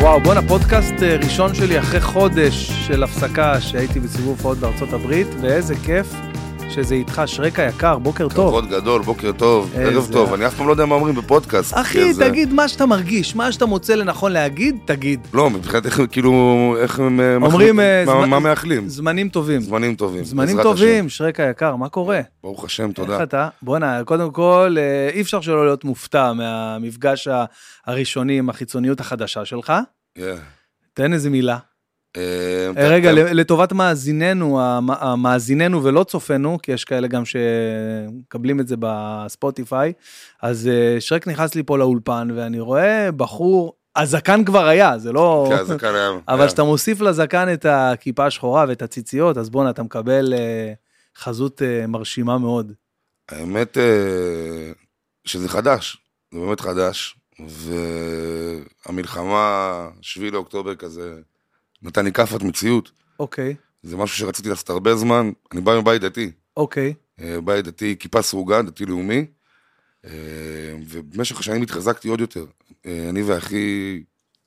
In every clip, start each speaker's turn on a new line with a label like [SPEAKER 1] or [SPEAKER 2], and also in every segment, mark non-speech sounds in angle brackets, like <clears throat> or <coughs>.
[SPEAKER 1] וואו, בואנה, פודקאסט אה, ראשון שלי אחרי חודש של הפסקה שהייתי בסיבוב הופעות בארצות הברית, ואיזה כיף שזה איתך, שרק היקר, בוקר טוב.
[SPEAKER 2] כבוד גדול, בוקר טוב,
[SPEAKER 1] איזה-
[SPEAKER 2] ערב טוב, אני אף פעם לא יודע מה אומרים בפודקאסט.
[SPEAKER 1] אחי,
[SPEAKER 2] כי זה-
[SPEAKER 1] תגיד מה שאתה מרגיש, מה שאתה מוצא לנכון להגיד, תגיד.
[SPEAKER 2] לא, מבחינת איך, כאילו, איך הם... אה,
[SPEAKER 1] אומרים,
[SPEAKER 2] מחליטים,
[SPEAKER 1] אה,
[SPEAKER 2] מה-
[SPEAKER 1] זמן-
[SPEAKER 2] מה מאחלים?
[SPEAKER 1] זמנים טובים.
[SPEAKER 2] זמנים טובים.
[SPEAKER 1] זמנים
[SPEAKER 2] בעזרת
[SPEAKER 1] טובים, שרק היקר, מה קורה?
[SPEAKER 2] השם. ברוך השם,
[SPEAKER 1] איך
[SPEAKER 2] תודה.
[SPEAKER 1] אתה? בואנה, קודם כל, אה, אי אפשר שלא להיות מופתע מהמפגש ה- הראשוני עם החיצוניות החדשה שלך.
[SPEAKER 2] Yeah.
[SPEAKER 1] תן איזה מילה.
[SPEAKER 2] אה,
[SPEAKER 1] אה, רגע,
[SPEAKER 2] אתה-
[SPEAKER 1] לטובת מאזיננו, המ- המאזיננו ולא צופינו, כי יש כאלה גם שמקבלים את זה בספוטיפיי, אז אה, שרק נכנס לי פה לאולפן, ואני רואה בחור, הזקן כבר היה, זה לא...
[SPEAKER 2] כן, זה כאן היה...
[SPEAKER 1] <laughs> אבל כשאתה מוסיף לזקן את הכיפה השחורה ואת הציציות, אז בואנה, אתה מקבל אה, חזות אה, מרשימה מאוד.
[SPEAKER 2] האמת אה, שזה חדש, זה באמת חדש, והמלחמה, 7 לאוקטובר כזה, נתן לי כאפת מציאות.
[SPEAKER 1] אוקיי,
[SPEAKER 2] זה משהו שרציתי לעשות הרבה זמן, אני בא מבית דתי.
[SPEAKER 1] אוקיי.
[SPEAKER 2] אה, בית דתי, כיפה סרוגה, דתי לאומי, אה, ובמשך השנים התחזקתי עוד יותר. אה, אני ואחי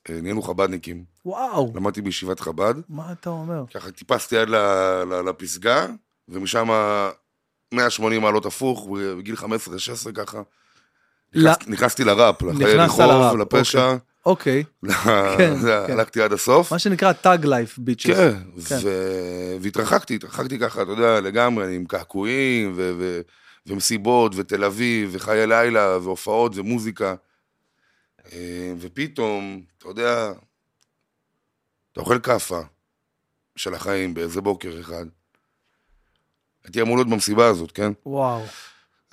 [SPEAKER 2] אה, נהיינו חב"דניקים,
[SPEAKER 1] וואו,
[SPEAKER 2] למדתי בישיבת חב"ד,
[SPEAKER 1] מה אתה אומר?
[SPEAKER 2] ככה טיפסתי עד ל- ל- לפסגה, ומשם 180 מעלות הפוך, בגיל 15-16 ככה.
[SPEAKER 1] ל-
[SPEAKER 2] נכנס- נכנסתי לראפ, לחיי
[SPEAKER 1] נכנסת לראפ,
[SPEAKER 2] רחוב, לפשע,
[SPEAKER 1] אוקיי,
[SPEAKER 2] <laughs> ל-
[SPEAKER 1] כן,
[SPEAKER 2] זה,
[SPEAKER 1] כן.
[SPEAKER 2] הלכתי עד הסוף.
[SPEAKER 1] מה שנקרא tag life bitches.
[SPEAKER 2] כן,
[SPEAKER 1] כן.
[SPEAKER 2] ו- והתרחקתי, התרחקתי ככה, אתה יודע, לגמרי, אני עם קעקועים, ו- ו- ומסיבות, ותל אביב, וחיי לילה, והופעות, ומוזיקה. אה, ופתאום, אתה יודע, אתה אוכל כאפה של החיים באיזה בוקר אחד. הייתי אמור להיות במסיבה הזאת, כן?
[SPEAKER 1] וואו,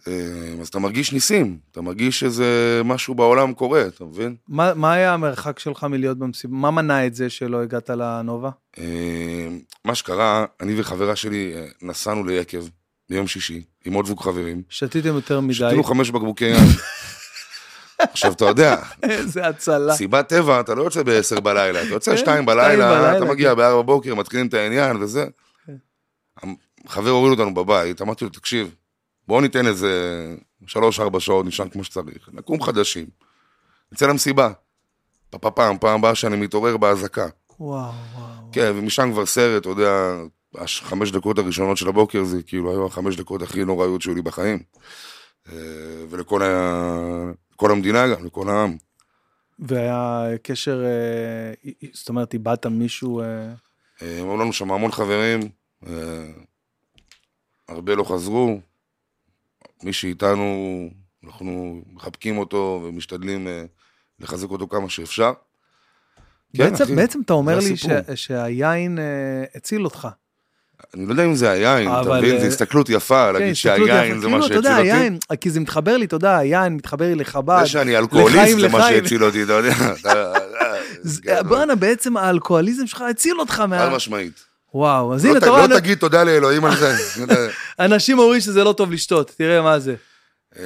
[SPEAKER 2] אה, אז אתה מרגיש ניסים, אתה מרגיש שזה משהו בעולם קורה, אתה מבין?
[SPEAKER 1] מה מה היה המרחק שלך מלהיות במסיבה? מה מנע את זה שלא הגעת לנובה?
[SPEAKER 2] אה, מה שקרה, אני וחברה שלי אה, נסענו ליקב ביום שישי, עם עוד זוג חברים.
[SPEAKER 1] שתיתם יותר מדי.
[SPEAKER 2] שתינו חמש בקבוקי ים. עכשיו, אתה יודע,
[SPEAKER 1] <laughs> איזה הצלה.
[SPEAKER 2] סיבת טבע, אתה לא יוצא ב-10 בלילה, אתה יוצא
[SPEAKER 1] כן,
[SPEAKER 2] 2
[SPEAKER 1] בלילה,
[SPEAKER 2] בלילה, אתה מגיע
[SPEAKER 1] כן.
[SPEAKER 2] ב-4 בבוקר, מתחילים את העניין וזה. אמ,
[SPEAKER 1] כן.
[SPEAKER 2] חבר הוריד אותנו בבית, אמרתי לו, תקשיב, בואו ניתן איזה 3-4 שעות, נשען כמו שצריך, נקום חדשים, נצא למסיבה. פעם, פעם, פעם הבאה שאני מתעורר באזעקה.
[SPEAKER 1] וואו, וואו.
[SPEAKER 2] כן, ומשם כבר סרט, אתה יודע, הש- חמש דקות הראשונות של הבוקר זה כאילו היו החמש דקות הכי נוראיות שהיו לי בחיים. אה, ולכל ה... כל המדינה גם, לכל העם.
[SPEAKER 1] והיה קשר, אה, אי- אי- זאת אומרת, איבדת מישהו... אה,
[SPEAKER 2] אה, היו לנו שם המון חברים, אה, הרבה לא חזרו. מי שאיתנו, אנחנו מחבקים אותו ומשתדלים אה, לחזק אותו כמה שאפשר. כן,
[SPEAKER 1] בעצם-
[SPEAKER 2] אחי,
[SPEAKER 1] בעצם אתה אומר
[SPEAKER 2] זה
[SPEAKER 1] לי
[SPEAKER 2] הסיפור.
[SPEAKER 1] ש- שהיין אה, הציל אותך.
[SPEAKER 2] אני לא יודע אם זה היין,
[SPEAKER 1] אבל,
[SPEAKER 2] אתה מבין?
[SPEAKER 1] אה,
[SPEAKER 2] זו הסתכלות יפה,
[SPEAKER 1] כן,
[SPEAKER 2] להגיד
[SPEAKER 1] הסתכלות
[SPEAKER 2] שהיין
[SPEAKER 1] יפה.
[SPEAKER 2] זה מה
[SPEAKER 1] כאילו,
[SPEAKER 2] שהציל
[SPEAKER 1] אתה יודע,
[SPEAKER 2] אותי.
[SPEAKER 1] היין, כי זה מתחבר לי, אתה יודע, היין מתחבר לי לחב"ד.
[SPEAKER 2] זה שאני אלכוהוליסט
[SPEAKER 1] לחיים,
[SPEAKER 2] זה מה
[SPEAKER 1] לחיים. אה,
[SPEAKER 2] שהציל אותי,
[SPEAKER 1] <laughs>
[SPEAKER 2] אתה יודע. אתה-
[SPEAKER 1] זה-
[SPEAKER 2] כן,
[SPEAKER 1] בואנה, בעצם האלכוהוליזם שלך הציל אותך
[SPEAKER 2] חד
[SPEAKER 1] מה...
[SPEAKER 2] משמעית.
[SPEAKER 1] וואו, אז הנה,
[SPEAKER 2] לא
[SPEAKER 1] אתה
[SPEAKER 2] ת-
[SPEAKER 1] רואה,
[SPEAKER 2] לא תגיד תודה לאלוהים על
[SPEAKER 1] <laughs>
[SPEAKER 2] זה.
[SPEAKER 1] אנשים אומרים שזה לא טוב לשתות, תראה מה זה.
[SPEAKER 2] אה,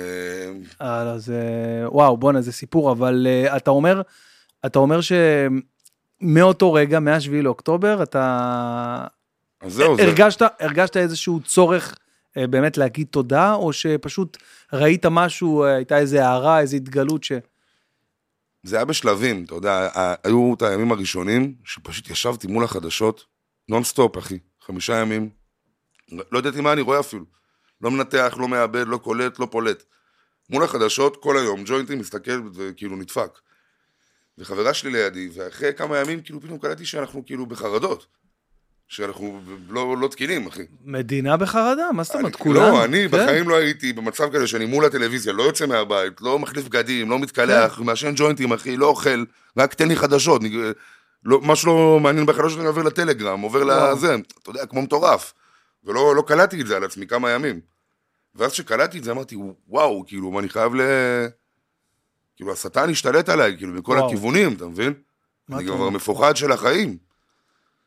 [SPEAKER 1] אה, לא, זה... וואו, בואנה, זה סיפור, אבל uh, אתה אומר, אתה אומר שמאותו רגע, מ-7 לאוקטובר, אתה
[SPEAKER 2] אז זהו, זה.
[SPEAKER 1] הרגשת, הרגשת איזשהו צורך uh, באמת להגיד תודה, או שפשוט ראית משהו, אה, הייתה איזו הערה, איזו התגלות ש...
[SPEAKER 2] זה היה בשלבים, אתה יודע, ה- היו את הימים הראשונים שפשוט ישבתי מול החדשות, נונסטופ, אחי, חמישה ימים. לא ידעתי מה אני רואה אפילו. לא מנתח, לא מאבד, לא קולט, לא פולט. מול החדשות, כל היום, ג'וינטים, מסתכל וכאילו נדפק. וחברה שלי לידי, ואחרי כמה ימים, כאילו פתאום קלטתי שאנחנו כאילו בחרדות. שאנחנו לא, לא תקינים, אחי.
[SPEAKER 1] מדינה בחרדה? מה זאת אומרת?
[SPEAKER 2] אני-
[SPEAKER 1] כולנו.
[SPEAKER 2] לא, אני
[SPEAKER 1] כן?
[SPEAKER 2] בחיים לא הייתי במצב כזה שאני מול הטלוויזיה, לא יוצא מהבית, לא מחליף בגדים, לא מתקלח,
[SPEAKER 1] כן.
[SPEAKER 2] מעשן ג'וינטים, אחי, לא אוכל, רק תן לי חדשות. אני- לא, מה שלא מעניין בחדשות אני עובר לטלגרם, עובר
[SPEAKER 1] וואו.
[SPEAKER 2] לזה, אתה יודע, כמו מטורף. ולא לא קלטתי את זה על עצמי כמה ימים. ואז שקלטתי את זה אמרתי, וואו, כאילו, מה, אני חייב ל... כאילו, השטן השתלט עליי, כאילו, מכל
[SPEAKER 1] וואו.
[SPEAKER 2] הכיוונים, אתה מבין?
[SPEAKER 1] מה
[SPEAKER 2] אני
[SPEAKER 1] אתה
[SPEAKER 2] כבר
[SPEAKER 1] אומר?
[SPEAKER 2] מפוחד של החיים.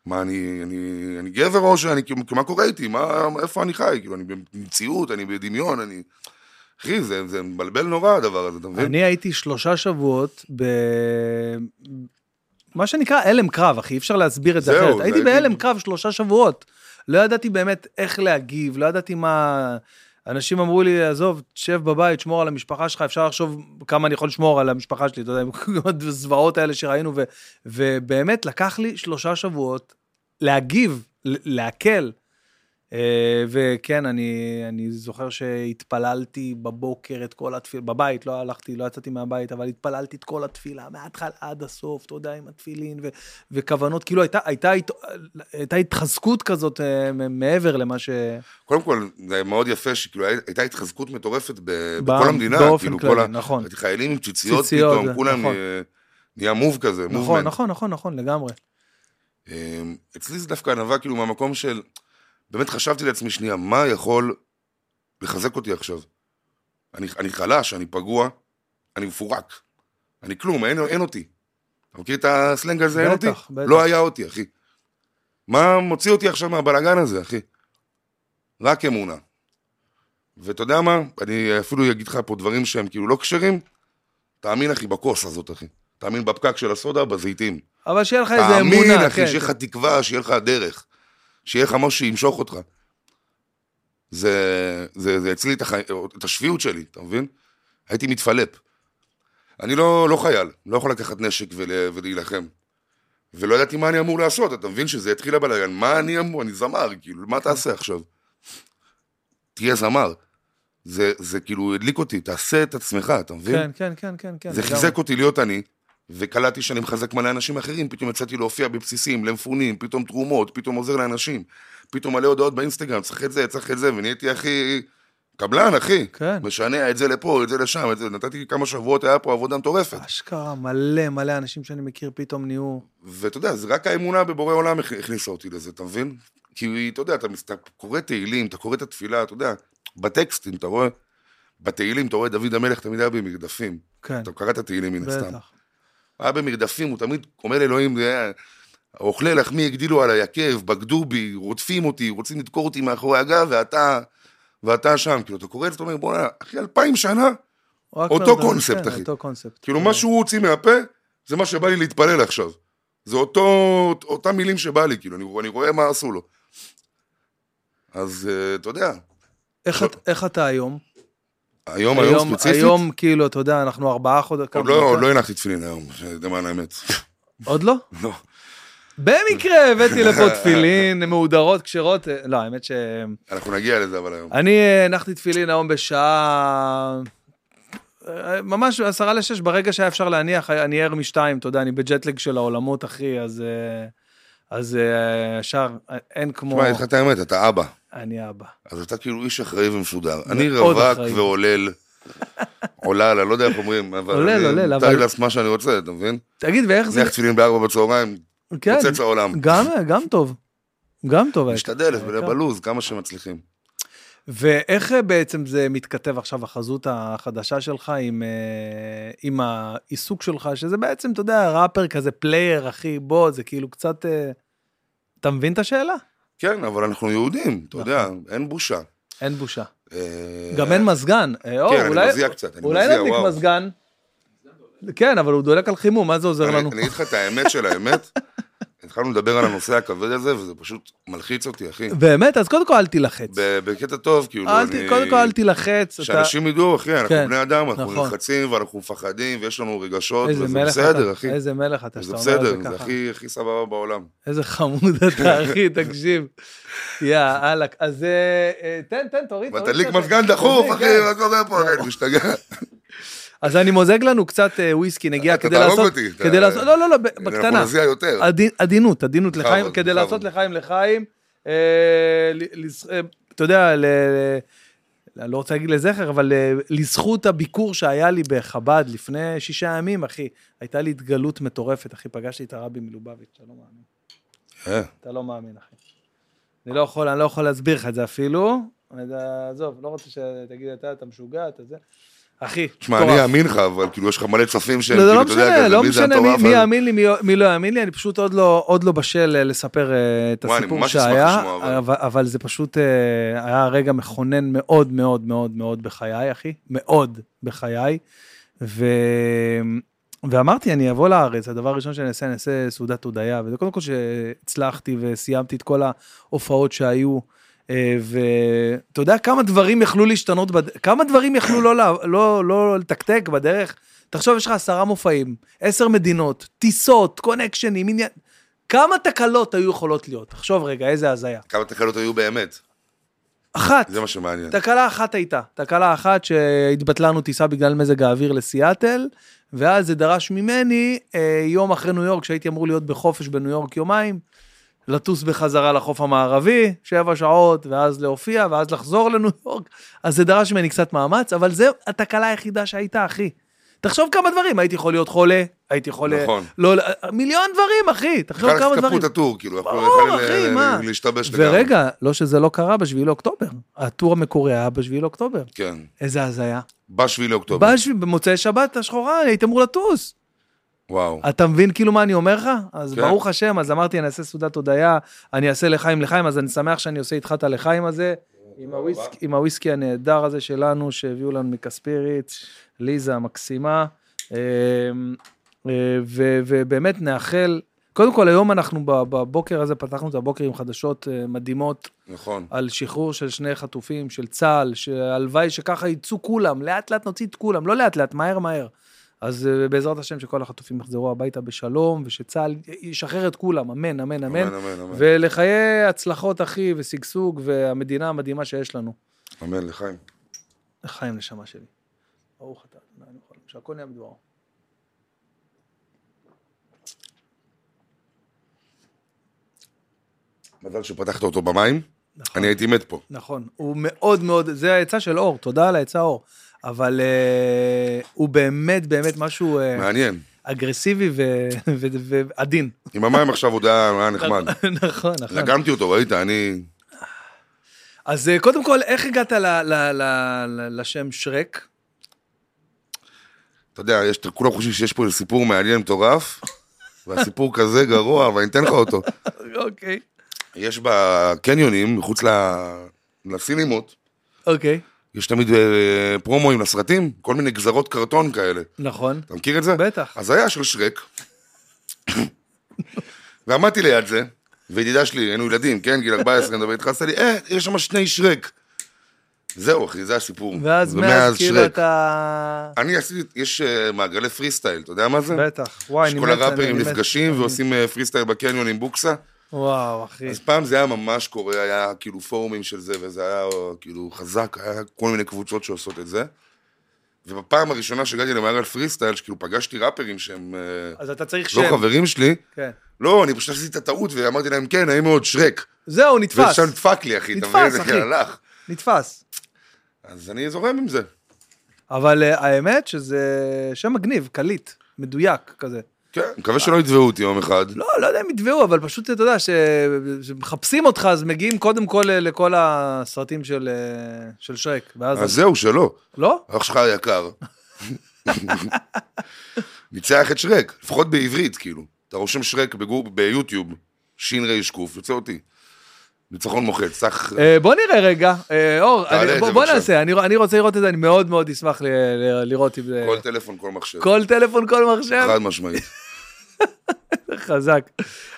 [SPEAKER 2] מה, אני, אני, אני גבר או שאני, כאילו, מה קורה איתי? מה, איפה אני חי? כאילו, אני במציאות, אני בדמיון, אני... אחי, זה, זה מבלבל נורא הדבר הזה, אתה מבין?
[SPEAKER 1] אני הייתי שלושה שבועות ב... מה שנקרא הלם קרב, אחי, אי אפשר להסביר את זה
[SPEAKER 2] זהו,
[SPEAKER 1] אחרת.
[SPEAKER 2] זה
[SPEAKER 1] הייתי
[SPEAKER 2] הייתי-
[SPEAKER 1] בהלם קרב שלושה שבועות. לא ידעתי באמת איך להגיב, לא ידעתי מה... אנשים אמרו לי, עזוב, תשב בבית, שמור על המשפחה שלך, אפשר לחשוב כמה אני יכול לשמור על המשפחה שלי, אתה יודע, עם כל הזוועות האלה שראינו, ו, ובאמת לקח לי שלושה שבועות להגיב, ל- להקל. אה, וכן, אני, אני זוכר שהתפללתי בבוקר את כל התפילה, בבית, לא הלכתי, לא יצאתי מהבית, אבל התפללתי את כל התפילה, מההתחלה עד הסוף, אתה יודע, עם התפילין ו, וכוונות, כאילו הייתה, הייתה, הייתה, הייתה התחזקות כזאת אה, מ- מעבר למה ש...
[SPEAKER 2] קודם כל, זה מאוד יפה שכאילו הי- הייתה התחזקות מטורפת ב-
[SPEAKER 1] ב-
[SPEAKER 2] בכל המדינה.
[SPEAKER 1] באופן
[SPEAKER 2] כאילו,
[SPEAKER 1] כללי,
[SPEAKER 2] כל ה-
[SPEAKER 1] נכון.
[SPEAKER 2] חיילים עם ציציות
[SPEAKER 1] ציציות,
[SPEAKER 2] פתאום, כולם
[SPEAKER 1] נכון.
[SPEAKER 2] אה, נהיה מוב כזה,
[SPEAKER 1] נכון,
[SPEAKER 2] מובמנט.
[SPEAKER 1] נכון, נכון, נכון, לגמרי.
[SPEAKER 2] אמ, אצלי זה דווקא ענווה כאילו מהמקום של, באמת חשבתי לעצמי שנייה, מה יכול לחזק אותי עכשיו? אני, אני חלש, אני פגוע, אני מפורק, אני כלום, אין, אין אותי. אתה מכיר את הסלנג הזה, אין אותי?
[SPEAKER 1] בטח, בטח.
[SPEAKER 2] לא היה אותי, אחי. מה מוציא אותי עכשיו מהבלגן הזה, אחי? רק אמונה. ואתה יודע מה? אני אפילו אגיד לך פה דברים שהם כאילו לא כשרים. תאמין, אחי, בכוס הזאת, אחי. תאמין בפקק של הסודה, בזיתים.
[SPEAKER 1] אבל שיהיה לך איזה אמונה,
[SPEAKER 2] תאמין,
[SPEAKER 1] כן,
[SPEAKER 2] אחי, שיהיה לך תקווה, שיהיה לך דרך. שיהיה לך משהו שימשוך אותך. זה, זה, זה הציל לי את, החי... את השפיות שלי, אתה מבין? הייתי מתפלפ. אני לא, לא חייל, לא יכול לקחת נשק ול, ולהילחם. ולא ידעתי מה אני אמור לעשות, אתה מבין שזה התחיל הבלאגן, מה אני אמור, אני זמר, כאילו, מה תעשה עכשיו? תהיה זמר. זה, זה כאילו הדליק אותי, תעשה את עצמך, אתה מבין?
[SPEAKER 1] כן, כן, כן, כן, כן.
[SPEAKER 2] זה
[SPEAKER 1] לגמרי.
[SPEAKER 2] חיזק אותי להיות אני, וקלטתי שאני מחזק מלא אנשים אחרים, פתאום יצאתי להופיע בבסיסים, למפונים, פתאום תרומות, פתאום עוזר לאנשים, פתאום מלא הודעות באינסטגרם, צריך את זה, צריך את זה, ונהייתי הכי... קבלן, אחי.
[SPEAKER 1] כן.
[SPEAKER 2] משנע את זה לפה, את זה לשם, את זה... נתתי כמה שבועות, היה פה עבודה מטורפת.
[SPEAKER 1] אשכרה, מלא מלא אנשים שאני מכיר פתאום נהיו...
[SPEAKER 2] ואתה יודע, זה רק האמונה בבורא עולם הכ- הכניסה אותי לזה, אתה מבין? כי אתה יודע, אתה, מס- אתה קורא תהילים, אתה קורא את התפילה, אתה יודע, בטקסטים, אתה רואה, בתהילים, אתה רואה דוד המלך תמיד היה במרדפים.
[SPEAKER 1] כן,
[SPEAKER 2] אתה קראת תהילים מן הסתם.
[SPEAKER 1] בטח.
[SPEAKER 2] היה במרדפים, הוא תמיד אומר לאלוהים, זה היה, אוכלי לחמי הגדילו עלי, עקב, בגדו בי, רודפים אותי, רוצים לדקור אותי מאחורי הגב, ואתה, ואתה שם. כאילו, אתה קורא את זה, אתה אומר, בוא'נה, אחי אלפיים שנה,
[SPEAKER 1] רק
[SPEAKER 2] אותו
[SPEAKER 1] לא יודע,
[SPEAKER 2] קונספט,
[SPEAKER 1] כן,
[SPEAKER 2] אחי.
[SPEAKER 1] אותו קונספט.
[SPEAKER 2] כאילו, מה שהוא הוציא מהפה, זה מה שבא לי להתפלל עכשיו. זה אותו, אותם מילים שבא לי, כאילו, אני, אני רואה מה עשו לו. אז אה, אתה יודע,
[SPEAKER 1] איך את- איך אתה היום?
[SPEAKER 2] היום, היום, ספציפית,
[SPEAKER 1] היום, כאילו, אתה יודע, אנחנו ארבעה חודשים...
[SPEAKER 2] עוד לא, עוד לא הנחתי תפילין היום, למען האמת. <laughs>
[SPEAKER 1] עוד לא?
[SPEAKER 2] לא.
[SPEAKER 1] במקרה הבאתי
[SPEAKER 2] <laughs>
[SPEAKER 1] לפה תפילין מהודרות, כשרות... אה, לא, האמת ש...
[SPEAKER 2] אנחנו נגיע לזה, אבל היום.
[SPEAKER 1] אני אה, הנחתי תפילין היום בשעה... אה, ממש עשרה לשש, ברגע שהיה אפשר להניח, אה, אני ער משתיים, אתה יודע, אני בג'טלג של העולמות, אחי, אז... אה, אז אה, ישר, אה, אין כמו...
[SPEAKER 2] תשמע, אני אגיד לך את האמת, אתה אבא.
[SPEAKER 1] אני אבא.
[SPEAKER 2] אז אתה כאילו איש אחראי ומסודר. אני
[SPEAKER 1] מאוד
[SPEAKER 2] רווק
[SPEAKER 1] אחראי.
[SPEAKER 2] ועולל. עולל, אני לא יודע איך אומרים, אבל
[SPEAKER 1] עולל,
[SPEAKER 2] אני
[SPEAKER 1] עולל,
[SPEAKER 2] מותר
[SPEAKER 1] אבל-
[SPEAKER 2] לי לעשות מה שאני רוצה, אתה מבין?
[SPEAKER 1] תגיד, ואיך זה...
[SPEAKER 2] נניח תפילין בארבע בצהריים,
[SPEAKER 1] כן,
[SPEAKER 2] יוצץ העולם.
[SPEAKER 1] גם, גם טוב. גם טוב. היה.
[SPEAKER 2] משתדל,
[SPEAKER 1] היה טוב.
[SPEAKER 2] בלוז, כמה שמצליחים.
[SPEAKER 1] ואיך אה, בעצם זה מתכתב עכשיו, החזות החדשה שלך עם, אה, עם העיסוק שלך, שזה בעצם, אתה יודע, ראפר כזה פלייר, אחי, בוא, זה כאילו קצת... אה, אתה מבין את השאלה?
[SPEAKER 2] כן, אבל אנחנו יהודים, אתה יודע, אין בושה.
[SPEAKER 1] אין בושה.
[SPEAKER 2] אה,
[SPEAKER 1] נכון. גם אין מזגן. אה, אור,
[SPEAKER 2] כן,
[SPEAKER 1] אולי-
[SPEAKER 2] אני מזיע קצת, אני
[SPEAKER 1] אולי
[SPEAKER 2] מזיע,
[SPEAKER 1] נדליק
[SPEAKER 2] וואו.
[SPEAKER 1] מזגן. כן, אבל הוא דולק על חימום, מה זה עוזר
[SPEAKER 2] אני
[SPEAKER 1] לנו?
[SPEAKER 2] אני אגיד לך את האמת
[SPEAKER 1] <laughs>
[SPEAKER 2] של האמת, התחלנו לדבר על הנושא הכבד הזה, וזה פשוט מלחיץ
[SPEAKER 1] <laughs>
[SPEAKER 2] אותי, אחי.
[SPEAKER 1] באמת, אז קודם כל אל תילחץ.
[SPEAKER 2] ב- בקטע טוב, כאילו,
[SPEAKER 1] אל ת-
[SPEAKER 2] אני...
[SPEAKER 1] קודם כל אל תילחץ. אתה-
[SPEAKER 2] שאנשים ידעו, אחי, אנחנו
[SPEAKER 1] כן,
[SPEAKER 2] בני אדם, אנחנו
[SPEAKER 1] נכון.
[SPEAKER 2] נלחצים ואנחנו מפחדים, ויש לנו רגשות,
[SPEAKER 1] איזה
[SPEAKER 2] וזה
[SPEAKER 1] מלך
[SPEAKER 2] לא- בסדר,
[SPEAKER 1] אתה.
[SPEAKER 2] אחי.
[SPEAKER 1] איזה מלך אתה,
[SPEAKER 2] זה
[SPEAKER 1] שאתה אומר את
[SPEAKER 2] בסדר,
[SPEAKER 1] זה
[SPEAKER 2] זה
[SPEAKER 1] ככה.
[SPEAKER 2] הכי הכי סבבה בעולם.
[SPEAKER 1] איזה חמוד
[SPEAKER 2] כן.
[SPEAKER 1] אתה, אחי, תקשיב. יא, אלק. אז אה, אה, תן, תן, תוריד.
[SPEAKER 2] אבל
[SPEAKER 1] תוריד
[SPEAKER 2] תדליק
[SPEAKER 1] קצת.
[SPEAKER 2] מזגן דחוף,
[SPEAKER 1] תוריד,
[SPEAKER 2] אחי,
[SPEAKER 1] כן.
[SPEAKER 2] מה קורה פה? אני משתגע.
[SPEAKER 1] <laughs> אז אני מוזג לנו קצת אה, וויסקי, נגיע,
[SPEAKER 2] אתה
[SPEAKER 1] כדי
[SPEAKER 2] תהרוג
[SPEAKER 1] לעשות...
[SPEAKER 2] אותי, אתה-
[SPEAKER 1] כדי לעשות... לא, לא, לא, ב-
[SPEAKER 2] אנחנו
[SPEAKER 1] בקטנה.
[SPEAKER 2] נזיע יותר.
[SPEAKER 1] עדי- עדינות, עדינות
[SPEAKER 2] בכבוד,
[SPEAKER 1] לחיים, כדי
[SPEAKER 2] בכבוד.
[SPEAKER 1] לעשות לחיים לחיים. אה, ל- לס- אה, אתה יודע, ל- ל- אני לא רוצה להגיד לזכר, אבל אה, לזכות הביקור שהיה לי בחב"ד לפני שישה ימים, אחי, הייתה לי התגלות מטורפת, אחי, פגשתי את הרבי מלובביץ', אתה לא מאמין.
[SPEAKER 2] אה,
[SPEAKER 1] אתה לא מאמין, אחי. אני לא יכול, אני לא יכול להסביר לך את זה אפילו. אני יודע, עזוב, לא רוצה שתגיד אתה, אתה משוגע, אתה זה. אחי,
[SPEAKER 2] תשמע, אני אאמין לך, אבל כאילו, יש לך מלא צופים שהם,
[SPEAKER 1] אה, לא, זה
[SPEAKER 2] כאילו,
[SPEAKER 1] לא
[SPEAKER 2] אתה יודע,
[SPEAKER 1] משנה,
[SPEAKER 2] כזה,
[SPEAKER 1] לא
[SPEAKER 2] מי זה
[SPEAKER 1] משנה מי-
[SPEAKER 2] המטורף
[SPEAKER 1] מי
[SPEAKER 2] הזה?
[SPEAKER 1] יאמין לי, מי- מי לא יאמין לי, אני פשוט עוד לא, עוד לא בשל אה, לספר אה, את
[SPEAKER 2] וואי, אני
[SPEAKER 1] הסיפור
[SPEAKER 2] ממש אשמח
[SPEAKER 1] שהיה,
[SPEAKER 2] לשמוע,
[SPEAKER 1] אבל,
[SPEAKER 2] אבל.
[SPEAKER 1] אבל זה פשוט אה, היה רגע מכונן מאוד מאוד מאוד מאוד בחיי, אחי, מאוד בחיי. ו... ואמרתי, אני אבוא לארץ, הדבר הראשון שאני אעשה, אני אעשה סעודת הודיה, וזה קודם כל שהצלחתי וסיימתי את כל ההופעות שהיו. אה, ואתה יודע כמה דברים יכלו להשתנות, בד... כמה דברים יכלו לא, לא, לא, לא לתקתק בדרך? תחשוב, יש לך עשרה מופעים, עשר מדינות, טיסות, קונקשנים, עניין... כמה תקלות היו יכולות להיות? תחשוב רגע, איזה הזיה.
[SPEAKER 2] כמה תקלות היו באמת?
[SPEAKER 1] אחת.
[SPEAKER 2] זה מה שמעניין.
[SPEAKER 1] תקלה אחת הייתה, תקלה אחת שהתבטלה לנו טיסה בגלל מזג האוויר לסיאטל, ואז זה דרש ממני אה, יום אחרי ניו יורק, שהייתי אמור להיות בחופש בניו יורק יומיים, לטוס בחזרה לחוף המערבי, שבע שעות, ואז להופיע, ואז לחזור לניו יורק, אז זה דרש ממני קצת מאמץ, אבל זו התקלה היחידה שהייתה, אחי. תחשוב כמה דברים, הייתי יכול להיות חולה, הייתי יכול...
[SPEAKER 2] נכון.
[SPEAKER 1] לא, מיליון דברים, אחי, תחשוב
[SPEAKER 2] בכלל
[SPEAKER 1] כמה
[SPEAKER 2] קפאו
[SPEAKER 1] דברים.
[SPEAKER 2] את הטור, כאילו, יכלו-
[SPEAKER 1] ברור,
[SPEAKER 2] יכלו
[SPEAKER 1] אחי,
[SPEAKER 2] ל-
[SPEAKER 1] מה?
[SPEAKER 2] להשתבש לגמרי.
[SPEAKER 1] ורגע, לא שזה לא קרה בשביעי לאוקטובר. הטור המקורי היה בשביעי לאוקטובר.
[SPEAKER 2] כן,
[SPEAKER 1] איזה הזיה.
[SPEAKER 2] בשביעי לאוקטובר.
[SPEAKER 1] בשביעי, במוצאי שבת השחורה, הייתי אמור לטוס.
[SPEAKER 2] וואו.
[SPEAKER 1] אתה מבין כאילו מה אני אומר לך? אז
[SPEAKER 2] כן.
[SPEAKER 1] ברוך השם, אז אמרתי, אני אעשה סעודת הודיה, אני אעשה לחיים לחיים, אז אני שמח שאני עושה איתך את הלחיים הזה. עם הוויסק- עם הוויסקי הנהדר הזה שלנו, שהביאו לנו מקספירית, ליזה המקסימה. אה, אה, ו- ובאמת נאחל, קודם כל היום אנחנו בב- בבוקר הזה, פתחנו את הבוקר עם חדשות אה, מדהימות
[SPEAKER 2] נכון.
[SPEAKER 1] על שחרור של שני חטופים, של צה"ל, שהלוואי שככה יצאו כולם, לאט לאט נוציא את כולם, לא לאט לאט, מהר מהר. אז אה, בעזרת השם שכל החטופים יחזרו הביתה בשלום, ושצה"ל ישחרר את כולם, אמן, אמן, אמן.
[SPEAKER 2] אמן, אמן, אמן.
[SPEAKER 1] ולחיי הצלחות, אחי, ושגשוג, והמדינה המדהימה שיש לנו.
[SPEAKER 2] אמן, לחיים.
[SPEAKER 1] חיים נשמה שלי. ברוך אתה, אדוני, אני יכול, שהכל נהיה בדברו.
[SPEAKER 2] מזל שפתחת אותו במים,
[SPEAKER 1] נכון.
[SPEAKER 2] אני הייתי מת פה.
[SPEAKER 1] נכון, הוא מאוד מאוד, זה העצה של אור, תודה על העצה אור. אבל אה, הוא באמת באמת משהו אה,
[SPEAKER 2] מעניין.
[SPEAKER 1] אגרסיבי ו- ו- ועדין. <laughs>
[SPEAKER 2] עם המים עכשיו עוד היה היה נחמד.
[SPEAKER 1] נכון, נכון.
[SPEAKER 2] לגמתי אותו, ראית, אני...
[SPEAKER 1] אז אה, קודם כל, איך הגעת ל- ל- ל- ל- לשם שרק? <laughs>
[SPEAKER 2] אתה יודע, יש, כולם חושבים שיש פה איזה סיפור מעניין מטורף, והסיפור כזה גרוע, אבל אני אתן לך אותו.
[SPEAKER 1] אוקיי.
[SPEAKER 2] יש בקניונים, מחוץ ל- לסינימות,
[SPEAKER 1] אוקיי,
[SPEAKER 2] יש תמיד אה, פרומואים לסרטים, כל מיני גזרות קרטון כאלה.
[SPEAKER 1] נכון.
[SPEAKER 2] אתה מכיר את זה?
[SPEAKER 1] בטח.
[SPEAKER 2] אז היה של שרק, ועמדתי ליד זה, וידידה שלי, היינו ילדים, כן, גיל 14, אני מדבר איתך, עשה לי, אה, יש שם שני שרק. זהו, אחי, זה הסיפור.
[SPEAKER 1] ואז מאז כאילו אתה...
[SPEAKER 2] אני עשיתי, יש אה, מעגלי פרי סטייל, אתה יודע מה זה?
[SPEAKER 1] בטח, וואי, אני מת...
[SPEAKER 2] שכל
[SPEAKER 1] אני
[SPEAKER 2] הראפרים
[SPEAKER 1] מת.
[SPEAKER 2] נפגשים ועושים אה, פרי סטייל בקניון עם בוקסה.
[SPEAKER 1] וואו, אחי.
[SPEAKER 2] אז פעם זה היה ממש קורה, היה כאילו פורומים של זה, וזה היה אה, כאילו חזק, היה כל מיני קבוצות שעושות את זה. ובפעם הראשונה שהגעתי למעגל פרי סטייל, שכאילו פגשתי ראפרים שהם אה,
[SPEAKER 1] אז אתה צריך שם.
[SPEAKER 2] לא חברים שלי,
[SPEAKER 1] כן.
[SPEAKER 2] לא, אני פשוט עשיתי את הטעות ואמרתי להם, כן, נעים מאוד, שרק.
[SPEAKER 1] זהו, נתפס.
[SPEAKER 2] ושם דפק לי, אחי, אתה
[SPEAKER 1] נתפס,
[SPEAKER 2] מבין? זה
[SPEAKER 1] אחי.
[SPEAKER 2] כן הלך.
[SPEAKER 1] נתפס.
[SPEAKER 2] אז אני זורם עם זה.
[SPEAKER 1] אבל אה, האמת שזה שם מגניב, קליט, מדויק כזה.
[SPEAKER 2] כן, מקווה שלא יתבעו אותי יום אחד.
[SPEAKER 1] לא, לא יודע אם יתבעו, אבל פשוט אתה יודע, כשמחפשים אותך, אז מגיעים קודם כל אה, לכל הסרטים של, אה, של שרק. ואז...
[SPEAKER 2] אז זהו, שלא.
[SPEAKER 1] לא?
[SPEAKER 2] אח שלך היקר. ניצח את שרק, לפחות בעברית, כאילו. אתה רושם שרק בגור, ביוטיוב, שין רי שקוף, יוצא אותי. ניצחון מוחץ, סך...
[SPEAKER 1] אה, בוא נראה רגע, אה, אור,
[SPEAKER 2] תעלה
[SPEAKER 1] אני-
[SPEAKER 2] את
[SPEAKER 1] בוא-
[SPEAKER 2] זה
[SPEAKER 1] בוא
[SPEAKER 2] בבקשה.
[SPEAKER 1] נעשה, אני- אני רוצה לראות את זה, אני מאוד מאוד אשמח ל- ל- לראות אם זה...
[SPEAKER 2] כל טלפון, כל מחשב.
[SPEAKER 1] כל טלפון, כל מחשב,
[SPEAKER 2] חד משמעית.
[SPEAKER 1] חזק.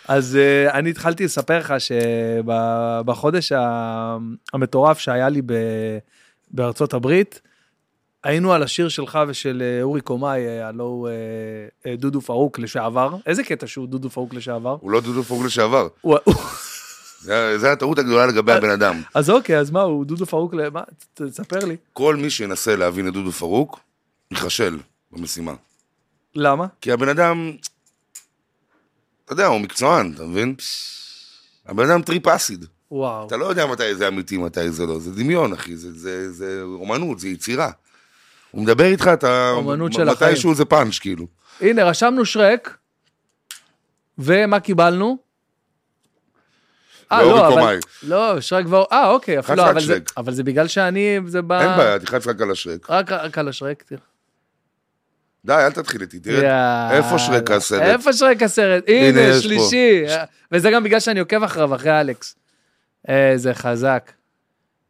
[SPEAKER 1] אז אה, אני התחלתי לספר לך שבחודש ה- המטורף שהיה לי ב- בארצות הברית, היינו על השיר שלך ושל אה, אורי קומאי, אה, הלו הוא, אה, אה, דודו פרוק לשעבר. איזה קטע שהוא דודו פרוק לשעבר?
[SPEAKER 2] הוא לא דודו פרוק לשעבר.
[SPEAKER 1] הוא- הוא-
[SPEAKER 2] זה- זה הטעות הגדולה לגבי הבן אדם.
[SPEAKER 1] אז אוקיי, אז מה, הוא דודו פרוק, ל- מה? ת- תספר לי.
[SPEAKER 2] כל מי שינסה להבין את דודו פרוק, ייכשל במשימה.
[SPEAKER 1] למה?
[SPEAKER 2] כי הבן אדם, אתה יודע, הוא מקצוען, אתה מבין? הבן אדם טריפ אסיד.
[SPEAKER 1] וואו.
[SPEAKER 2] אתה לא יודע מתי זה אמיתי, מתי זה לא. זה דמיון, אחי, זה, זה, זה אומנות, זה יצירה. הוא מדבר איתך, אתה...
[SPEAKER 1] אומנות
[SPEAKER 2] מ-
[SPEAKER 1] של החיים.
[SPEAKER 2] מתישהו זה פאנץ', כאילו.
[SPEAKER 1] הנה, רשמנו שרק, ומה קיבלנו? אה,
[SPEAKER 2] ואורי
[SPEAKER 1] לא, אבל...
[SPEAKER 2] קומאי.
[SPEAKER 1] לא, שרק כבר... אה, אוקיי, אפילו...
[SPEAKER 2] רק
[SPEAKER 1] אבל זה,
[SPEAKER 2] שרק.
[SPEAKER 1] אבל זה בגלל שאני... זה ב...
[SPEAKER 2] אין בעיה, תלחץ רק על השרק.
[SPEAKER 1] רק, רק על השרק, תראה.
[SPEAKER 2] די, אל תתחיל איתי, תראה.
[SPEAKER 1] יאללה.
[SPEAKER 2] איפה שרק הסרט?
[SPEAKER 1] איפה שרק הסרט? הנה,
[SPEAKER 2] הנה, יש
[SPEAKER 1] שלישי. וזה גם בגלל שאני עוקב אחריו, אחרי אלכס. איזה חזק.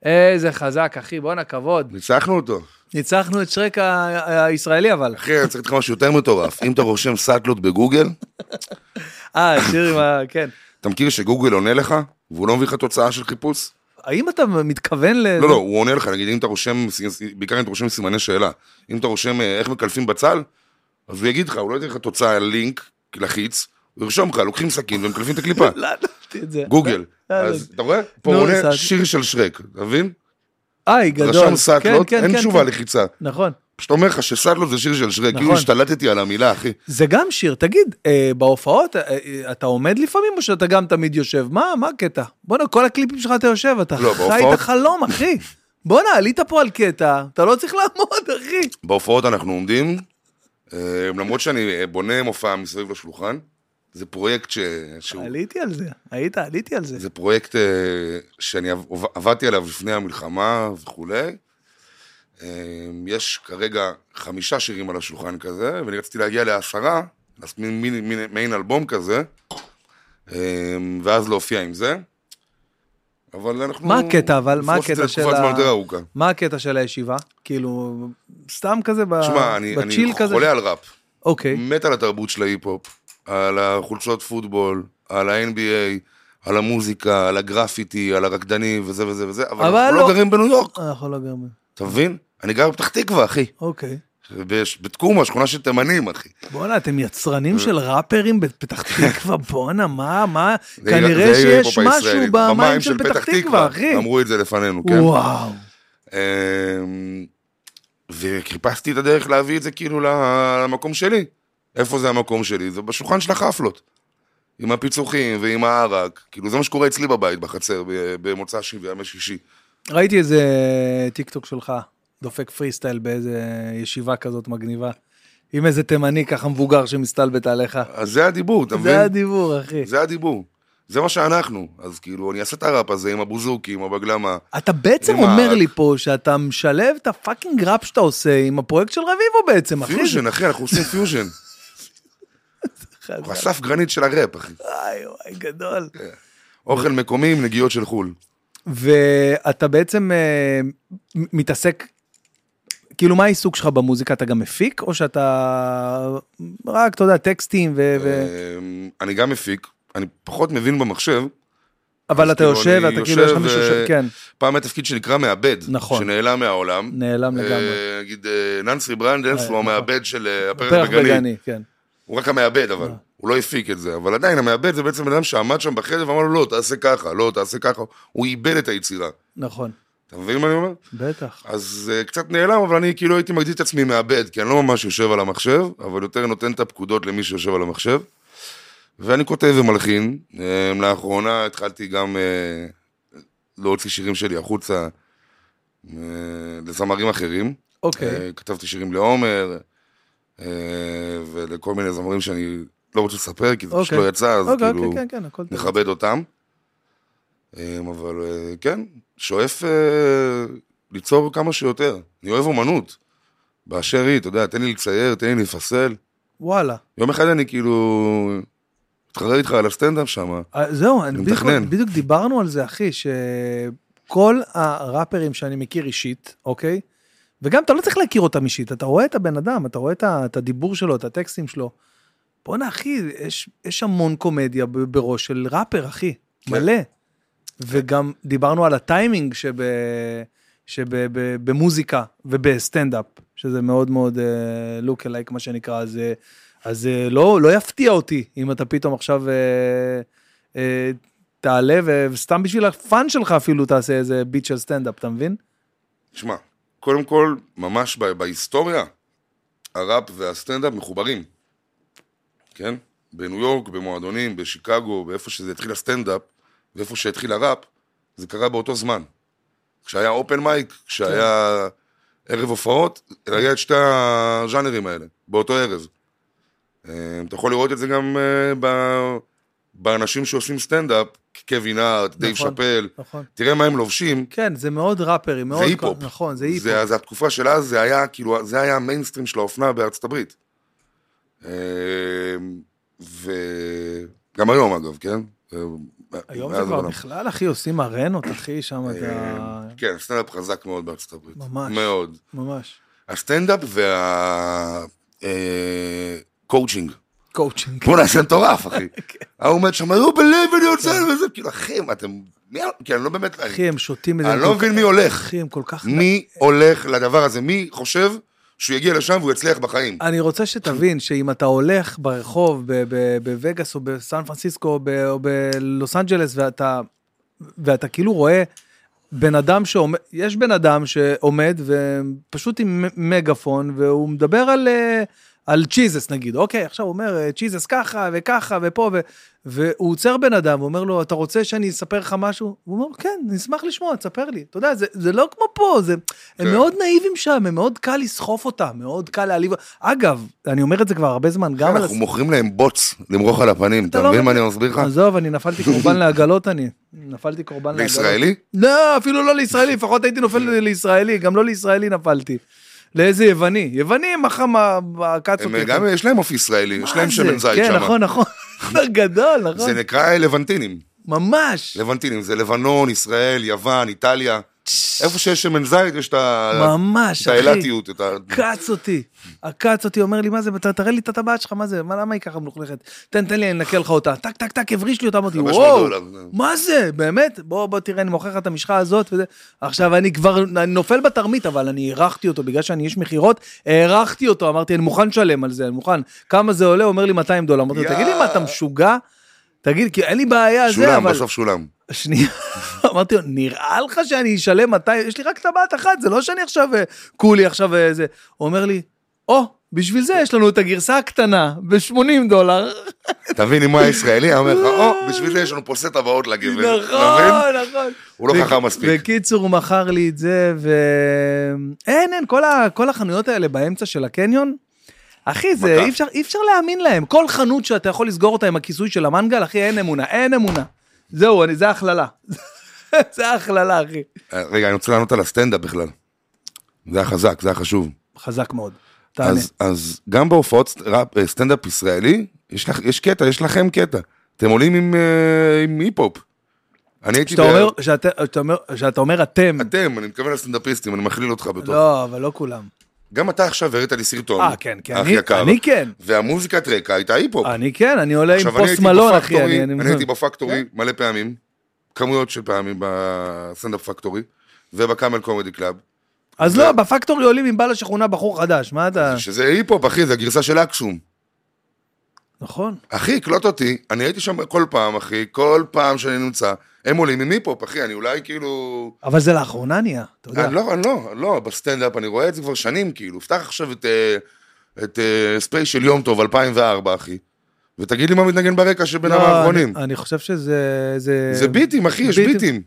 [SPEAKER 1] איזה חזק, אחי, בואנה, כבוד.
[SPEAKER 2] ניצחנו אותו.
[SPEAKER 1] ניצחנו את שרק ה- הישראלי, אבל.
[SPEAKER 2] אחי, אני צריך לתת לך משהו יותר מטורף. אם אתה רושם סאטלות בגוגל,
[SPEAKER 1] אה, השיר עם ה... כן.
[SPEAKER 2] אתה מכיר שגוגל עונה לך, והוא לא מביא לך תוצאה של חיפוש?
[SPEAKER 1] האם אתה מתכוון ל...
[SPEAKER 2] לא, לא, הוא עונה לך, נגיד, אם אתה רושם, בעיקר אם אתה רושם סימני שאלה. אם אתה רושם אה, איך מקלפים בצל, אז הוא יגיד לך, הוא לא ייתן לך תוצאה לינק, לחיץ, הוא ירשום לך, לוקחים סכין ומקלפים את הקליפה.
[SPEAKER 1] לא ידעתי את זה.
[SPEAKER 2] גוגל.
[SPEAKER 1] לא, לא.
[SPEAKER 2] אז אתה רואה? פה
[SPEAKER 1] נו,
[SPEAKER 2] הוא עונה
[SPEAKER 1] סעד.
[SPEAKER 2] שיר של שרק, אתה מבין?
[SPEAKER 1] איי, גדול.
[SPEAKER 2] רשם
[SPEAKER 1] כן,
[SPEAKER 2] סאטלות,
[SPEAKER 1] כן,
[SPEAKER 2] לא- אין
[SPEAKER 1] כן,
[SPEAKER 2] תשובה
[SPEAKER 1] כן.
[SPEAKER 2] לחיצה.
[SPEAKER 1] נכון.
[SPEAKER 2] פשוט אומר לך שסאטלות זה שיר של שרק, כאילו
[SPEAKER 1] נכון.
[SPEAKER 2] השתלטתי על המילה, אחי.
[SPEAKER 1] זה גם שיר, תגיד, אה, בהופעות אה, אה, אתה עומד לפעמים או שאתה גם תמיד יושב? מה, מה הקטע? בואנה, כל הקליפים שלך אתה יושב, אתה
[SPEAKER 2] לא,
[SPEAKER 1] חי
[SPEAKER 2] בהופעות-
[SPEAKER 1] את החלום, אחי. בואנה, עלית פה על קטע, אתה לא צריך לעמוד, אחי.
[SPEAKER 2] בהופעות אנחנו עומדים, אה, למרות שאני אה, בונה מופע מסביב לשולחן, זה פרויקט ש... שהוא...
[SPEAKER 1] עליתי על זה, היית, עליתי על זה.
[SPEAKER 2] זה פרויקט אה, שאני עב- עוב- עבדתי עליו לפני המלחמה וכולי. אה, יש כרגע חמישה שירים על השולחן כזה, ואני רציתי להגיע לעשרה, אז מין, מין, מין, מעין אלבום כזה, אה, ואז להופיע עם זה. אבל אנחנו...
[SPEAKER 1] מה הקטע, אבל? מה
[SPEAKER 2] נפרוס את זה
[SPEAKER 1] הקטע של ה-
[SPEAKER 2] לתקופת
[SPEAKER 1] אה,
[SPEAKER 2] זמן יותר ארוכה.
[SPEAKER 1] מה הקטע של הישיבה? כאילו, סתם כזה, ב-
[SPEAKER 2] תשמע, אני,
[SPEAKER 1] בצ'יל
[SPEAKER 2] אני
[SPEAKER 1] כזה?
[SPEAKER 2] חולה על ראפ.
[SPEAKER 1] אוקיי,
[SPEAKER 2] מת על התרבות של ההיפ-הופ, על החולצות פוטבול, על ה-NBA, על המוזיקה, על הגרפיטי, על הרקדני וזה וזה וזה, אבל,
[SPEAKER 1] אבל
[SPEAKER 2] אנחנו
[SPEAKER 1] לא.
[SPEAKER 2] לא גרים בניו יורק,
[SPEAKER 1] אנחנו לא גרמים.
[SPEAKER 2] אתה מבין? אני גר בפתח תקווה, אחי.
[SPEAKER 1] אוקיי.
[SPEAKER 2] בש- בתקומה, שכונה של תימנים, אחי.
[SPEAKER 1] בואנה, אתם
[SPEAKER 2] אה.
[SPEAKER 1] יצרנים של ראפרים בפתח
[SPEAKER 2] <laughs>
[SPEAKER 1] תקווה, בואנה, מה, מה,
[SPEAKER 2] זה עיר-
[SPEAKER 1] כנראה
[SPEAKER 2] זה עיר
[SPEAKER 1] שיש
[SPEAKER 2] ההיפ-הופ
[SPEAKER 1] משהו
[SPEAKER 2] הישראלית.
[SPEAKER 1] במים של פתח תקווה, אחי.
[SPEAKER 2] אמרו את זה לפנינו, כן.
[SPEAKER 1] וואו.
[SPEAKER 2] אמ, וחיפשתי את הדרך להביא את זה כאילו ל- למקום שלי. איפה זה המקום שלי? זה בשולחן של החפלות. עם הפיצוחים ועם הערק. כאילו, זה מה שקורה אצלי בבית, בחצר, ב- במוצא שישי וימי שישי.
[SPEAKER 1] ראיתי איזה טיק טוק שלך, דופק פרי סטייל באיזה ישיבה כזאת מגניבה, עם איזה תימני ככה מבוגר שמסתלבט עליך.
[SPEAKER 2] אז זה הדיבור, אתה מבין?
[SPEAKER 1] זה הדיבור, אחי.
[SPEAKER 2] זה הדיבור. זה מה שאנחנו. אז כאילו, אני אעשה את הראפ הזה עם הבוזוקי, עם הבגלמה.
[SPEAKER 1] אתה בעצם
[SPEAKER 2] עם
[SPEAKER 1] אומר
[SPEAKER 2] הערק.
[SPEAKER 1] לי פה שאתה משלב את הפאקינג ראפ שאתה עושה עם הפרויקט של רביבו בעצם, אחי. זה-
[SPEAKER 2] פיוז'ן, אחי, אנחנו עושים
[SPEAKER 1] <laughs>
[SPEAKER 2] פיוז'ן. אנחנו אסף גרנית של הראפ, אחי.
[SPEAKER 1] וואי, וואי, גדול.
[SPEAKER 2] אוכל מקומי עם נגיעות של חו"ל.
[SPEAKER 1] ואתה בעצם אה, מ- מתעסק, כאילו מה העיסוק שלך במוזיקה? אתה גם מפיק, או שאתה רק, אתה יודע, טקסטים, ו... ו...
[SPEAKER 2] אמ, אני גם מפיק, אני פחות מבין במחשב.
[SPEAKER 1] אבל
[SPEAKER 2] אז
[SPEAKER 1] אתה
[SPEAKER 2] כאילו,
[SPEAKER 1] יושב,
[SPEAKER 2] אני
[SPEAKER 1] ואתה כאילו, יש לך
[SPEAKER 2] יושב,
[SPEAKER 1] מישהו
[SPEAKER 2] אה,
[SPEAKER 1] ש... כן,
[SPEAKER 2] פעם היה תפקיד שנקרא מעבד,
[SPEAKER 1] נכון.
[SPEAKER 2] שנעלם מהעולם.
[SPEAKER 1] נעלם
[SPEAKER 2] אה,
[SPEAKER 1] לגמרי.
[SPEAKER 2] נגיד אה, ננסי ברנדלס
[SPEAKER 1] אה,
[SPEAKER 2] הוא
[SPEAKER 1] נכון.
[SPEAKER 2] המעבד של אה, הפרח
[SPEAKER 1] פרח
[SPEAKER 2] בגני,
[SPEAKER 1] בגני, אה. כן.
[SPEAKER 2] הוא רק המעבד אבל, הוא לא הפיק את זה, אבל עדיין המעבד זה בעצם בן אדם שעמד שם בחדר ואמר לו לא תעשה ככה, לא תעשה ככה, הוא איבד את היצירה,
[SPEAKER 1] נכון,
[SPEAKER 2] אתה מבין מה אני אומר?
[SPEAKER 1] בטח.
[SPEAKER 2] אז אה, קצת נעלם אבל אני כאילו הייתי מגדיר את עצמי מעבד, כי אני לא ממש יושב על המחשב, אבל יותר נותן את הפקודות למי שיושב על המחשב, ואני כותב ומלחין, אה, לאחרונה התחלתי גם אה, להוציא שירים שלי החוצה אה, לזמרים אחרים.
[SPEAKER 1] אוקיי,
[SPEAKER 2] אה, כתבתי שירים לעומר, אה, ולכל מיני זמרים שאני לא רוצה לספר, כי זה פשוט
[SPEAKER 1] אוקיי.
[SPEAKER 2] לא יצא, אז
[SPEAKER 1] אוקיי,
[SPEAKER 2] כאילו
[SPEAKER 1] אוקיי, כן, כן, הכל טוב.
[SPEAKER 2] נכבד אותם. אה, אבל אה, כן, שואף אה, ליצור כמה שיותר. אני אוהב אומנות, באשר היא, אתה יודע, תן לי לצייר, תן לי לפסל.
[SPEAKER 1] וואלה.
[SPEAKER 2] יום אחד אני כאילו... מתחרר איתך על הסטנדאפ שם.
[SPEAKER 1] אה, זהו, אני בדיוק-
[SPEAKER 2] מתכנן.
[SPEAKER 1] בדיוק דיברנו על זה, אחי, שכל הראפרים שאני מכיר אישית, אוקיי? וגם אתה לא צריך להכיר אותם אישית, אתה רואה את הבן אדם, אתה רואה את ה- את הדיבור שלו, את הטקסטים שלו. בואנה, אחי, יש- יש המון קומדיה ב- בראש של ראפר, אחי, מלא. וגם דיברנו על הטיימינג שבמוזיקה ובסטנדאפ, שזה מאוד מאוד לוק אלייק, מה שנקרא, אז, אה, אז אה, לא, לא יפתיע אותי אם אתה פתאום עכשיו אה, אה, תעלה ו- וסתם בשביל הפאן שלך אפילו תעשה איזה ביט של סטנדאפ, אתה מבין?
[SPEAKER 2] תשמע, קודם כל, ממש ב- בהיסטוריה, הראפ והסטנדאפ מחוברים, כן? בניו יורק, במועדונים, בשיקגו, באיפה שזה התחיל הסטנדאפ, ואיפה שהתחיל הראפ, זה קרה באותו זמן. כשהיה אופן מייק, כשהיה ערב הופעות, היה את שתי הז'אנרים האלה, באותו ערב. אה, אתה יכול לראות את זה גם אה, ב- באנשים שעושים סטנדאפ, קווין הארט, דייב
[SPEAKER 1] נכון.
[SPEAKER 2] שאפל,
[SPEAKER 1] נכון.
[SPEAKER 2] תראה מה הם לובשים,
[SPEAKER 1] כן, זה מאוד ראפרי, מאוד...
[SPEAKER 2] זה היפ-הופ.
[SPEAKER 1] נכון, זה היפ-הופ.
[SPEAKER 2] זה, זה התקופה של אז, זה היה, כאילו, זה היה המיינסטרים של האופנה בארצות הברית. אה, וגם היום אגב, כן? אה,
[SPEAKER 1] היום
[SPEAKER 2] מאז
[SPEAKER 1] זה כבר
[SPEAKER 2] העולם.
[SPEAKER 1] בכלל, אחי, עושים ארנות, אחי, שם אתה...
[SPEAKER 2] אה, כן, הסטנדאפ חזק מאוד בארצות הברית.
[SPEAKER 1] ממש.
[SPEAKER 2] מאוד.
[SPEAKER 1] ממש.
[SPEAKER 2] אה, הסטנדאפ והקואוצ'ינג.
[SPEAKER 1] קואוצ'ינג.
[SPEAKER 2] בואנה, זה
[SPEAKER 1] <laughs>
[SPEAKER 2] מטורף, אחי.
[SPEAKER 1] כן.
[SPEAKER 2] ההוא עומד שם, הוא בלב ואני יוצא וזה, כאילו, אחי, מה אתם... מי ה- כי אני לא באמת...
[SPEAKER 1] אחי, הם שותים את זה.
[SPEAKER 2] אני
[SPEAKER 1] הם
[SPEAKER 2] לא
[SPEAKER 1] כל
[SPEAKER 2] מבין
[SPEAKER 1] כך-
[SPEAKER 2] מי הולך.
[SPEAKER 1] אחי, הם כל כך...
[SPEAKER 2] מי הולך לדבר הזה? מי חושב שהוא יגיע לשם והוא יצליח בחיים?
[SPEAKER 1] אני רוצה שתבין שאם אתה הולך ברחוב ב- ב- בווגאס או בסן פרנסיסקו או ב- או בלוס אנג'לס ואתה, ואתה כאילו רואה בן אדם שעומד, יש בן אדם שעומד ופשוט עם מ- מגפון והוא מדבר על, אה, על צ'יזס נגיד, אוקיי, עכשיו הוא אומר אה, צ'יזס ככה וככה ופה ו... והוא עוצר בן אדם ואומר לו, אתה רוצה שאני אספר לך משהו? הוא אומר, כן, אני אשמח לשמוע, תספר לי. אתה יודע, זה, זה לא כמו פה, זה, הם
[SPEAKER 2] כן.
[SPEAKER 1] מאוד נאיבים שם, הם מאוד קל לסחוף אותם, מאוד קל להעליב. אגב, אני אומר את זה כבר הרבה זמן, גם על...
[SPEAKER 2] כן, אנחנו מוכרים להם בוץ למרוח על הפנים, אתה
[SPEAKER 1] לא
[SPEAKER 2] מבין מה
[SPEAKER 1] מבין.
[SPEAKER 2] אני מסביר לך?
[SPEAKER 1] עזוב, אני נפלתי קורבן לעגלות, אני. נפלתי קורבן לעגלות.
[SPEAKER 2] לישראלי?
[SPEAKER 1] לא, אפילו לא לישראלי, לפחות הייתי נופל לישראלי, גם לא לישראלי נפלתי. לאיזה יווני? יווני מחם הקצות.
[SPEAKER 2] הם גם יש להם אוף ישראלי, יש להם שמן זית
[SPEAKER 1] כן,
[SPEAKER 2] שם.
[SPEAKER 1] נכון, נכון. <laughs> גדול, נכון.
[SPEAKER 2] זה נקרא לבנטינים.
[SPEAKER 1] ממש.
[SPEAKER 2] לבנטינים זה לבנון, ישראל, יוון, איטליה. איפה שיש שמן זית יש את ה-
[SPEAKER 1] ממש,
[SPEAKER 2] את האילתיות, את ה...
[SPEAKER 1] עקץ אותי, עקץ אותי, אומר לי, מה זה, אתה תראה לי את הטבעת שלך, מה זה, מה, למה היא ככה מלוכלכת? תן, תן לי, אני אנקה לך אותה. טק, טק, טק, הבריש לי אותה, אמרתי,
[SPEAKER 2] 500
[SPEAKER 1] וואו,
[SPEAKER 2] דולר, זה."
[SPEAKER 1] מה זה, באמת? בוא, בוא, תראה, אני מוכר לך את המשחה הזאת וזה. עכשיו, אני כבר, אני נופל בתרמית, אבל אני הערכתי אותו, בגלל שאני איש מכירות, הערכתי אותו, אמרתי, אני מוכן לשלם על זה, אני מוכן. כמה זה עולה? הוא אומר לי, 200 דולר. אמרתי לו,
[SPEAKER 2] יא.
[SPEAKER 1] תגיד לי, מה, אתה משוגע? תגיד, כי אין לי בעיה, זה,
[SPEAKER 2] שולם,
[SPEAKER 1] אבל...
[SPEAKER 2] בסוף שולם.
[SPEAKER 1] שנייה, <laughs> אמרתי לו, נראה לך שאני אשלם 200? יש לי רק טבעת אחת, זה לא שאני עכשיו אה, כולי עכשיו אה, זה. הוא אומר לי, או, בשביל זה יש לנו את הגרסה הקטנה ב-80 דולר.
[SPEAKER 2] תבין אם הוא היה ישראלי, היה אומר לך, או, בשביל זה יש לנו פה
[SPEAKER 1] <laughs>
[SPEAKER 2] סט הבאות לגבר.
[SPEAKER 1] נכון,
[SPEAKER 2] אתה מבין?
[SPEAKER 1] נכון.
[SPEAKER 2] הוא לא
[SPEAKER 1] ו-
[SPEAKER 2] חכם מספיק.
[SPEAKER 1] בקיצור, הוא מכר לי את זה, ו... אין, אין, כל, ה... כל החנויות האלה באמצע של הקניון, אחי, זה
[SPEAKER 2] מכה.
[SPEAKER 1] אי אפשר, אי אפשר להאמין להם. כל חנות שאתה יכול לסגור אותה עם הכיסוי של המנגל, אחי, אין אמונה, אין אמונה. זהו, אני, זה הכללה. <laughs> זה הכללה, אחי.
[SPEAKER 2] רגע, אני רוצה לענות על הסטנדאפ בכלל. זה היה חזק, זה היה חשוב.
[SPEAKER 1] חזק מאוד. תענה.
[SPEAKER 2] אז, אז גם בהופעות סט- ראפ- אה, סטנדאפ ישראלי, יש, לך, יש קטע, יש לכם קטע. אתם עולים עם, אה, עם היפ-הופ. אני הייתי...
[SPEAKER 1] כשאתה
[SPEAKER 2] ב-
[SPEAKER 1] אומר, שאתה- שאתה אומר- שאתה אומר אתם,
[SPEAKER 2] אתם, אני מתכוון לסטנדאפיסטים, אני מכליל אותך בתור.
[SPEAKER 1] לא, אבל לא כולם.
[SPEAKER 2] גם אתה עכשיו הראת לי סרטון.
[SPEAKER 1] אה, כן, כן,
[SPEAKER 2] אח
[SPEAKER 1] אני-
[SPEAKER 2] יקר.
[SPEAKER 1] אני כן.
[SPEAKER 2] והמוזיקת רקע הייתה היפ-הופ.
[SPEAKER 1] אני כן, אני עולה עם
[SPEAKER 2] עכשיו, אני
[SPEAKER 1] פוסט
[SPEAKER 2] הייתי
[SPEAKER 1] מלון, אחי.
[SPEAKER 2] בפקטורי,
[SPEAKER 1] אני- כן.
[SPEAKER 2] אני הייתי בפקטורי מלא פעמים, כמויות של פעמים בסטנדאפ פקטורי, ובקאמל קומדי קלאב.
[SPEAKER 1] אז לא, בפקטורי עולים עם בעל השכונה בחור חדש, מה אתה...
[SPEAKER 2] שזה היפ-הופ, אחי, זה הגרסה של אקסום.
[SPEAKER 1] נכון.
[SPEAKER 2] אחי, קלוט אותי, אני הייתי שם כל פעם, אחי, כל פעם שאני נמצא, הם עולים עם היפ-הופ, אחי, אני אולי כאילו...
[SPEAKER 1] אבל זה לאחרונה נהיה, אתה יודע.
[SPEAKER 2] אני לא, אני לא, אני לא, בסטנדאפ אני רואה את זה כבר שנים, כאילו, פתח עכשיו את, אה, את אה, ספייס של יום טוב 2004, אחי, ותגיד לי מה מתנגן ברקע שבין
[SPEAKER 1] לא,
[SPEAKER 2] המערכונים.
[SPEAKER 1] אני- אני חושב שזה... זה-
[SPEAKER 2] זה ביטים, אחי, יש
[SPEAKER 1] ביטים.
[SPEAKER 2] ביטים.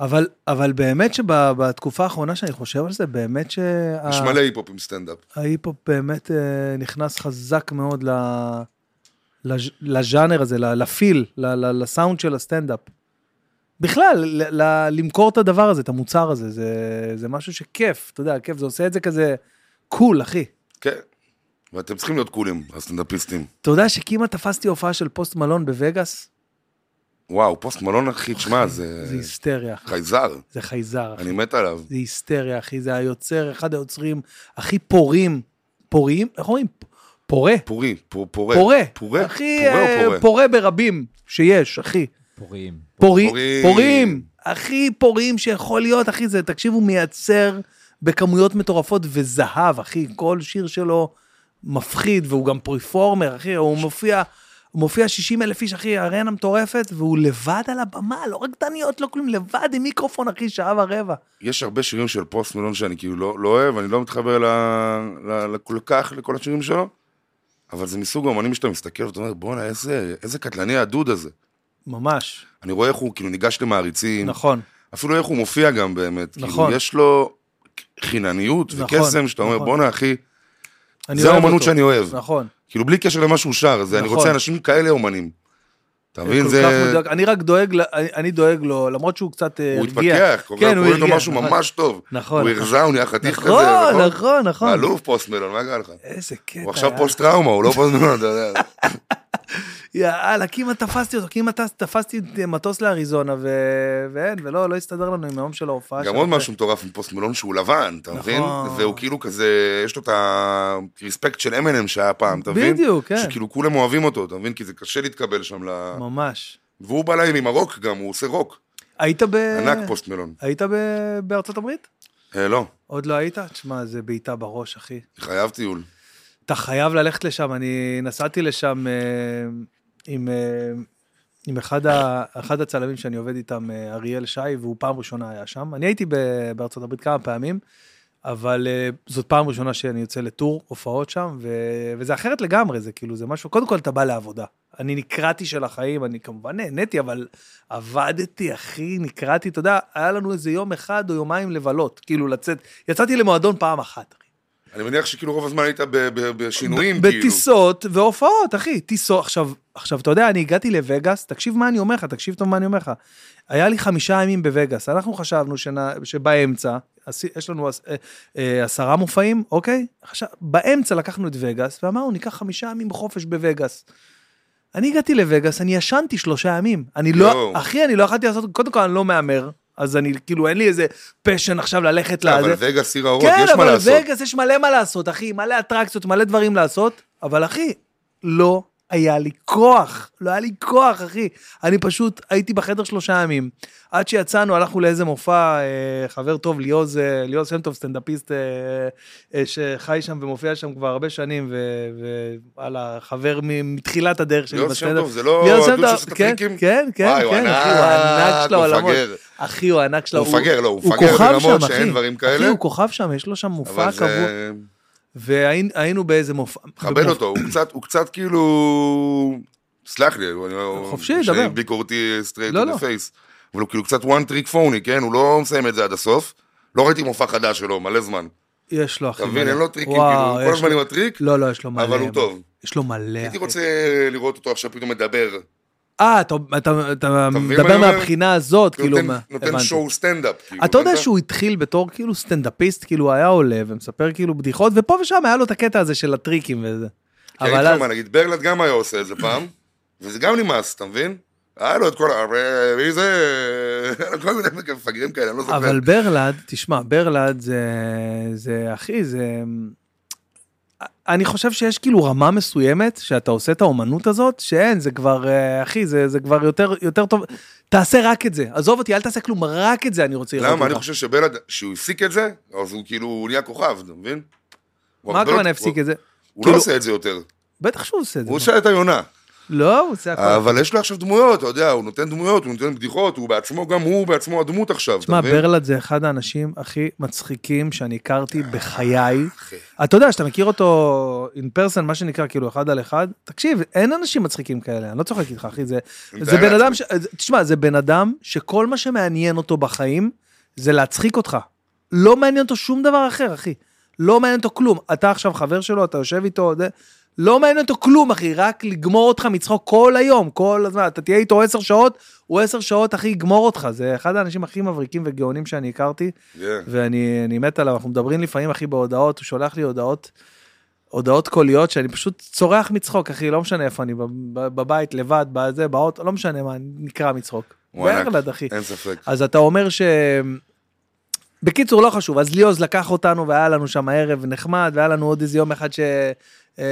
[SPEAKER 1] אבל- אבל באמת שבתקופה האחרונה שאני חושב על זה, באמת שה-
[SPEAKER 2] יש מלא היפ-הופ עם סטנדאפ.
[SPEAKER 1] ההיפ-הופ באמת אה, נכנס חזק מאוד ל- לז'- לז'אנר הזה, ל- לפיל, ל- ל- לסאונד של הסטנדאפ. בכלל, ל- ל- למכור את הדבר הזה, את המוצר הזה, זה, זה משהו שכיף, אתה יודע, כיף, זה עושה את זה כזה קול, אחי.
[SPEAKER 2] כן. ואתם צריכים להיות קולים, הסטנדאפיסטים.
[SPEAKER 1] אתה יודע שכמעט תפסתי הופעה של פוסט מלון בווגאס?
[SPEAKER 2] וואו, פוסט מלון, אחי, תשמע, זה
[SPEAKER 1] זה היסטריה, אחי.
[SPEAKER 2] חייזר,
[SPEAKER 1] זה חייזר, אחי.
[SPEAKER 2] אה. אני מת עליו.
[SPEAKER 1] זה היסטריה, אחי. זה היוצר, אחד היוצרים הכי פורים. פוריים? איך אומרים? פורה.
[SPEAKER 2] פורי, פור- פורה.
[SPEAKER 1] פורה.
[SPEAKER 2] פורה,
[SPEAKER 1] אחי,
[SPEAKER 2] פורה או
[SPEAKER 1] אה,
[SPEAKER 2] פורה?
[SPEAKER 1] פורה ברבים שיש, אחי.
[SPEAKER 3] פוריים.
[SPEAKER 1] פורים.
[SPEAKER 2] פורים.
[SPEAKER 1] פורים. הכי פורים שיכול להיות, אחי. זה, תקשיבו, מייצר בכמויות מטורפות וזהב, אחי. כל שיר שלו מפחיד, והוא גם פריפורמר, אחי. הוא מופיע... הוא מופיע 60 אלף איש, אחי, ארנה מטורפת, והוא לבד על הבמה, לא רק דניות, לא כלום, לבד עם מיקרופון, אחי, שעה ורבע.
[SPEAKER 2] יש הרבה שירים של פוסט מלון שאני כאילו לא, לא אוהב, אני לא מתחבר ל, ל, ל, כל כך לכל השירים שלו, אבל זה מסוג האמנים שאתה מסתכל ואתה אומר, בואנה, איזה, איזה קטלני הדוד הזה.
[SPEAKER 1] ממש,
[SPEAKER 2] אני רואה איך הוא כאילו ניגש למעריצים, נכון.
[SPEAKER 1] נכון.
[SPEAKER 2] אפילו איך הוא מופיע גם באמת.
[SPEAKER 1] נכון.
[SPEAKER 2] כאילו, יש לו חינניות
[SPEAKER 1] נכון,
[SPEAKER 2] וקסם, שאתה אומר,
[SPEAKER 1] נכון.
[SPEAKER 2] בואנה, אחי,
[SPEAKER 1] אני
[SPEAKER 2] זה
[SPEAKER 1] אוהב
[SPEAKER 2] האומנות
[SPEAKER 1] אותו.
[SPEAKER 2] שאני אוהב.
[SPEAKER 1] נכון.
[SPEAKER 2] כאילו, בלי קשר למה שהוא שר, זה, אני
[SPEAKER 1] נכון.
[SPEAKER 2] רוצה אנשים כאלה אומנים. אתה
[SPEAKER 1] כל
[SPEAKER 2] מבין,
[SPEAKER 1] כך
[SPEAKER 2] זה...
[SPEAKER 1] מדויק. אני רק דואג, ל- אני- אני דואג לו, למרות שהוא קצת אה,
[SPEAKER 2] הוא
[SPEAKER 1] הרגיע.
[SPEAKER 2] התפתח,
[SPEAKER 1] כן,
[SPEAKER 2] קורה
[SPEAKER 1] הוא
[SPEAKER 2] לו
[SPEAKER 1] הרגיע,
[SPEAKER 2] משהו
[SPEAKER 1] נכון.
[SPEAKER 2] ממש טוב.
[SPEAKER 1] נכון,
[SPEAKER 2] הוא
[SPEAKER 1] נכון.
[SPEAKER 2] הרזה, הוא נהיה חתיך כזה,
[SPEAKER 1] נכון, נכון, נכון.
[SPEAKER 2] אלוף פוסט מלון, מה קרה לך?
[SPEAKER 1] איזה קטע.
[SPEAKER 2] הוא עכשיו
[SPEAKER 1] יא.
[SPEAKER 2] <laughs> פוסט טראומה, הוא לא פוסט מלון, אתה יודע.
[SPEAKER 1] יאללה, כמעט תפסתי אותו, כמעט טס- תפסתי אה, מטוס לאריזונה, ו- ואין, ולא, לא הסתדר לנו עם היום של ההופעה.
[SPEAKER 2] גם
[SPEAKER 1] שם,
[SPEAKER 2] עוד
[SPEAKER 1] ו-
[SPEAKER 2] משהו מטורף עם פוסט מלון שהוא לבן, אתה מבין?
[SPEAKER 1] נכון.
[SPEAKER 2] והוא כאילו כזה, יש לו את הרספקט של M&M שהיה פעם, אתה מבין?
[SPEAKER 1] בדיוק, כן.
[SPEAKER 2] שכאילו כולם אוהבים אותו, אתה מבין? כי זה קשה להתקבל שם ל...
[SPEAKER 1] ממש.
[SPEAKER 2] והוא בא להם עם הרוק גם, הוא עושה רוק.
[SPEAKER 1] היית ב...
[SPEAKER 2] ענק פוסט מלון.
[SPEAKER 1] היית ב- בארצות הברית?
[SPEAKER 2] אה, לא,
[SPEAKER 1] עוד לא היית? תשמע, זה בעיטה בראש, אחי.
[SPEAKER 2] חייב טיול.
[SPEAKER 1] אתה חייב ללכת לשם, אני נסעתי לשם אה, עם, אה, עם אחד, ה, אחד הצלמים שאני עובד איתם, אה, אריאל שי, והוא פעם ראשונה היה שם. אני הייתי ב- בארצות הברית כמה פעמים, אבל אה, זאת פעם ראשונה שאני יוצא לטור הופעות שם, ו, וזה אחרת לגמרי, זה כאילו, זה משהו, קודם כל אתה בא לעבודה. אני נקרעתי של החיים, אני כמובן נהניתי, אבל עבדתי, אחי, נקרעתי, אתה יודע, היה לנו איזה יום אחד או יומיים לבלות, כאילו לצאת, יצאתי למועדון פעם אחת, אחי.
[SPEAKER 2] אני מניח שכאילו רוב הזמן היית ב- ב- בשינויים, כאילו.
[SPEAKER 1] בטיסות והופעות, אחי, טיסות. עכשיו, עכשיו, אתה יודע, אני הגעתי לווגאס, תקשיב מה אני אומר לך, תקשיב טוב מה אני אומר לך. היה לי חמישה ימים בווגאס, אנחנו חשבנו שנ... שבאמצע, עשי- יש לנו עש- אה, אה, עשרה מופעים, אוקיי? עכשיו, באמצע לקחנו את וגאס, ואמרנו, ניקח חמישה ימים חופש בווגאס. אני הגעתי לווגאס, אני ישנתי שלושה ימים. אני לא,
[SPEAKER 2] יואו.
[SPEAKER 1] אחי, אני לא יכולתי לעשות, קודם כל, אני לא מהמר, אז אני, כאילו, אין לי איזה פשן עכשיו ללכת לזה.
[SPEAKER 2] לא, אבל וגאס עיר האורות,
[SPEAKER 1] כן,
[SPEAKER 2] יש מה
[SPEAKER 1] אבל
[SPEAKER 2] לעשות.
[SPEAKER 1] בווגאס יש מלא מה לעשות, אחי, מלא אטרקציות, מלא דברים לעשות, אבל אחי, לא היה לי כוח, לא היה לי כוח, אחי. אני פשוט הייתי בחדר שלושה ימים. עד שיצאנו, הלכנו לאיזה מופע, אה, חבר טוב, ליאוז, אה, ליאוז שם טוב, סטנדאפיסט, אה, אה, שחי שם ומופיע שם כבר הרבה שנים, ו- ווואלה, חבר מ- מתחילת הדרך שלי
[SPEAKER 2] ליאור שם טוב, זה לא
[SPEAKER 1] ליאוז שם
[SPEAKER 2] הדוד
[SPEAKER 1] טוב,
[SPEAKER 2] שעושה את
[SPEAKER 1] כן,
[SPEAKER 2] הטריקים?
[SPEAKER 1] כן, כן,
[SPEAKER 2] וואי, הוא
[SPEAKER 1] כן, אחי, הוא
[SPEAKER 2] ענק,
[SPEAKER 1] ענק של
[SPEAKER 2] הוא
[SPEAKER 1] העולמות.
[SPEAKER 2] מפגר.
[SPEAKER 1] אחי, הוא ענק של
[SPEAKER 2] הוא מפגר, לא, הוא מפגר
[SPEAKER 1] כוכב
[SPEAKER 2] ברמות
[SPEAKER 1] שם,
[SPEAKER 2] שאין
[SPEAKER 1] אחי.
[SPEAKER 2] דברים
[SPEAKER 1] אחי,
[SPEAKER 2] כאלה.
[SPEAKER 1] הוא כוכב שם, יש לו שם מופע
[SPEAKER 2] אבל
[SPEAKER 1] קבוע.
[SPEAKER 2] זה...
[SPEAKER 1] והיינו באיזה מופע.
[SPEAKER 2] כבד
[SPEAKER 1] במופע-
[SPEAKER 2] אותו, הוא קצת, הוא קצת כאילו... סלח לי, אני...
[SPEAKER 1] חופשי,
[SPEAKER 2] שאני
[SPEAKER 1] דבר.
[SPEAKER 2] ביקורתי אה, straight
[SPEAKER 1] לא,
[SPEAKER 2] to
[SPEAKER 1] לא.
[SPEAKER 2] the face. אבל הוא כאילו קצת one trick phony, כן? הוא לא מסיים את זה עד הסוף. לא ראיתי מופע חדש שלו, מלא זמן.
[SPEAKER 1] יש לו אחי.
[SPEAKER 2] אתה מבין,
[SPEAKER 1] מלא.
[SPEAKER 2] אין לו טריקים,
[SPEAKER 1] וואו,
[SPEAKER 2] כאילו, הוא כל
[SPEAKER 1] יש
[SPEAKER 2] הזמן עם
[SPEAKER 1] לו-
[SPEAKER 2] הטריק,
[SPEAKER 1] לא, לא, יש לו מלא.
[SPEAKER 2] אבל הוא טוב.
[SPEAKER 1] יש לו מלא.
[SPEAKER 2] הייתי
[SPEAKER 1] אחי.
[SPEAKER 2] רוצה לראות אותו עכשיו פתאום מדבר.
[SPEAKER 1] אה, אתה- אתה אתה
[SPEAKER 2] מבין מה אני
[SPEAKER 1] מדבר
[SPEAKER 2] אומר?
[SPEAKER 1] מהבחינה הזאת, כאילו,
[SPEAKER 2] נותן-
[SPEAKER 1] מה-
[SPEAKER 2] נותן
[SPEAKER 1] הבנתי.
[SPEAKER 2] שואו סטנדאפ. כאילו,
[SPEAKER 1] אתה יודע
[SPEAKER 2] הבנת?
[SPEAKER 1] שהוא התחיל בתור כאילו סטנדאפיסט, כאילו היה עולה ומספר כאילו בדיחות, ופה ושם היה לו את הקטע הזה של הטריקים וזה.
[SPEAKER 2] כי אני
[SPEAKER 1] אבל
[SPEAKER 2] אגיד
[SPEAKER 1] אז,
[SPEAKER 2] לך מה, נגיד ברלד גם היה עושה את זה פעם, וזה גם נמאס, אתה מבין? היה לו את כל ה... מי זה? <laughs> כל מיני מפגרים כאלה, אני לא זוכר.
[SPEAKER 1] אבל ברלד, תשמע, ברלד זה, זה, אחי, זה... אני חושב שיש כאילו רמה מסוימת שאתה עושה את האומנות הזאת, שאין, זה כבר, אה, אחי, זה, זה כבר יותר, יותר טוב. תעשה רק את זה, עזוב אותי, אל תעשה כלום, רק את זה אני רוצה לראות
[SPEAKER 2] למה? אני
[SPEAKER 1] אותך.
[SPEAKER 2] חושב שבלעד, שהוא הפסיק את זה, אז הוא כאילו הוא נהיה כוכב, אתה מבין? הוא
[SPEAKER 1] מה
[SPEAKER 2] הרבה
[SPEAKER 1] הכוונה
[SPEAKER 2] לא-
[SPEAKER 1] הפסיק
[SPEAKER 2] הוא-
[SPEAKER 1] את זה?
[SPEAKER 2] הוא לא
[SPEAKER 1] כאילו-
[SPEAKER 2] עושה את זה יותר.
[SPEAKER 1] בטח שהוא עושה את זה.
[SPEAKER 2] הוא
[SPEAKER 1] מה?
[SPEAKER 2] עושה את היונה.
[SPEAKER 1] לא, הוא עושה הכול.
[SPEAKER 2] אבל יש לו עכשיו דמויות, אתה יודע, הוא נותן דמויות, הוא נותן בדיחות, הוא בעצמו, גם הוא בעצמו הדמות עכשיו, אתה
[SPEAKER 1] תשמע,
[SPEAKER 2] מבין?
[SPEAKER 1] ברלד זה אחד האנשים הכי מצחיקים שאני הכרתי בחיי.
[SPEAKER 2] אה, אחי.
[SPEAKER 1] אתה יודע, שאתה מכיר אותו in person, מה שנקרא, כאילו, אחד על אחד, תקשיב, אין אנשים מצחיקים כאלה, אני לא צוחק איתך, אחי, זה,
[SPEAKER 2] אני
[SPEAKER 1] זה
[SPEAKER 2] מתאר
[SPEAKER 1] בן אדם,
[SPEAKER 2] לעצמי.
[SPEAKER 1] ש... תשמע, זה בן אדם שכל מה שמעניין אותו בחיים זה להצחיק אותך. לא מעניין אותו שום דבר אחר, אחי. לא מעניין אותו כלום. אתה עכשיו חבר שלו, אתה יושב איתו, זה... לא מעניין אותו כלום, אחי, רק לגמור אותך מצחוק כל היום, כל הזמן. אתה תהיה איתו עשר שעות, הוא עשר שעות, אחי, יגמור אותך. זה אחד האנשים הכי מבריקים וגאונים שאני הכרתי.
[SPEAKER 2] כן.
[SPEAKER 1] ואני אני מת עליו, אנחנו מדברים לפעמים, אחי, בהודעות, הוא שולח לי הודעות, הודעות קוליות, שאני פשוט צורח מצחוק, אחי, לא משנה איפה אני, בב- בבית, לבד, בזה, באוטו, לא משנה מה, נקרע מצחוק.
[SPEAKER 2] הוא ענק.
[SPEAKER 1] בארלד, אחי.
[SPEAKER 2] אין ספק.
[SPEAKER 1] אז אתה אומר ש... בקיצור, לא חשוב, אז ליאוז לקח אותנו והיה לנו שם ערב נחמד, והיה לנו עוד איזה יום אחד ש... אה,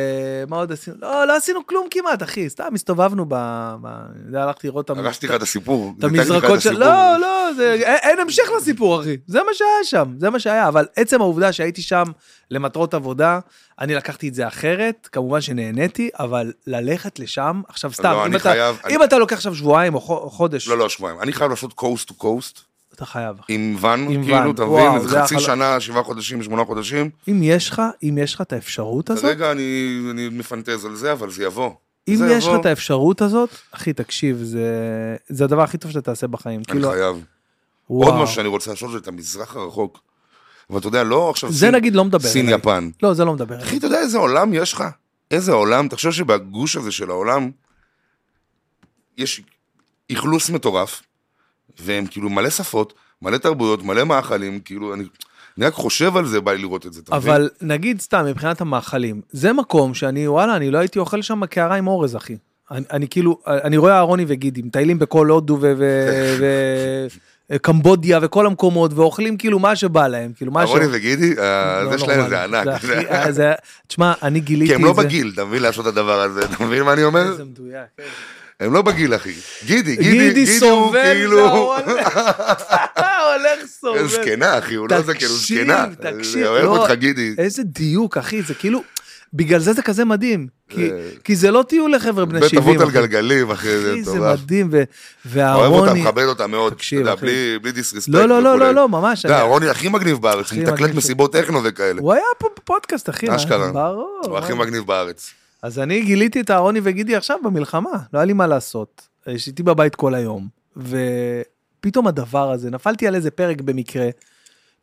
[SPEAKER 1] מה עוד עשינו? לא, לא עשינו כלום כמעט, אחי, סתם הסתובבנו ב... ב- זה, הלכתי לראות את המ-
[SPEAKER 2] הרסתי לך את הסיפור.
[SPEAKER 1] את
[SPEAKER 2] נתתי לך
[SPEAKER 1] המזרקות של...
[SPEAKER 2] הסיפור.
[SPEAKER 1] לא, לא, זה... אין, אין המשך לסיפור, אחי. זה מה שהיה שם, זה מה שהיה. אבל עצם העובדה שהייתי שם למטרות עבודה, אני לקחתי את זה אחרת, כמובן שנהניתי, אבל ללכת לשם, עכשיו סתם,
[SPEAKER 2] לא,
[SPEAKER 1] אם,
[SPEAKER 2] אני
[SPEAKER 1] אתה,
[SPEAKER 2] חייב-
[SPEAKER 1] אם
[SPEAKER 2] אני-
[SPEAKER 1] אתה לוקח עכשיו שבועיים או חו- או חודש,
[SPEAKER 2] לא, לא, שבועיים. אני חייב לעשות קוסט טו קוסט.
[SPEAKER 1] אתה חייב. אחי.
[SPEAKER 2] עם ואן,
[SPEAKER 1] עם
[SPEAKER 2] כאילו,
[SPEAKER 1] ואן,
[SPEAKER 2] אתה
[SPEAKER 1] וואו,
[SPEAKER 2] מבין, איזה
[SPEAKER 1] זה
[SPEAKER 2] חצי
[SPEAKER 1] החלום.
[SPEAKER 2] שנה, שבעה חודשים, שמונה חודשים.
[SPEAKER 1] אם יש לך, אם יש לך את האפשרות הזאת,
[SPEAKER 2] כרגע אני אני מפנטז על זה, אבל זה יבוא.
[SPEAKER 1] אם
[SPEAKER 2] זה
[SPEAKER 1] יש לך
[SPEAKER 2] יבוא.
[SPEAKER 1] את האפשרות הזאת, אחי, תקשיב, זה, זה הדבר הכי טוב שאתה תעשה בחיים.
[SPEAKER 2] אני
[SPEAKER 1] כאילו,
[SPEAKER 2] חייב.
[SPEAKER 1] וואו.
[SPEAKER 2] עוד משהו שאני רוצה לעשות זה את המזרח הרחוק. אבל אתה יודע, לא עכשיו
[SPEAKER 1] זה
[SPEAKER 2] סין-
[SPEAKER 1] נגיד לא מדבר.
[SPEAKER 2] סין,
[SPEAKER 1] אליי.
[SPEAKER 2] יפן.
[SPEAKER 1] לא, זה לא מדבר.
[SPEAKER 2] אחי, אתה יודע איזה עולם יש לך? איזה עולם? תחשוב שבגוש הזה של העולם, יש אכלוס מטורף, והם כאילו מלא שפות, מלא תרבויות, מלא מאכלים, כאילו, אני אני רק חושב על זה, בא לי לראות את זה, אתה מבין?
[SPEAKER 1] אבל נגיד סתם, מבחינת המאכלים, זה מקום שאני, וואלה, אני לא הייתי אוכל שם קערה עם אורז, אחי. אני, אני כאילו, אני רואה אהרוני וגידי, מטיילים בכל הודו
[SPEAKER 2] <laughs>
[SPEAKER 1] ו- ו- וקמבודיה וכל המקומות, ואוכלים כאילו מה שבא להם, כאילו מה ש...
[SPEAKER 2] אהרוני וגידי, ה-
[SPEAKER 1] לא
[SPEAKER 2] זה שלהם
[SPEAKER 1] נורמלי.
[SPEAKER 2] זה ענק.
[SPEAKER 1] הכי- אה, זה- תשמע, אני גיליתי
[SPEAKER 2] כי
[SPEAKER 1] את
[SPEAKER 2] הם
[SPEAKER 1] זה.
[SPEAKER 2] לא בגיל, אתה מבין לעשות את הדבר הזה, אתה מבין מה אני אומר?
[SPEAKER 1] איזה מדויק. כן.
[SPEAKER 2] הם לא בגיל, אחי. גידי, גידי,
[SPEAKER 1] גידי
[SPEAKER 2] גידי הוא
[SPEAKER 1] סובל,
[SPEAKER 2] כאילו...
[SPEAKER 1] הולך סובל.
[SPEAKER 2] זקנה, אחי, הוא לא
[SPEAKER 1] תקשיב,
[SPEAKER 2] זקן, הוא זקנה.
[SPEAKER 1] תקשיב,
[SPEAKER 2] אני אוהב
[SPEAKER 1] לא.
[SPEAKER 2] אותך, גידי.
[SPEAKER 1] איזה דיוק, אחי, זה כאילו, בגלל זה זה כזה מדהים. כי-
[SPEAKER 2] אה.
[SPEAKER 1] כי זה לא טיול לחבר'ה בני
[SPEAKER 2] בית
[SPEAKER 1] 70.
[SPEAKER 2] אבות על
[SPEAKER 1] אחי.
[SPEAKER 2] גלגלים, אחי, זה
[SPEAKER 1] אחי, זה
[SPEAKER 2] מטורף.
[SPEAKER 1] מדהים, ו-
[SPEAKER 2] אוהב אותה,
[SPEAKER 1] והרוני...
[SPEAKER 2] מכבד אותה מאוד.
[SPEAKER 1] תקשיב,
[SPEAKER 2] תקשיב,
[SPEAKER 1] אחי.
[SPEAKER 2] אחי. בלי בלי דיסרספקט.
[SPEAKER 1] לא, לא, לא,
[SPEAKER 2] וכולי.
[SPEAKER 1] לא, לא, ממש.
[SPEAKER 2] אתה יודע,
[SPEAKER 1] אני-
[SPEAKER 2] רוני הכי מגניב בארץ,
[SPEAKER 1] הכי
[SPEAKER 2] הוא מתקלט
[SPEAKER 1] מגניב
[SPEAKER 2] מסיבות טכנו וכאלה.
[SPEAKER 1] הוא היה פה בפודקאסט, אחי.
[SPEAKER 2] אשכרה.
[SPEAKER 1] ברור.
[SPEAKER 2] הוא הכי
[SPEAKER 1] מה-
[SPEAKER 2] מגניב בארץ.
[SPEAKER 1] אז אני גיליתי את אהרוני וגידי עכשיו במלחמה, לא היה לי מה לעשות. יש איתי בבית כל היום, ופתאום הדבר הזה, נפלתי על איזה פרק במקרה,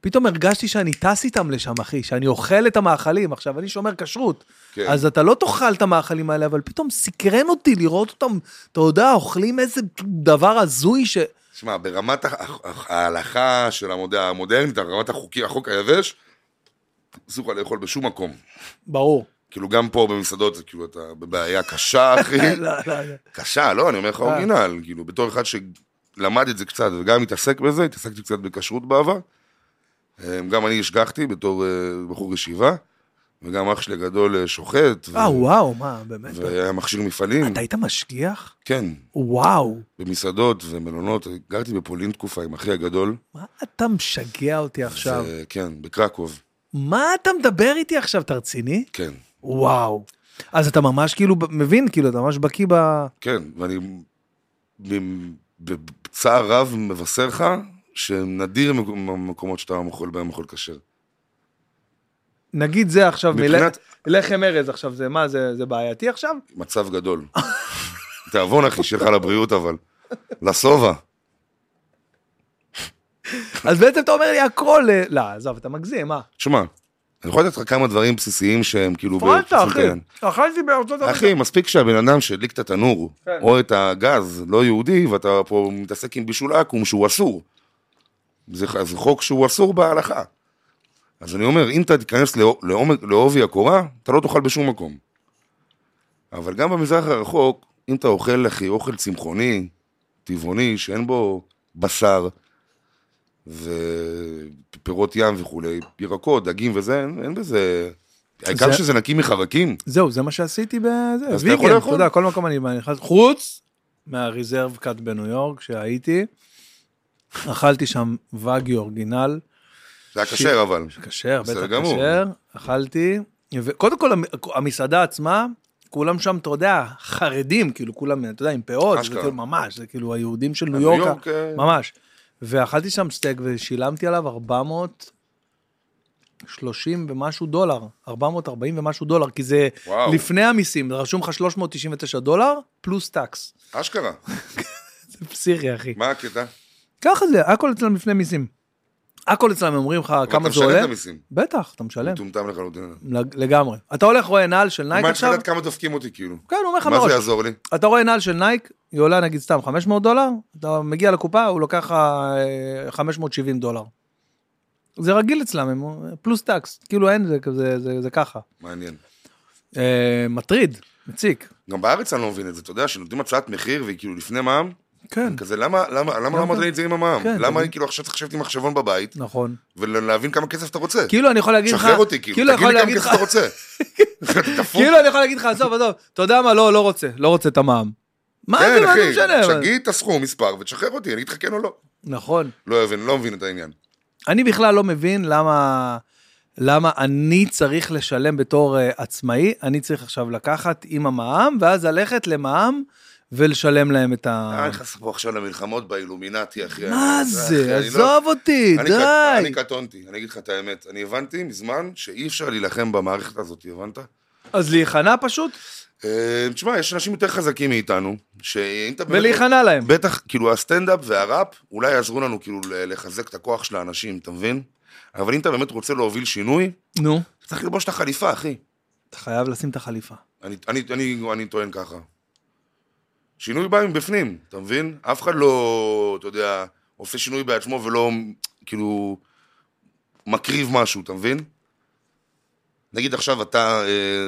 [SPEAKER 1] פתאום הרגשתי שאני טס איתם לשם, אחי, שאני אוכל את המאכלים. עכשיו, אני שומר כשרות,
[SPEAKER 2] כן.
[SPEAKER 1] אז אתה לא תאכל את המאכלים האלה, אבל פתאום סקרן אותי לראות אותם, אתה יודע, אוכלים איזה דבר הזוי ש...
[SPEAKER 2] שמע, ברמת הח- הח- ההלכה של המוד- המודרנית, ברמת החוקי, החוק היבש, אסור לך לאכול בשום מקום. <laughs>
[SPEAKER 1] ברור.
[SPEAKER 2] כאילו, גם פה במסעדות, זה כאילו, אתה בבעיה קשה, אחי.
[SPEAKER 1] <laughs> לא, לא, לא.
[SPEAKER 2] קשה, לא, אני אומר לך
[SPEAKER 1] אה.
[SPEAKER 2] אורגינל, כאילו, בתור אחד שלמד את זה קצת וגם התעסק בזה, התעסקתי קצת בכשרות בעבר. אמ, גם אני השגחתי בתור אה, בחור ישיבה, וגם אח שלי הגדול אה, שוחט, ו-
[SPEAKER 1] אה, וואו, מה, באמת?
[SPEAKER 2] והיה מכשיר מפעלים,
[SPEAKER 1] אתה היית משגיח?
[SPEAKER 2] כן,
[SPEAKER 1] וואו,
[SPEAKER 2] במסעדות ומלונות, גרתי בפולין תקופה עם אחי הגדול,
[SPEAKER 1] מה אתה משגע אותי עכשיו?
[SPEAKER 2] ו- כן, בקרקוב,
[SPEAKER 1] מה אתה מדבר איתי עכשיו, אתה רציני?
[SPEAKER 2] כן,
[SPEAKER 1] וואו. אז אתה ממש כאילו ב- מבין, כאילו, אתה ממש בקיא ב...
[SPEAKER 2] כן, ואני ב- בצער רב מבשר לך שנדיר המקומ- המקומות שאתה אוכל בהם אוכל כשר.
[SPEAKER 1] נגיד זה עכשיו, מלח-
[SPEAKER 2] מבחינת-
[SPEAKER 1] לחם ארז עכשיו, זה מה, זה זה בעייתי עכשיו?
[SPEAKER 2] מצב גדול. <laughs> תיאבון אחי, שיהיה לך לבריאות אבל. לשובע.
[SPEAKER 1] אז בעצם אתה אומר לי הכל... אה, לא, עזוב, אתה מגזים, מה?
[SPEAKER 2] תשמע, אני יכול לתת לך כמה דברים בסיסיים שהם כאילו...
[SPEAKER 1] הפרעת,
[SPEAKER 2] בקשר
[SPEAKER 1] אחי.
[SPEAKER 2] לעניין.
[SPEAKER 1] אכלתי בארצות הברית.
[SPEAKER 2] אחי, מספיק שהבן אדם שהדליק את התנור,
[SPEAKER 1] כן.
[SPEAKER 2] או את הגז, לא יהודי, ואתה פה מתעסק עם בישול עכו"ם שהוא אסור. זה ח- זה חוק שהוא אסור בהלכה. אז אני אומר, אם אתה תיכנס לעו- לעומק- לעובי הקורה, אתה לא תאכל בשום מקום. אבל גם במזרח הרחוק, אם אתה אוכל, אחי, אוכל צמחוני, טבעוני, שאין בו בשר, ופירות ים וכולי, ירקות, דגים וזה, אין, אין בזה... העיקר
[SPEAKER 1] זה-
[SPEAKER 2] שזה נקי מחרקים.
[SPEAKER 1] זהו, זה מה שעשיתי בזה.
[SPEAKER 2] אז אתה יכול
[SPEAKER 1] ויגן, אתה
[SPEAKER 2] לאכול.
[SPEAKER 1] יודע, כל מקום אני נכנס, חוץ מהריזרב קאט בניו יורק שהייתי, אכלתי שם ואגי אורגינל.
[SPEAKER 2] זה היה כשר אבל.
[SPEAKER 1] כשר,
[SPEAKER 2] בסדר
[SPEAKER 1] בטח
[SPEAKER 2] גמור.
[SPEAKER 1] כשר, אכלתי. וקודם כל, המ- המסעדה עצמה, כולם שם, אתה יודע, חרדים, כאילו, כולם, אתה יודע, עם פאות, זה
[SPEAKER 2] אשכרה.
[SPEAKER 1] כאילו ממש, זה כאילו היהודים של ניו
[SPEAKER 2] ניו
[SPEAKER 1] יורק,
[SPEAKER 2] יורק, אה.
[SPEAKER 1] ממש. ואכלתי שם סטייק ושילמתי עליו 430 ומשהו דולר, 440 ומשהו דולר, כי זה
[SPEAKER 2] וואו.
[SPEAKER 1] לפני המיסים, רשום לך 399 דולר, פלוס טאקס.
[SPEAKER 2] אשכרה,
[SPEAKER 1] זה פסיכי, אחי.
[SPEAKER 2] מה הקטע?
[SPEAKER 1] ככה זה, הכל אצלם לפני מיסים. הכל אצלם אומרים לך כמה זה
[SPEAKER 2] אתה משלם
[SPEAKER 1] עולה.
[SPEAKER 2] את המיסים.
[SPEAKER 1] בטח, אתה משלם.
[SPEAKER 2] מטומטם לחלוטין.
[SPEAKER 1] לג- לגמרי. אתה הולך, רואה נעל של נייק
[SPEAKER 2] מה אני צריך
[SPEAKER 1] עכשיו,
[SPEAKER 2] לדעת כמה דופקים אותי כאילו?
[SPEAKER 1] כן, הוא אומר לך
[SPEAKER 2] מה זה
[SPEAKER 1] מראש,
[SPEAKER 2] יעזור לי?
[SPEAKER 1] אתה רואה נעל של נייק, היא עולה נגיד סתם 500 דולר, אתה מגיע לקופה, הוא לוקח לך אה, 570 דולר. זה רגיל אצלם, הם- פלוס טקס, כאילו אין, זה, זה, זה, זה ככה.
[SPEAKER 2] מעניין.
[SPEAKER 1] אה, מטריד, מציק.
[SPEAKER 2] גם בארץ אני לא מבין את זה, אתה יודע, שנותנים הצעת מחיר והיא כאילו לפני מע"מ,
[SPEAKER 1] כן.
[SPEAKER 2] כזה למה למה למה לא
[SPEAKER 1] גם
[SPEAKER 2] אמרת לי את זה עם המע"מ?
[SPEAKER 1] כן,
[SPEAKER 2] למה
[SPEAKER 1] זה-
[SPEAKER 2] אני כאילו עכשיו צריך לשבת עם מחשבון בבית
[SPEAKER 1] נכון.
[SPEAKER 2] ולהבין כמה כסף אתה רוצה?
[SPEAKER 1] כאילו אני יכול להגיד לך,
[SPEAKER 2] שחרר אותי כאילו,
[SPEAKER 1] אני
[SPEAKER 2] תגיד
[SPEAKER 1] יכול
[SPEAKER 2] לי כמה
[SPEAKER 1] להגיד
[SPEAKER 2] כסף
[SPEAKER 1] לך,
[SPEAKER 2] אתה
[SPEAKER 1] <laughs>
[SPEAKER 2] רוצה. אתה דפוק.
[SPEAKER 1] כאילו אני יכול להגיד לך, עזוב, עזוב, אתה יודע מה, לא, לא רוצה, לא רוצה את המע"מ. מה זה,
[SPEAKER 2] כן
[SPEAKER 1] מה זה
[SPEAKER 2] אחי,
[SPEAKER 1] משנה? אבל-
[SPEAKER 2] תגיד את הסכום, מספר ותשחרר אותי, אני אגיד לך כן או לא.
[SPEAKER 1] נכון.
[SPEAKER 2] לא אבין, לא מבין את העניין.
[SPEAKER 1] אני בכלל לא מבין למה, למה אני צריך לשלם בתור uh, עצמאי, אני צריך עכשיו לקחת עם המע"מ, ואז ללכת למע"מ ולשלם להם את
[SPEAKER 2] אה,
[SPEAKER 1] ה...
[SPEAKER 2] נכנס פה עכשיו למלחמות באילומינטי אחי.
[SPEAKER 1] מה
[SPEAKER 2] אני-
[SPEAKER 1] זה?
[SPEAKER 2] אחי, אני לא-
[SPEAKER 1] עזוב אותי,
[SPEAKER 2] אני קט-
[SPEAKER 1] די.
[SPEAKER 2] אני קטונתי, אני אגיד לך את האמת. אני הבנתי מזמן שאי אפשר להילחם במערכת הזאת, הבנת?
[SPEAKER 1] אז להיכנע פשוט,
[SPEAKER 2] אה, תשמע, יש אנשים יותר חזקים מאיתנו, שאם אתה... באמת-
[SPEAKER 1] ולהיכנע להם.
[SPEAKER 2] בטח, כאילו הסטנדאפ והראפ אולי יעזרו לנו כאילו ל- לחזק את הכוח של האנשים, אתה מבין? אבל אם אתה באמת רוצה להוביל שינוי,
[SPEAKER 1] נו.
[SPEAKER 2] אתה צריך ללבוש את החליפה, אחי.
[SPEAKER 1] אתה חייב לשים את החליפה.
[SPEAKER 2] אני, אני, אני, אני טוען ככה. שינוי בא מבפנים, אתה מבין? אף אחד לא, אתה יודע, עושה שינוי בעצמו ולא, כאילו, מקריב משהו, אתה מבין? נגיד עכשיו אתה אה,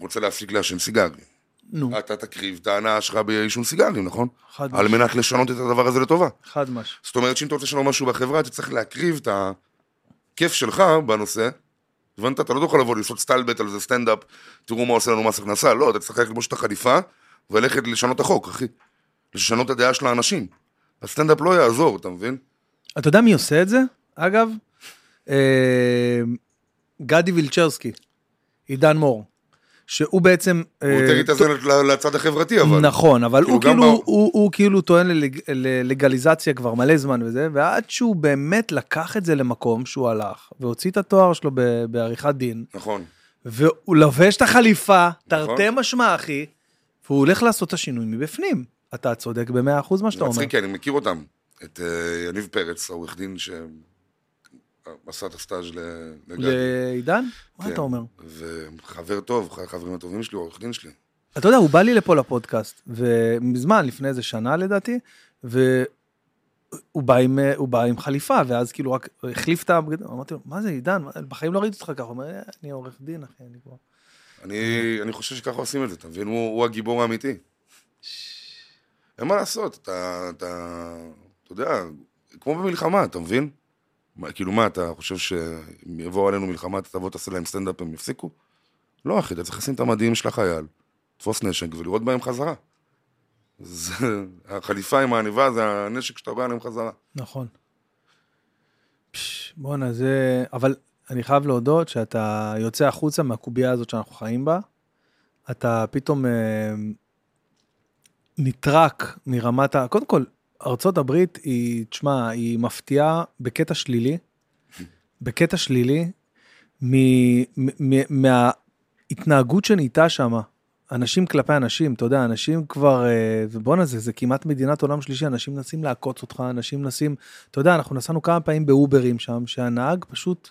[SPEAKER 2] רוצה להפסיק לעשן סיגרים.
[SPEAKER 1] נו,
[SPEAKER 2] אתה תקריב את ההנאה שלך בעישון סיגרים, נכון?
[SPEAKER 1] חד
[SPEAKER 2] על
[SPEAKER 1] משמעית.
[SPEAKER 2] מנת לשנות את הדבר הזה לטובה.
[SPEAKER 1] חד משמעית.
[SPEAKER 2] זאת אומרת שאם אתה רוצה לשנות משהו בחברה, אתה צריך להקריב את הכיף שלך בנושא. הבנת? אתה לא תוכל לבוא לעשות סטלבט על זה סטנדאפ, תראו מה עושה לנו מס הכנסה, לא, אתה צריך ללכת לבוש את החליפה וללכת לשנות את החוק, אחי. לשנות את הדעה של האנשים. הסטנדאפ לא יעזור, אתה מבין?
[SPEAKER 1] אתה יודע מי עושה את זה, אגב? אה, גדי וילצ'רסקי, עידן מור, שהוא בעצם...
[SPEAKER 2] הוא
[SPEAKER 1] אה,
[SPEAKER 2] יותר התאזן ל- לצד החברתי, אבל...
[SPEAKER 1] נכון, אבל הוא
[SPEAKER 2] כאילו, גם
[SPEAKER 1] כאילו,
[SPEAKER 2] ב-
[SPEAKER 1] הוא, הוא כאילו טוען ללג- ללגליזציה כבר מלא זמן וזה, ועד שהוא באמת לקח את זה למקום שהוא הלך, והוציא את התואר שלו ב- בעריכת דין,
[SPEAKER 2] נכון.
[SPEAKER 1] והוא לבש את החליפה,
[SPEAKER 2] נכון.
[SPEAKER 1] תרתי משמע, אחי, והוא הולך לעשות את השינוי מבפנים. אתה צודק במאה אחוז מה שאתה אומר.
[SPEAKER 2] מצחיק, כי אני מכיר אותם. את אה, יניב פרץ, העורך דין שעשה את הסטאז' ל- לגדי.
[SPEAKER 1] לעידן? מה
[SPEAKER 2] כן.
[SPEAKER 1] אתה אומר?
[SPEAKER 2] וחבר טוב, אחד החברים הטובים שלי, הוא עורך דין שלי.
[SPEAKER 1] אתה יודע, הוא בא לי לפה לפודקאסט, ומזמן, לפני איזה שנה לדעתי, והוא בא עם, הוא בא עם חליפה, ואז כאילו רק החליף את הבגדים, אמרתי לו, מה זה עידן, מה- בחיים לא ראיתי אותך ככה, הוא אומר, "אה, אני עורך דין, אחי, אני כבר...
[SPEAKER 2] אני, אני חושב שככה עושים את זה, אתה מבין? הוא, הוא הגיבור האמיתי. אין מה לעשות, אתה, אתה, אתה יודע, כמו במלחמה, אתה מבין? מה, כאילו מה, אתה חושב שאם יבואו עלינו מלחמה, אתה תבוא, תעשה להם סטנדאפ, הם יפסיקו? לא, אחי, אתה צריך לשים את המדים של החייל, תפוס נשק ולראות בהם חזרה. זה, החליפה עם העניבה זה הנשק שאתה בא עליהם חזרה.
[SPEAKER 1] נכון. פש, בואנה, זה... אבל אני חייב להודות שאתה יוצא החוצה מהקובייה הזאת שאנחנו חיים בה, אתה פתאום אה, נטרק מרמת ה... קודם כל, ארצות הברית היא, תשמע, היא מפתיעה בקטע שלילי, בקטע שלילי, מ, מ, מ, מההתנהגות שנהייתה שמה. אנשים כלפי אנשים, אתה יודע, אנשים כבר, אה, ובואנה זה, זה כמעט מדינת עולם שלישי, אנשים מנסים לעקוץ אותך, אנשים מנסים, אתה יודע, אנחנו נסענו כמה פעמים באוברים שם, שהנהג פשוט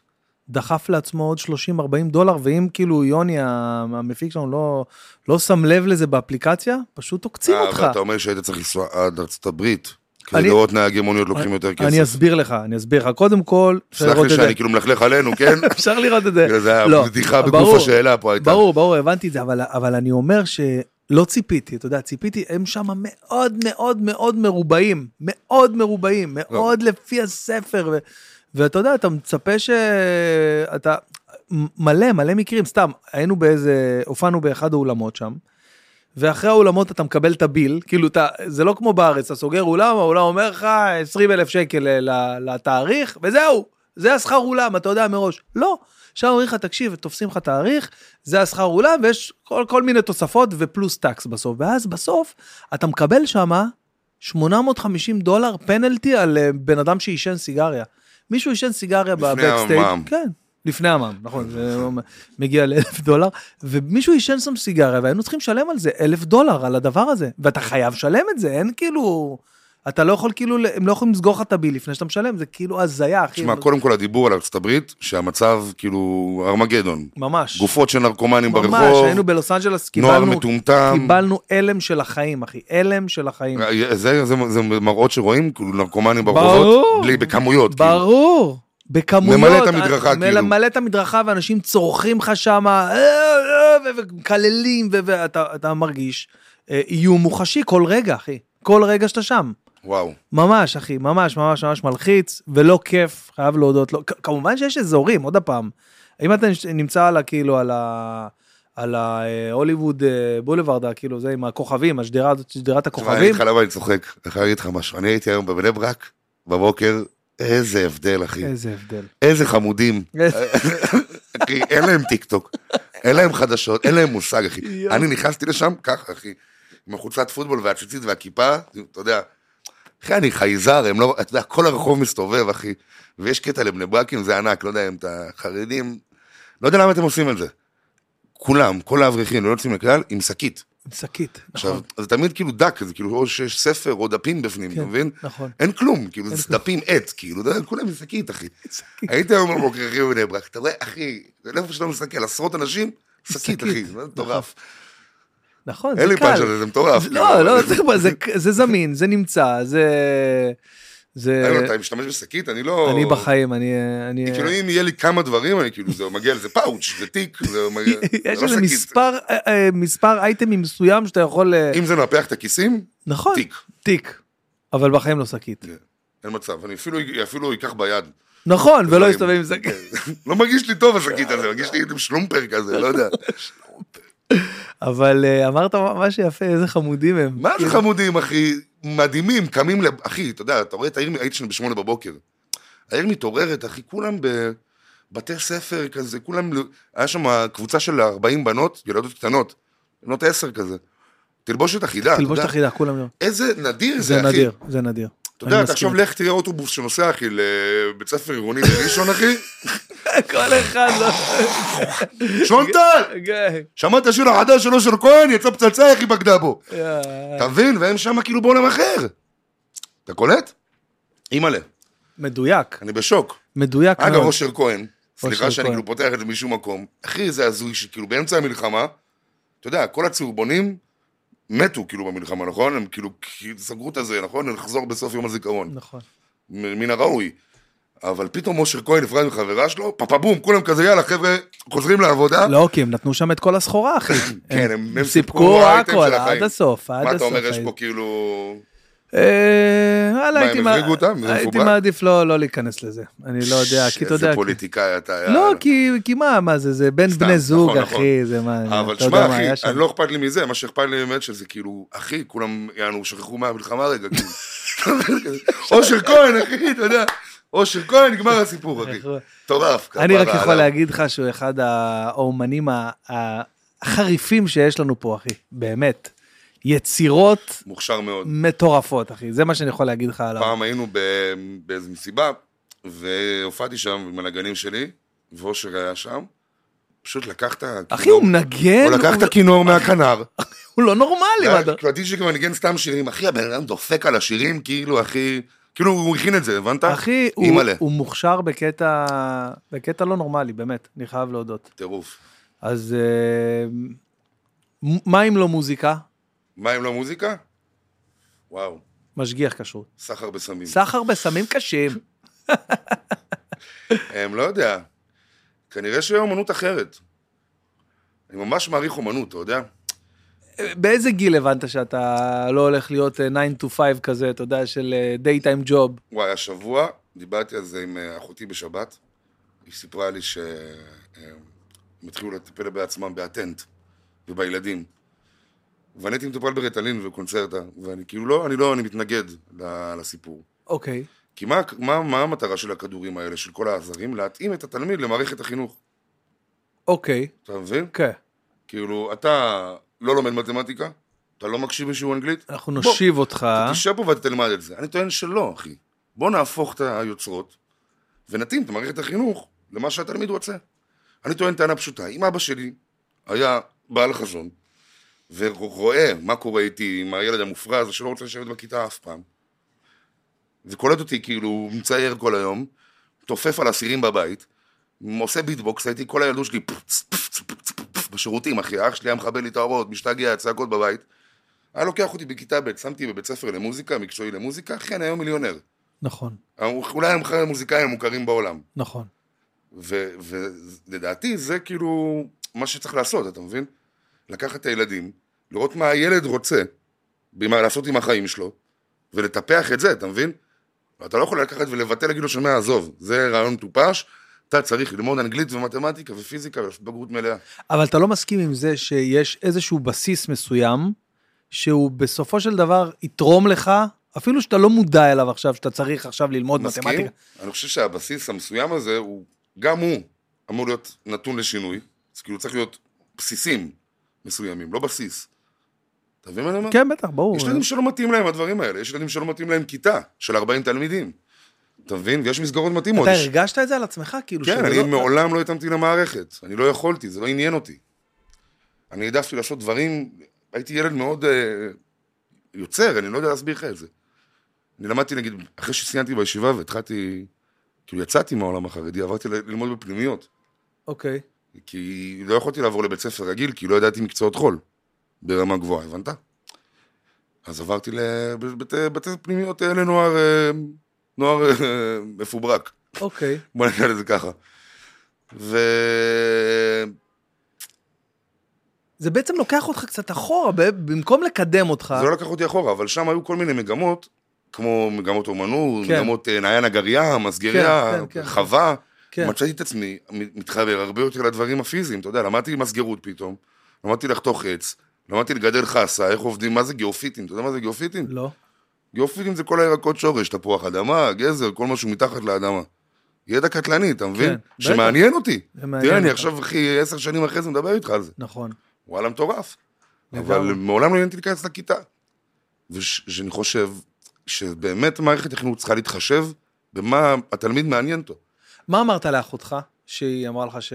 [SPEAKER 1] דחף לעצמו עוד 30-40 דולר, ואם כאילו יוני ה- המפיק שלנו לא, לא שם לב לזה באפליקציה, פשוט עוקצים
[SPEAKER 2] אה,
[SPEAKER 1] אותך.
[SPEAKER 2] ואתה אומר שהיית צריך לנסוע עד ארצות הברית, כדי
[SPEAKER 1] אני-
[SPEAKER 2] לראות נהגי מוניות לוקחים
[SPEAKER 1] אני-
[SPEAKER 2] יותר כסף.
[SPEAKER 1] אני אסביר לך, אני אסביר לך. קודם כל, אפשר
[SPEAKER 2] סלח
[SPEAKER 1] לראות
[SPEAKER 2] לי
[SPEAKER 1] את זה. <laughs>
[SPEAKER 2] שאני כאילו מלכלך עלינו, כן?
[SPEAKER 1] אפשר לראות את זה.
[SPEAKER 2] זה
[SPEAKER 1] לא,
[SPEAKER 2] היה בדיחה בגוף
[SPEAKER 1] ברור,
[SPEAKER 2] השאלה פה הייתה.
[SPEAKER 1] ברור, ברור, הבנתי את זה, אבל, אבל אני אומר שלא ציפיתי, אתה יודע, ציפיתי, הם שם מאוד מאוד מאוד מרובעים, מאוד מרובעים,
[SPEAKER 2] לא.
[SPEAKER 1] מאוד לפי הספר, ו, ואתה יודע, אתה מצפה שאתה, מלא מלא מקרים, סתם, היינו באיזה, הופענו באחד האולמות שם, ואחרי האולמות אתה מקבל את הביל, כאילו אתה, זה לא כמו בארץ, אתה סוגר אולם, האולם אומר לך 20 אלף שקל אה, ל- לתאריך, וזהו, זה השכר אולם, אתה יודע מראש. לא, שם אומרים לך, תקשיב, תופסים לך תאריך, זה השכר אולם, ויש כל, כל מיני תוספות ופלוס טקס בסוף, ואז בסוף אתה מקבל שמה 850 דולר פנלטי על אה, בן אדם שעישן סיגריה. מישהו עישן סיגריה
[SPEAKER 2] לפני
[SPEAKER 1] בבקסטייג,
[SPEAKER 2] המע"מ.
[SPEAKER 1] כן, לפני המע"מ, נכון, זה מגיע לאלף דולר, ומישהו עישן שם סיגריה, והיינו צריכים לשלם על זה אלף דולר, על הדבר הזה, ואתה חייב לשלם את זה, אין כאילו... אתה לא יכול כאילו, ל- הם לא יכולים לסגור לך את הביל לפני שאתה משלם, זה כאילו הזיה, אחי.
[SPEAKER 2] תשמע, קודם כל הדיבור על ארצות הברית, שהמצב כאילו ארמגדון.
[SPEAKER 1] ממש.
[SPEAKER 2] גופות של נרקומנים
[SPEAKER 1] ממש,
[SPEAKER 2] ברחוב,
[SPEAKER 1] היינו בלוס אנג'לס,
[SPEAKER 2] נוער
[SPEAKER 1] קיבלנו,
[SPEAKER 2] מטומטם.
[SPEAKER 1] קיבלנו אלם של החיים, אחי, אלם של החיים.
[SPEAKER 2] אה, זה זה- זה מראות שרואים, כאילו נרקומנים ברחובות,
[SPEAKER 1] ברור.
[SPEAKER 2] בלי, בכמויות. כאילו.
[SPEAKER 1] ברור. בכמויות.
[SPEAKER 2] ממלא את המדרכה,
[SPEAKER 1] אה,
[SPEAKER 2] כאילו.
[SPEAKER 1] ממלא את המדרכה, ואנשים צורכים לך שמה, אה, אה, ו- ומקללים, ו- ואתה אתה מרגיש אה, איום מוחשי כל רגע, אחי. כל רגע שאתה שם.
[SPEAKER 2] וואו.
[SPEAKER 1] ממש, אחי, ממש, ממש, ממש מלחיץ, ולא כיף, חייב להודות לו. כ- כמובן שיש אזורים, עוד פעם. אם אתה נש- נמצא על ה... כאילו, על ה... על ההוליווד בולווארד, כאילו זה עם הכוכבים, השדרה הזאת, שדרת
[SPEAKER 2] תשמע, אני אגיד
[SPEAKER 1] הכוכבים.
[SPEAKER 2] לך למה אני צוחק, אני חייב להגיד לך משהו. אני הייתי היום בבני ברק, בבוקר, איזה הבדל, אחי.
[SPEAKER 1] איזה
[SPEAKER 2] <laughs>
[SPEAKER 1] הבדל.
[SPEAKER 2] איזה חמודים. אחי, אין להם טיק טוק, אין להם חדשות, אין להם מושג, אחי.
[SPEAKER 1] יואו.
[SPEAKER 2] אני נכנסתי לשם ככה, אחי, עם החולצת פוטבול והציצית והכיפה, אתה יודע. אחי, אני חייזר, הם לא, אתה יודע, כל הרחוב מסתובב, אחי. ויש קטע לבני ברקים, זה ענק, לא יודע אם אתה חרדים, לא יודע למה אתם עושים את זה. כולם, כל האברכים, לא יוצאים לכלל, עם שקית.
[SPEAKER 1] שקית,
[SPEAKER 2] עכשיו,
[SPEAKER 1] נכון,
[SPEAKER 2] זה תמיד כאילו דק, זה כאילו או שיש ספר או דפים בפנים, אתה
[SPEAKER 1] כן.
[SPEAKER 2] מבין?
[SPEAKER 1] נכון.
[SPEAKER 2] אין כלום, כאילו, זה
[SPEAKER 1] כלום.
[SPEAKER 2] דפים עט, כאילו, אתה יודע, כולם עם שקית, אחי. הייתי היום בבוקר, אחי, בבני ברק, אתה רואה, אחי, לא איפה שאתה מסתכל, עשרות אנשים, שקית,
[SPEAKER 1] שקית.
[SPEAKER 2] אחי, זה מטורף.
[SPEAKER 1] נכון, זה
[SPEAKER 2] אין לי לא
[SPEAKER 1] קל.
[SPEAKER 2] פאנץ' על זה, זה מטורף.
[SPEAKER 1] לא,
[SPEAKER 2] כאילו.
[SPEAKER 1] לא, זה- זה- זה זמין, זה נמצא, זה... זה...
[SPEAKER 2] היום אתה משתמש בשקית, אני לא...
[SPEAKER 1] אני בחיים, אני... אני אה,
[SPEAKER 2] כאילו אם יהיה לי כמה דברים, אני כאילו, זה מגיע לזה פאוץ', זה תיק,
[SPEAKER 1] <laughs>
[SPEAKER 2] זה מגיע...
[SPEAKER 1] יש
[SPEAKER 2] זה
[SPEAKER 1] איזה
[SPEAKER 2] לא שקית.
[SPEAKER 1] מספר, אה, אה, מספר אייטמים מסוים שאתה יכול... אה,
[SPEAKER 2] אם זה נפח את הכיסים,
[SPEAKER 1] נכון,
[SPEAKER 2] תיק.
[SPEAKER 1] תיק. אבל בחיים לא שקית.
[SPEAKER 2] אין מצב. אני אפילו- אפילו אקח ביד.
[SPEAKER 1] נכון, ולא
[SPEAKER 2] דברים.
[SPEAKER 1] יסתובב עם שקית.
[SPEAKER 2] <laughs> לא מרגיש לי טוב השקית הזה, מרגיש לי שלומפר כזה, לא יודע.
[SPEAKER 1] אבל אה, אמרת משהו יפה, איזה חמודים הם.
[SPEAKER 2] מה זה חמודים, אחי? מדהימים, קמים, לב- אחי, אתה יודע, אתה רואה את העיר, הייתי שם בשמונה בבוקר. העיר מתעוררת, אחי, כולם בבתי ספר כזה, כולם, ל- היה שם קבוצה של 40 בנות, ילדות קטנות, בנות 10 כזה. תלבושת אחידה, אתה
[SPEAKER 1] תלבוש את
[SPEAKER 2] יודע,
[SPEAKER 1] החידה, כולם לא.
[SPEAKER 2] איזה נדיר
[SPEAKER 1] זה
[SPEAKER 2] זה, אחי.
[SPEAKER 1] נדיר, זה נדיר.
[SPEAKER 2] אתה יודע,
[SPEAKER 1] אני
[SPEAKER 2] אתה
[SPEAKER 1] מסכים.
[SPEAKER 2] עכשיו לך תראה אוטובוס שנוסע, אחי, לבית ספר עירוני
[SPEAKER 1] <laughs>
[SPEAKER 2] בראשון, אחי.
[SPEAKER 1] <laughs> כל אחד לא... אוקיי,
[SPEAKER 2] שונטל!
[SPEAKER 1] גיא,
[SPEAKER 2] שמעת שיר החדש של אושר כהן, יצא פצצה, אחי, בגדה בו.
[SPEAKER 1] כן. יאי.
[SPEAKER 2] אתה מבין? והם שם כאילו בעולם אחר. אתה קולט? אימא'לה,
[SPEAKER 1] מדויק,
[SPEAKER 2] אני בשוק.
[SPEAKER 1] מדויק
[SPEAKER 2] אגב,
[SPEAKER 1] מאוד.
[SPEAKER 2] אושר כהן, סליחה שאני
[SPEAKER 1] כהן.
[SPEAKER 2] כאילו פותח את זה משום מקום, אחי, זה הזוי שכאילו באמצע המלחמה, אתה יודע, כל הצהובונים מתו כאילו במלחמה, נכון? הם כאילו כאילו סגרו את הזה, נכון? נחזור בסוף יום הזיכרון.
[SPEAKER 1] נכון.
[SPEAKER 2] מ- מן הראוי. אבל פתאום אושר כהן נפרד מחברה שלו, פאפה בום, כולם כזה, יאללה, חבר'ה, חוזרים לעבודה.
[SPEAKER 1] לא, כי הם נתנו שם את כל הסחורה, אחי.
[SPEAKER 2] אה? כן, הם- הם
[SPEAKER 1] סיפקו
[SPEAKER 2] סיפקו האייטם
[SPEAKER 1] הכל,
[SPEAKER 2] של החיים.
[SPEAKER 1] עד הסוף, עד הסוף.
[SPEAKER 2] מה אתה אומר, יש
[SPEAKER 1] הייתי.
[SPEAKER 2] פה כאילו...
[SPEAKER 1] אה, וואלה,
[SPEAKER 2] מה,
[SPEAKER 1] הייתי
[SPEAKER 2] הם
[SPEAKER 1] מע-
[SPEAKER 2] החריגו אותם? זה
[SPEAKER 1] הייתי
[SPEAKER 2] מפוברק?
[SPEAKER 1] מעדיף לא לא להיכנס לזה. אני לא יודע, כי אתה יודע...
[SPEAKER 2] איזה פוליטיקאי אתה,
[SPEAKER 1] לא,
[SPEAKER 2] יאללה.
[SPEAKER 1] כי כי מה, מה זה, זה בין
[SPEAKER 2] סתם,
[SPEAKER 1] בני זוג,
[SPEAKER 2] נכון,
[SPEAKER 1] אחי, זה מה,
[SPEAKER 2] אבל
[SPEAKER 1] אתה יודע
[SPEAKER 2] שמע,
[SPEAKER 1] מה היה
[SPEAKER 2] אחי,
[SPEAKER 1] שם.
[SPEAKER 2] אני לא אכפת לי מזה, מה שאכפת לי באמת שזה כאילו, אחי, כולם, יענו, שכחו מהמלחמה רגע,
[SPEAKER 1] <laughs>
[SPEAKER 2] כאילו. אושר כהן, אחי, אתה יודע, אושר כהן, נגמר הסיפור, אחי.
[SPEAKER 1] נכון.
[SPEAKER 2] מטורף.
[SPEAKER 1] <laughs> אני
[SPEAKER 2] כפרה
[SPEAKER 1] רק יכול
[SPEAKER 2] עליו.
[SPEAKER 1] להגיד לך שהוא אחד האומנים ה- ה- החריפים שיש לנו פה, אחי, באמת. יצירות
[SPEAKER 2] מוכשר מאוד.
[SPEAKER 1] מטורפות, אחי, זה מה שאני יכול להגיד לך עליו.
[SPEAKER 2] פעם היינו ב- באיזו מסיבה, והופעתי שם עם הנגנים שלי, ואושר היה שם, פשוט לקח את הכינור.
[SPEAKER 1] אחי, הוא מנגן,
[SPEAKER 2] הוא לקח את
[SPEAKER 1] הוא-
[SPEAKER 2] הכינור מהכנר.
[SPEAKER 1] הוא לא נורמלי. מה אתה-
[SPEAKER 2] כאילו הדיג'י כבר ניגן סתם שירים, אחי, הבן אדם דופק על השירים, כאילו, אחי, כאילו הוא הכין את זה, הבנת?
[SPEAKER 1] אחי, הוא-
[SPEAKER 2] אימא'לה.
[SPEAKER 1] הוא מוכשר בקטע בקטע לא נורמלי, באמת, אני חייב להודות.
[SPEAKER 2] טירוף.
[SPEAKER 1] אז אה, מ- מה אם לא מוזיקה?
[SPEAKER 2] מה אם לא מוזיקה? וואו,
[SPEAKER 1] משגיח כשרות.
[SPEAKER 2] סחר בסמים.
[SPEAKER 1] סחר בסמים קשים.
[SPEAKER 2] הם לא יודע. כנראה שהיא אומנות אחרת. אני ממש מעריך אומנות, אתה יודע?
[SPEAKER 1] באיזה גיל הבנת שאתה לא הולך להיות אה, 9 to 5 כזה, אתה יודע, של אה, דייטיים ג'וב?
[SPEAKER 2] וואי, השבוע דיברתי על זה עם אה, אחותי בשבת. היא סיפרה לי שהם התחילו לטפל בעצמם באטנט ובילדים. ואני הייתי מטופל בריטלין וקונצרטה, ואני כאילו לא, אני לא, אני מתנגד ל- לסיפור.
[SPEAKER 1] אוקיי.
[SPEAKER 2] כי מה, מה, מה המטרה של הכדורים האלה, של כל העזרים? להתאים את התלמיד למערכת החינוך.
[SPEAKER 1] אוקיי,
[SPEAKER 2] אתה מבין?
[SPEAKER 1] כן.
[SPEAKER 2] כאילו, אתה לא לומד מתמטיקה, אתה לא מקשיב לשיעור אנגלית,
[SPEAKER 1] אנחנו
[SPEAKER 2] בוא,
[SPEAKER 1] נושיב אותך.
[SPEAKER 2] אתה תשב פה ואתה תלמד את זה. אני טוען שלא, אחי. בוא נהפוך את היוצרות ונתאים את מערכת החינוך למה שהתלמיד רוצה. אני טוען טענה פשוטה. אם אבא שלי היה בעל חזון, ורואה מה קורה איתי עם הילד המופרע הזה שלא רוצה לשבת בכיתה אף פעם, וקולט אותי כאילו, הוא מצייר כל היום, תופף על אסירים בבית, עושה ביטבוקס, הייתי כל הילדות שלי פפץ, פפץ, פפץ, פפץ, בשירותים, אחי, אח שלי היה מכבה לי את האורות, משתגע, צעקות בבית. היה לוקח אותי בכיתה ב', שמתי בבית ספר למוזיקה, מקצועי למוזיקה, אחי, אני היום מיליונר.
[SPEAKER 1] נכון,
[SPEAKER 2] אולי אני מחר המוזיקאים המוכרים בעולם.
[SPEAKER 1] נכון.
[SPEAKER 2] ו- ולדעתי זה כאילו מה שצריך לעשות, אתה מבין? לקחת את הילדים, לראות מה הילד רוצה, מה לעשות עם החיים שלו, ולטפח את זה, אתה מבין? אתה לא יכול לקחת ולבטל, להגיד לו שומע, עזוב, זה רעיון מטופש, אתה צריך ללמוד אנגלית ומתמטיקה ופיזיקה ובגרות מלאה.
[SPEAKER 1] אבל אתה לא מסכים עם זה שיש איזשהו בסיס מסוים, שהוא בסופו של דבר יתרום לך, אפילו שאתה לא מודע אליו עכשיו, שאתה צריך עכשיו ללמוד
[SPEAKER 2] מסכים?
[SPEAKER 1] מתמטיקה.
[SPEAKER 2] אני חושב שהבסיס המסוים הזה, הוא, גם הוא אמור להיות נתון לשינוי, אז כאילו צריך להיות בסיסים מסוימים, לא בסיס. אתה מבין מה אני אומר?
[SPEAKER 1] כן, בטח, ברור.
[SPEAKER 2] יש ילדים שלא מתאים להם הדברים האלה, יש ילדים שלא מתאים להם כיתה של 40 תלמידים. אתה מבין? ויש מסגרות מתאימות.
[SPEAKER 1] אתה
[SPEAKER 2] יש-
[SPEAKER 1] הרגשת את זה על עצמך? כאילו
[SPEAKER 2] כן,
[SPEAKER 1] שזה
[SPEAKER 2] אני
[SPEAKER 1] לא-
[SPEAKER 2] מעולם לא התאמתי למערכת, אני לא יכולתי, זה לא עניין אותי. אני העדפתי לעשות דברים, הייתי ילד מאוד אה, יוצר, אני לא יודע להסביר לך את זה. אני למדתי, נגיד, אחרי שסיימתי בישיבה והתחלתי, כאילו יצאתי מהעולם החרדי, עברתי ל- ללמוד בפנימיות,
[SPEAKER 1] אוקיי.
[SPEAKER 2] כי לא יכולתי לעבור לבית ספר רגיל, כי לא ידעתי מקצועות חול ברמה גבוהה, הבנת? אז עברתי לבתי פנימיות אה, לנוער אה, נוער אה, מפוברק.
[SPEAKER 1] אוקיי.
[SPEAKER 2] בוא נקרא לזה ככה. וזה
[SPEAKER 1] זה בעצם לוקח אותך קצת אחורה, ב- במקום לקדם אותך.
[SPEAKER 2] לא לקח אותי אחורה, אבל שם היו כל מיני מגמות, כמו מגמות אומנות,
[SPEAKER 1] כן.
[SPEAKER 2] מגמות אה, נעיין הגריה, מסגריה,
[SPEAKER 1] כן, כן, כן.
[SPEAKER 2] חווה.
[SPEAKER 1] כן.
[SPEAKER 2] מצאתי את עצמי מ- מתחבר הרבה יותר לדברים הפיזיים, אתה יודע, למדתי מסגרות פתאום, למדתי לחתוך עץ, למדתי לגדל חסה, איך עובדים, מה זה גיאופיטים, אתה יודע מה זה גיאופיטים?
[SPEAKER 1] לא.
[SPEAKER 2] גיאופיטים זה כל הירקות שורש, תפוח אדמה, גזר, כל משהו מתחת לאדמה. ידע קטלני, אתה מבין?
[SPEAKER 1] כן, בטח.
[SPEAKER 2] שמעניין אותי.
[SPEAKER 1] זה מעניין
[SPEAKER 2] תראה, אני
[SPEAKER 1] אותך.
[SPEAKER 2] עכשיו, אחי, עשר שנים אחרי זה מדבר איתך על זה.
[SPEAKER 1] נכון.
[SPEAKER 2] וואלה, מטורף.
[SPEAKER 1] לגמרי.
[SPEAKER 2] אבל מעולם לא עניינתי להיכנס לכיתה. ושאני חושב שבאמת מערכת החינוך צריכה להתחשב במה התלמיד מעניין אותו.
[SPEAKER 1] מה אמרת לאחותך, שהיא אמרה לך ש...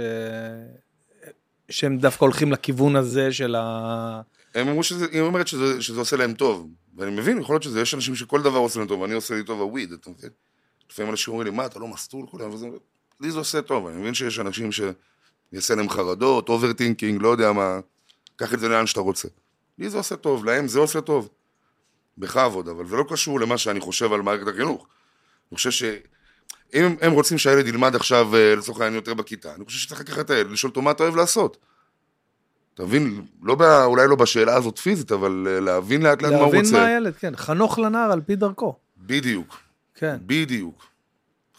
[SPEAKER 1] שהם דווקא הולכים לכיוון הזה של ה...
[SPEAKER 2] הם אמרו שזה, היא אומרת שזה, שזה עושה להם טוב. ואני מבין, יכול להיות שזה, יש אנשים שכל דבר עושה להם טוב, ואני עושה לי טוב הוויד, אתה מבין? לפעמים אנשים אומרים לי, מה, אתה לא מסטול כולם? וזה, לי זה עושה טוב, אני מבין שיש אנשים שיעשה להם חרדות, אוברטינקינג, לא יודע מה, קח את זה לאן שאתה רוצה. לי זה עושה טוב, להם זה עושה טוב. בכבוד, אבל זה לא קשור למה שאני חושב על מערכת החינוך. אני חושב ש... אם הם- הם רוצים שהילד ילמד עכשיו, אה, לצורך העניין, יותר בכיתה, אני חושב שצריך לקחת את הילד, לשאול אותו מה אתה אוהב לעשות. אתה מבין? לא ב... אולי לא בשאלה הזאת פיזית, אבל אה, להבין לאט לאט מה הוא
[SPEAKER 1] להבין
[SPEAKER 2] רוצה.
[SPEAKER 1] מה הילד, כן. חנוך לנער על פי דרכו.
[SPEAKER 2] בדיוק,
[SPEAKER 1] כן.
[SPEAKER 2] בדיוק.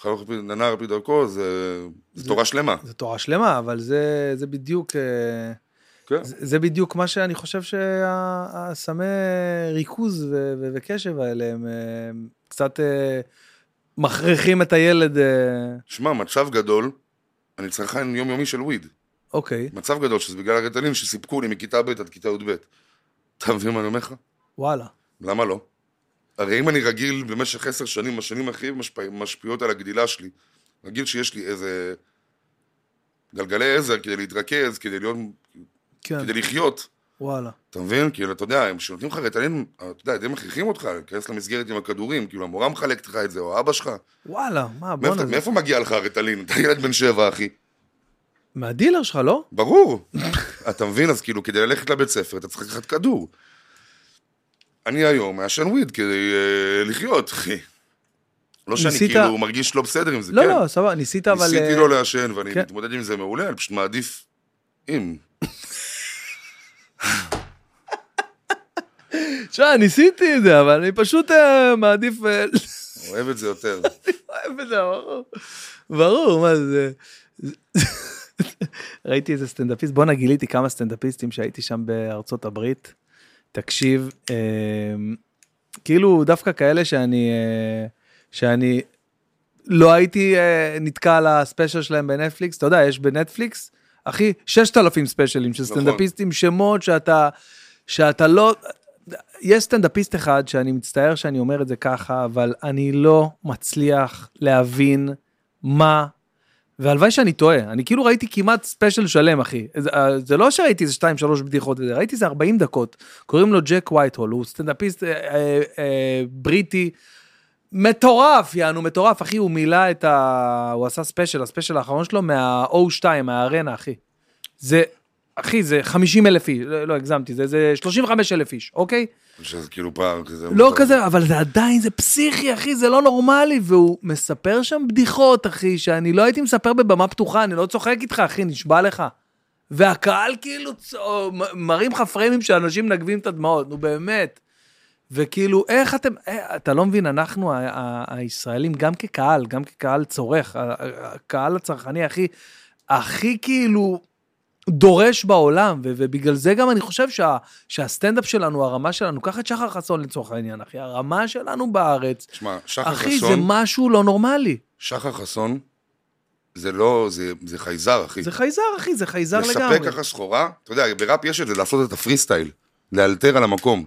[SPEAKER 2] חנוך פי- נער פי דרכו זה, זה תורה שלמה.
[SPEAKER 1] זו תורה שלמה, אבל זה, זה בדיוק... אה,
[SPEAKER 2] כן.
[SPEAKER 1] זה זה בדיוק מה שאני חושב שהסמי ריכוז ו- ו- וקשב האלה, הם אה, קצת אה, מכריחים את הילד, אה,
[SPEAKER 2] שמע, מצב גדול, אני צרכן יומיומי של וויד.
[SPEAKER 1] אוקיי,
[SPEAKER 2] מצב גדול שזה בגלל הרטלין שסיפקו לי מכיתה ב' עד כיתה י"ב. אתה מבין מה אני אומר לך?
[SPEAKER 1] וואלה.
[SPEAKER 2] למה לא? הרי אם אני רגיל במשך עשר שנים, השנים הכי משפע... משפיעות על הגדילה שלי, רגיל שיש לי איזה גלגלי עזר כדי להתרכז, כדי, להיות...
[SPEAKER 1] כן,
[SPEAKER 2] כדי לחיות,
[SPEAKER 1] וואלה.
[SPEAKER 2] אתה מבין? כאילו, אתה יודע, הם שנותנים לך רטלין, אתה יודע, די מכריחים אותך להיכנס למסגרת עם הכדורים, כאילו, המורה מחלקת לך את זה, או אבא שלך.
[SPEAKER 1] וואלה, מה, בואנה,
[SPEAKER 2] מאיפה,
[SPEAKER 1] זה-
[SPEAKER 2] מאיפה מגיע לך הרטלין? אתה ילד בן שבע, אחי.
[SPEAKER 1] מהדילר שלך, לא?
[SPEAKER 2] ברור.
[SPEAKER 1] <laughs>
[SPEAKER 2] אתה מבין? אז כאילו, כדי ללכת לבית ספר, אתה צריך לקחת כדור. אני היום מעשן וויד כדי אה, לחיות, אחי. לא שאני
[SPEAKER 1] ניסית-
[SPEAKER 2] כאילו מרגיש לא בסדר עם זה,
[SPEAKER 1] לא,
[SPEAKER 2] כן.
[SPEAKER 1] לא, סבבה, ניסית אבל...
[SPEAKER 2] ניסיתי
[SPEAKER 1] אה,
[SPEAKER 2] לא לעשן, ואני
[SPEAKER 1] כן.
[SPEAKER 2] מתמודד עם זה מעולה, אני פשוט מעדיף אם.
[SPEAKER 1] תשמע, ניסיתי את זה, אבל אני פשוט אה, מעדיף... אה, <laughs> לא
[SPEAKER 2] אוהב את זה יותר.
[SPEAKER 1] אוהב את זה, ברור. ברור, מה זה... ראיתי איזה סטנדאפיסט, בואנה גיליתי כמה סטנדאפיסטים שהייתי שם בארצות הברית. תקשיב, אה, כאילו דווקא כאלה שאני, אה, שאני לא הייתי אה, נתקע על הספיישל שלהם בנטפליקס, אתה יודע, יש בנטפליקס, אחי, 6,000 ספיישלים של
[SPEAKER 2] נכון.
[SPEAKER 1] סטנדאפיסטים, שמות שאתה, שאתה לא... יש סטנדאפיסט אחד שאני מצטער שאני אומר את זה ככה, אבל אני לא מצליח להבין מה, והלוואי שאני טועה, אני כאילו ראיתי כמעט ספיישל שלם, אחי. זה, אה, זה לא שראיתי איזה 2-3 בדיחות וזה, ראיתי איזה 40 דקות. קוראים לו ג'ק וייטהול, הוא סטנדאפיסט אה, אה, אה, בריטי. מטורף, יענו מטורף, אחי, הוא מילא את ה... הוא עשה ספיישל, הספיישל האחרון שלו מה-O2, מהארנה, אחי. זה, אחי, זה 50 אלף איש, לא, לא הגזמתי, זה, זה 35 אלף איש, אוקיי?
[SPEAKER 2] שזה כאילו פער כזה.
[SPEAKER 1] לא כזה, אבל זה עדיין, זה פסיכי, אחי, זה לא נורמלי, והוא מספר שם בדיחות, אחי, שאני לא הייתי מספר בבמה פתוחה, אני לא צוחק איתך, אחי, נשבע לך. והקהל כאילו צ... או מ- מראים לך פריימים שאנשים מנגבים את הדמעות, נו באמת. וכאילו, איך אתם, אה, אתה לא מבין, אנחנו ה- ה- הישראלים, גם כקהל, גם כקהל צורך, ה- ה- הקהל הצרכני הכי, הכי כאילו דורש בעולם, ו- ובגלל זה גם אני חושב שה- שהסטנדאפ שלנו, הרמה שלנו, קח את שחר חסון לצורך העניין, אחי, הרמה שלנו בארץ,
[SPEAKER 2] תשמע, שחר
[SPEAKER 1] אחי, זה
[SPEAKER 2] חסון,
[SPEAKER 1] משהו לא נורמלי.
[SPEAKER 2] שחר חסון, זה לא, זה- זה חייזר, אחי.
[SPEAKER 1] זה חייזר, אחי, זה חייזר לגמרי.
[SPEAKER 2] לספק ככה סחורה, אתה יודע, בראפ יש את זה, לעשות את הפרי סטייל, לאלתר על המקום.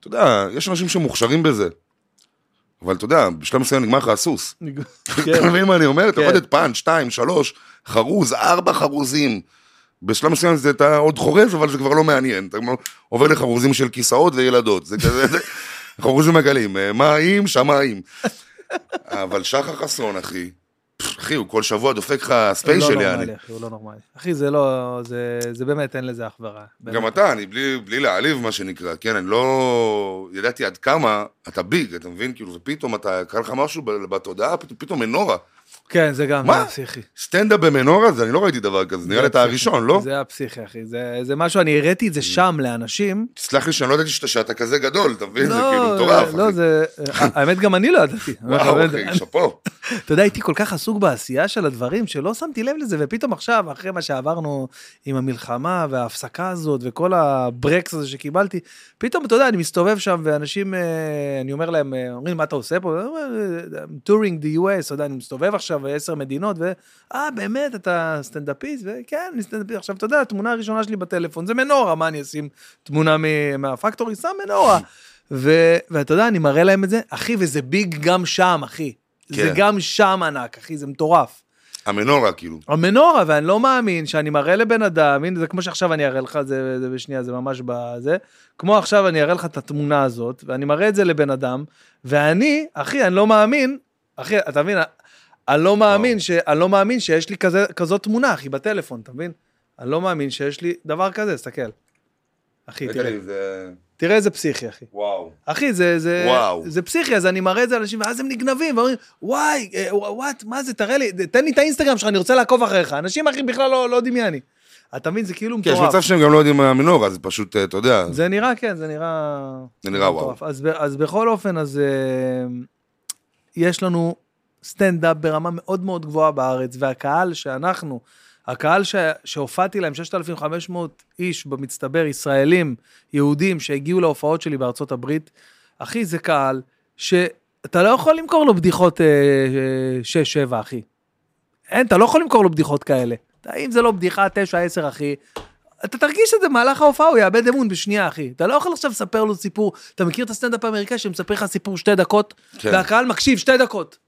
[SPEAKER 2] אתה יודע, יש אנשים שמוכשרים בזה. אבל אתה יודע, בשלב מסוים נגמר לך הסוס. <laughs> אתה
[SPEAKER 1] <laughs> כן,
[SPEAKER 2] מבין מה אני אומר? אתה
[SPEAKER 1] כן.
[SPEAKER 2] יכול לתת פאנץ', שתיים, שלוש, חרוז, ארבע חרוזים. בשלב מסוים זה אתה עוד חורז, אבל זה כבר לא מעניין. אתה כבר עובר לחרוזים של כיסאות וילדות. זה כזה, זה- חרוזים עגלים, אה, מה האם, שמה האם. אבל שחר חסון, אחי, אחי, הוא כל שבוע דופק לך
[SPEAKER 1] הוא לא
[SPEAKER 2] ספיישל, יעני.
[SPEAKER 1] נורמלי, אחי, הוא לא נורמלי. אחי, זה לא, זה, זה באמת, אין לזה אח ורע.
[SPEAKER 2] גם
[SPEAKER 1] באמת.
[SPEAKER 2] אתה, אני בלי, בלי להעליב, מה שנקרא, כן, אני לא ידעתי עד כמה אתה ביג, אתה מבין? כאילו, ופתאום אתה, קרה לך משהו ב- בתודעה, פתאום, פתאום מנורה.
[SPEAKER 1] כן, זה גם
[SPEAKER 2] מה?
[SPEAKER 1] היה פסיכי.
[SPEAKER 2] סטנדאפ במנורה, זה אני לא ראיתי דבר כזה, נראה לי
[SPEAKER 1] זה
[SPEAKER 2] אתה
[SPEAKER 1] היה
[SPEAKER 2] הראשון,
[SPEAKER 1] פסיכי.
[SPEAKER 2] לא? Mm.
[SPEAKER 1] זה היה פסיכי, אחי. זה, זה משהו, אני הראיתי את זה שם לאנשים.
[SPEAKER 2] תסלח לי שאני לא ידעתי שאתה- שאתה כזה גדול, אתה מבין? זה
[SPEAKER 1] לא,
[SPEAKER 2] כאילו מטורף,
[SPEAKER 1] לא,
[SPEAKER 2] אחי.
[SPEAKER 1] זה... האמת, גם אני לא ידעתי.
[SPEAKER 2] וואו, אחי, שאפו.
[SPEAKER 1] אתה יודע, הייתי כל כך עסוק בעשייה של הדברים, שלא שמתי לב לזה, ופתאום עכשיו, אחרי מה שעברנו עם המלחמה וההפסקה הזאת, וכל הברקס הזה שקיבלתי, פתאום, אתה יודע, אני מסתובב שם, ואנשים, אה, אני אומר להם, אה, אומרים, מה אתה עושה פה? אני אומר, "אה, I'm touring the US, אתה יודע, אני מסתובב עכשיו בעשר מדינות, ו... אה, באמת, אתה סטנדאפיסט? וכן, אני סטנדאפיסט. עכשיו, אתה יודע, התמונה הראשונה שלי בטלפון זה מנורה, מה אני אשים תמונה מ- מהפקטורי? שם מנורה. ו- ואתה יודע, אני מראה להם את זה, אחי, וזה ביג גם שם, אחי. זה
[SPEAKER 2] כן.
[SPEAKER 1] גם שם ענק, אחי, זה מטורף.
[SPEAKER 2] המנורה, כאילו.
[SPEAKER 1] כן, המנורה, ואני לא מאמין שאני מראה לבן אדם, הנה, זה כמו שעכשיו אני אראה לך את זה, זה בשנייה, זה ממש בזה, כמו עכשיו אני אראה לך את התמונה הזאת, ואני מראה את זה לבן אדם, ואני, אחי, אני לא מאמין, אחי, אתה מבין, אני לא מאמין, ש, אני לא מאמין שיש לי כזה, כזאת תמונה, אחי, בטלפון, אתה מבין? אני לא מאמין שיש לי דבר כזה, תסתכל. אחי,
[SPEAKER 2] רגע,
[SPEAKER 1] תראה,
[SPEAKER 2] לי, זה...
[SPEAKER 1] תראה איזה פסיכי, אחי.
[SPEAKER 2] וואו.
[SPEAKER 1] אחי, זה, זה,
[SPEAKER 2] וואו.
[SPEAKER 1] זה פסיכי, אז אני מראה את זה לאנשים, ואז הם נגנבים, ואומרים, וואי, אה, וואט, מה זה, תראה לי, תן לי את האינסטגרם שלך, אני רוצה לעקוב אחריך. אנשים, אחי, בכלל לא, לא יודעים מי אני. אתה מבין, זה כאילו
[SPEAKER 2] כן, יש
[SPEAKER 1] מטורף.
[SPEAKER 2] מצב שהם גם לא יודעים מה המנורה, זה פשוט, אה, אתה יודע,
[SPEAKER 1] זה נראה, כן, זה נראה...
[SPEAKER 2] זה נראה וואו.
[SPEAKER 1] מטורף. אז, ב- אז בכל אופן, אז אה, יש לנו סטנדאפ ברמה מאוד מאוד גבוהה בארץ, והקהל שאנחנו, הקהל ש, שהופעתי להם, 6,500 איש במצטבר, ישראלים, יהודים, שהגיעו להופעות שלי בארצות הברית, אחי, זה קהל שאתה לא יכול למכור לו בדיחות אה, 6-7, אחי. אין, אתה לא יכול למכור לו בדיחות כאלה. אתה- אם זה לא בדיחה 9-10, אחי, אתה תרגיש את זה במהלך ההופעה, הוא יאבד אמון בשנייה, אחי. אתה לא יכול עכשיו לספר לו סיפור. אתה מכיר את הסטנדאפ האמריקאי שמספר לך סיפור שתי דקות,
[SPEAKER 2] כן.
[SPEAKER 1] והקהל מקשיב שתי דקות.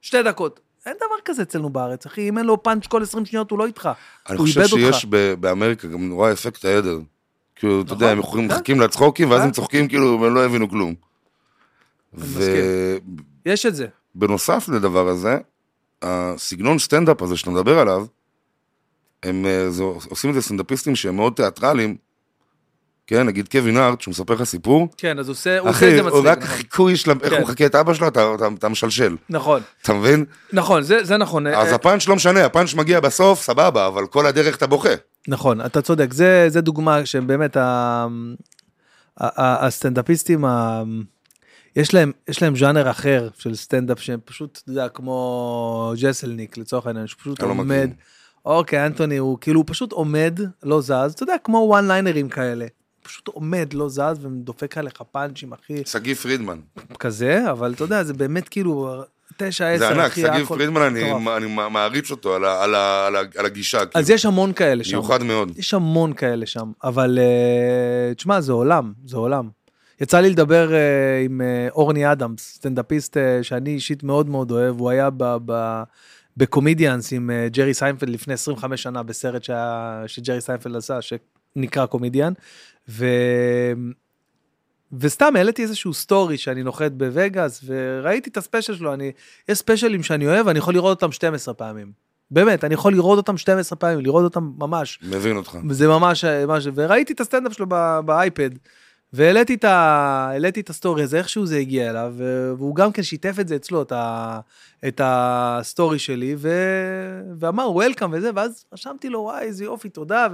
[SPEAKER 1] שתי דקות. אין דבר כזה אצלנו בארץ, אחי. אם אין לו פאנץ' כל 20 שניות, הוא לא איתך.
[SPEAKER 2] אני
[SPEAKER 1] הוא
[SPEAKER 2] חושב
[SPEAKER 1] איבד אותך.
[SPEAKER 2] שיש ב- באמריקה גם נורא אפקט העדר. כאילו, אתה יודע,
[SPEAKER 1] נכון,
[SPEAKER 2] הם יכולים
[SPEAKER 1] כן.
[SPEAKER 2] מחכים לצחוקים, ואז
[SPEAKER 1] כן.
[SPEAKER 2] הם צוחקים כאילו, הם לא הבינו כלום.
[SPEAKER 1] מסכים. יש את זה.
[SPEAKER 2] ובנוסף לדבר הזה, הסגנון סטנדאפ הזה שאתה מדבר עליו, הם אה, זה, עושים את זה סטנדאפיסטים שהם מאוד תיאטרליים. כן, נגיד קווין הארט, שהוא מספר לך סיפור,
[SPEAKER 1] כן, אז הוא עושה הוא עושה את
[SPEAKER 2] אחי,
[SPEAKER 1] זה
[SPEAKER 2] הוא
[SPEAKER 1] מצחיק.
[SPEAKER 2] רק
[SPEAKER 1] נכון.
[SPEAKER 2] חיקוי של איך
[SPEAKER 1] כן.
[SPEAKER 2] הוא מחכה את אבא שלו, אתה- אתה- אתה משלשל,
[SPEAKER 1] נכון,
[SPEAKER 2] אתה מבין?
[SPEAKER 1] נכון, זה זה נכון.
[SPEAKER 2] אז
[SPEAKER 1] אה,
[SPEAKER 2] הפאנץ' לא משנה, הפאנץ' מגיע בסוף, סבבה, אבל כל הדרך אתה בוכה.
[SPEAKER 1] נכון, אתה צודק, זה, זה דוגמה שבאמת ה, ה, ה, הסטנדאפיסטים, ה, יש, להם, יש להם ז'אנר אחר של סטנדאפ שהם פשוט, אתה יודע, כמו ג'סלניק לצורך העניין, שפשוט
[SPEAKER 2] אני לא
[SPEAKER 1] עומד,
[SPEAKER 2] מכיר.
[SPEAKER 1] אוקיי, אנטוני הוא כאילו הוא פשוט עומד, לא זז, אתה יודע, כמו וואן ליינרים כאלה. פשוט עומד, לא זז, ודופק עליך פאנצ'ים, אחי,
[SPEAKER 2] שגיא פרידמן.
[SPEAKER 1] כזה, אבל אתה יודע, זה באמת כאילו, תשע,
[SPEAKER 2] זה
[SPEAKER 1] עשר,
[SPEAKER 2] ענק,
[SPEAKER 1] אחי,
[SPEAKER 2] שגיא
[SPEAKER 1] הכל
[SPEAKER 2] פרידמן, אני-
[SPEAKER 1] מטורף.
[SPEAKER 2] אני מעריץ אותו על ה- על ה- על ה- על הגישה, כאילו.
[SPEAKER 1] אז יש המון כאלה שם.
[SPEAKER 2] מיוחד מאוד.
[SPEAKER 1] יש המון כאלה שם, אבל אה, תשמע, זה עולם, זה עולם. יצא לי לדבר אה, עם אה, אורני אדמס, סטנדאפיסט אה, שאני אישית מאוד מאוד אוהב, הוא היה ב... ב בקומדיאנס עם אה, ג'רי סיינפלד לפני 25 שנה בסרט שהיה, שג'רי סיינפלד עשה, שנקרא קומדיאן. ו... וסתם העליתי איזשהו סטורי שאני נוחת בווגאס, וראיתי את הספיישל שלו, אני... יש ספיישלים שאני אוהב, אני יכול לראות אותם 12 פעמים. באמת, אני יכול לראות אותם 12 פעמים, לראות אותם ממש.
[SPEAKER 2] מבין אותך.
[SPEAKER 1] זה ממש, ממש, וראיתי את הסטנדאפ שלו ב- באייפד, והעליתי את, ה, העליתי את הסטורי הזה, איכשהו זה הגיע אליו, ו- והוא גם כן שיתף את זה אצלו, את, ה, את הסטורי שלי, ו, ואמר וולקאם וזה, ואז רשמתי לו, וואי, איזה יופי, תודה,